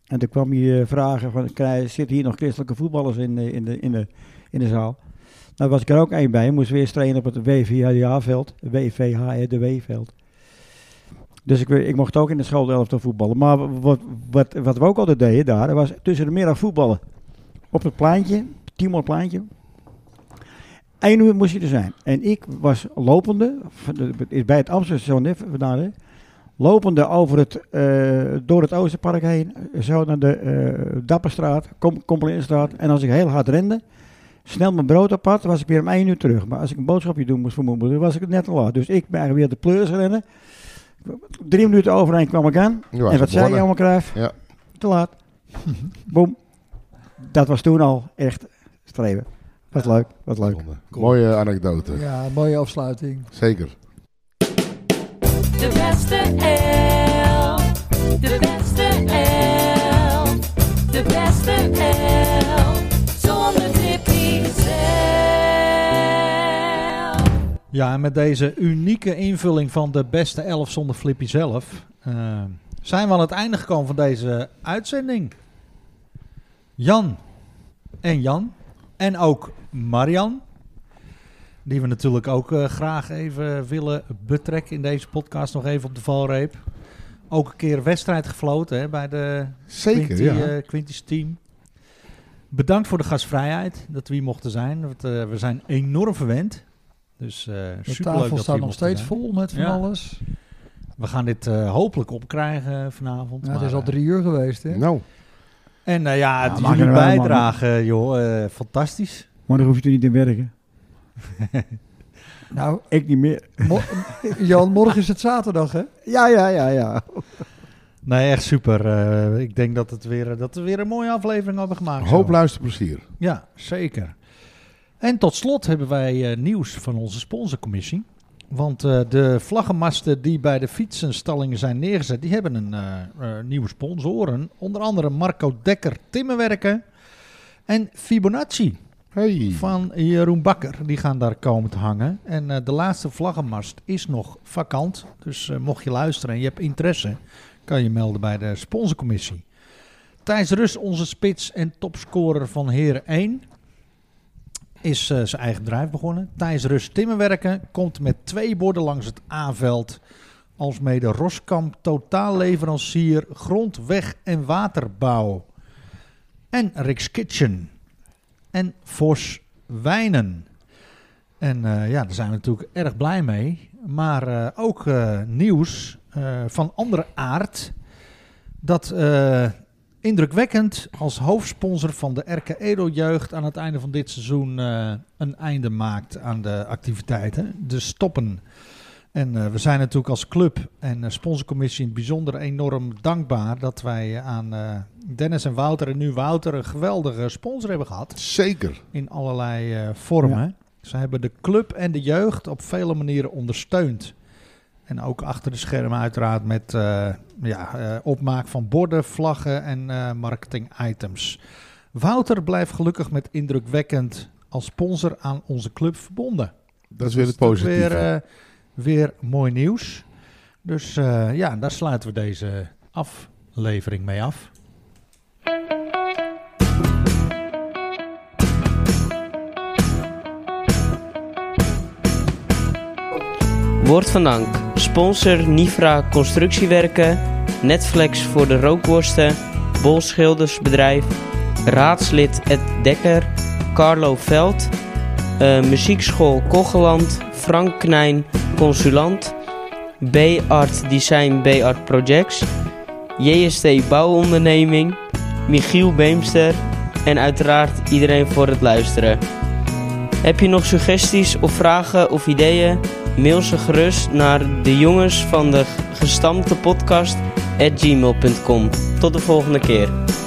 Speaker 8: En toen kwam hij eh, vragen van, "Krij- zitten hier nog christelijke voetballers in, de- in, de, in, de, in de zaal? Nou was ik er ook één bij. Moesten we eerst trainen op het WVHDA-veld. WVHRDW-veld. Dus ik, we- ik mocht ook in de school elftal voetballen. Maar wat, wat, wat we ook altijd deden daar, was tussen de middag voetballen. Op het plaantje, Timor plaantje. Eén uur moest je er zijn. En ik was lopende, van de- is bij het Amsterdamse vandaan, hè, lopende over het, eh, door het Oosterpark heen, zo naar de eh, Dapperstraat, Kom- Kompelinstraat. En als ik heel hard rende, snel mijn brood op had, was ik weer om één uur terug. Maar als ik een boodschapje doen moest voor mijn moeder, was ik net te laat. Dus ik ben weer de pleurs rennen. Drie minuten overheen kwam ik aan.
Speaker 4: Je was
Speaker 8: en wat zei je
Speaker 4: begonnen.
Speaker 8: allemaal, Cruijff?
Speaker 4: Ja.
Speaker 8: Te laat. Boom. Dat was toen al echt streven. Wat leuk, wat leuk.
Speaker 4: Zonde. Mooie anekdote.
Speaker 3: Ja, mooie afsluiting.
Speaker 4: Zeker.
Speaker 11: De beste elf. De beste elf. De beste elf. Zonder Tippy zelf.
Speaker 2: Ja, en met deze unieke invulling van de beste elf zonder Flippy zelf... eh, zijn we aan het einde gekomen van deze uitzending. Jan en Jan en ook Marian... die we natuurlijk ook eh, graag even willen betrekken in deze podcast... nog even op de valreep. Ook een keer wedstrijd gefloten hè, bij de
Speaker 4: Zeker,
Speaker 2: Quinty,
Speaker 4: ja.
Speaker 2: eh, Quinty's team. Bedankt voor de gastvrijheid dat we hier mochten zijn. Want, eh, we zijn enorm verwend. Dus eh
Speaker 3: De
Speaker 2: superleuk dat we
Speaker 3: tafel
Speaker 2: hier
Speaker 3: staat nog
Speaker 2: mochten
Speaker 3: steeds
Speaker 2: zijn.
Speaker 3: vol met van
Speaker 2: Ja.
Speaker 3: alles.
Speaker 2: We gaan dit eh, hopelijk opkrijgen eh, vanavond.
Speaker 3: Ja, het
Speaker 2: maar,
Speaker 3: is al
Speaker 2: eh,
Speaker 3: drie uur geweest, hè?
Speaker 4: Nou,
Speaker 2: en nou ja,
Speaker 8: Ja,
Speaker 2: het-
Speaker 8: maak
Speaker 2: jullie
Speaker 8: er wel, man.
Speaker 2: bijdrage, joh, eh, fantastisch.
Speaker 8: Maar dan hoef je er niet in werken.
Speaker 3: Nou,
Speaker 8: Ik niet meer.
Speaker 3: mo- Jan, morgen is het zaterdag, hè?
Speaker 8: Ja, ja, ja, ja.
Speaker 2: Nee, echt super. Eh, ik denk dat, het weer, dat we weer een mooie aflevering hebben gemaakt.
Speaker 4: hoop
Speaker 2: zo.
Speaker 4: luisterplezier.
Speaker 2: Ja, zeker. En tot slot hebben wij eh, nieuws van onze sponsorcommissie. Want eh, de vlaggenmasten die bij de fietsenstallingen zijn neergezet, die hebben een eh, eh, nieuwe sponsoren. Onder andere Marco Dekker Timmerwerken en Fibonacci
Speaker 4: Hey.
Speaker 2: van Jeroen Bakker. Die gaan daar komen te hangen. En eh, de laatste vlaggenmast is nog vakant. Dus eh, mocht je luisteren en je hebt interesse, kan je melden bij de sponsorcommissie. Thijs Rus, onze spits en topscorer van Heren 1, is eh, zijn eigen bedrijf begonnen. Thijs Rus Timmerwerken komt met twee borden langs het A-veld. Alsmede Roskamp, totaalleverancier grond, weg en waterbouw. En Rick's Kitchen en Vos Wijnen. En eh, ja, daar zijn we natuurlijk erg blij mee. Maar eh, ook eh, nieuws eh, van andere aard. Dat eh, indrukwekkend als hoofdsponsor van de RK Edo Jeugd aan het einde van dit seizoen eh, een einde maakt aan de activiteiten. De stoppen En eh, we zijn natuurlijk als club en eh, sponsorcommissie in het bijzonder enorm dankbaar dat wij eh, aan eh, Dennis en Wouter en nu Wouter een geweldige sponsor hebben gehad.
Speaker 4: Zeker.
Speaker 2: In allerlei eh, vormen. Ze hebben de club en de jeugd op vele manieren ondersteund. En ook achter de schermen uiteraard met eh, ja, eh, opmaak van borden, vlaggen en eh, marketing items. Wouter blijft gelukkig met indrukwekkend als sponsor aan onze club verbonden.
Speaker 4: Dat is weer het
Speaker 2: Dat is
Speaker 4: positieve.
Speaker 2: Weer, eh, weer mooi nieuws. Dus eh, ja, daar sluiten we deze aflevering mee af.
Speaker 3: Wordt van dank. Sponsor Nifra Constructiewerken, Netflix voor de rookworsten, Bol Schildersbedrijf, raadslid Ed Dekker, Carlo Veld, eh, Muziekschool Kogeland, Frank Knijn Consulant, B-Art Design B-Art Projects, JST Bouwonderneming, Michiel Beemster en uiteraard iedereen voor het luisteren. Heb je nog suggesties of vragen of ideeën? Mail ze gerust naar de jongens van de gestampte podcast at gmail.com. Tot de volgende keer.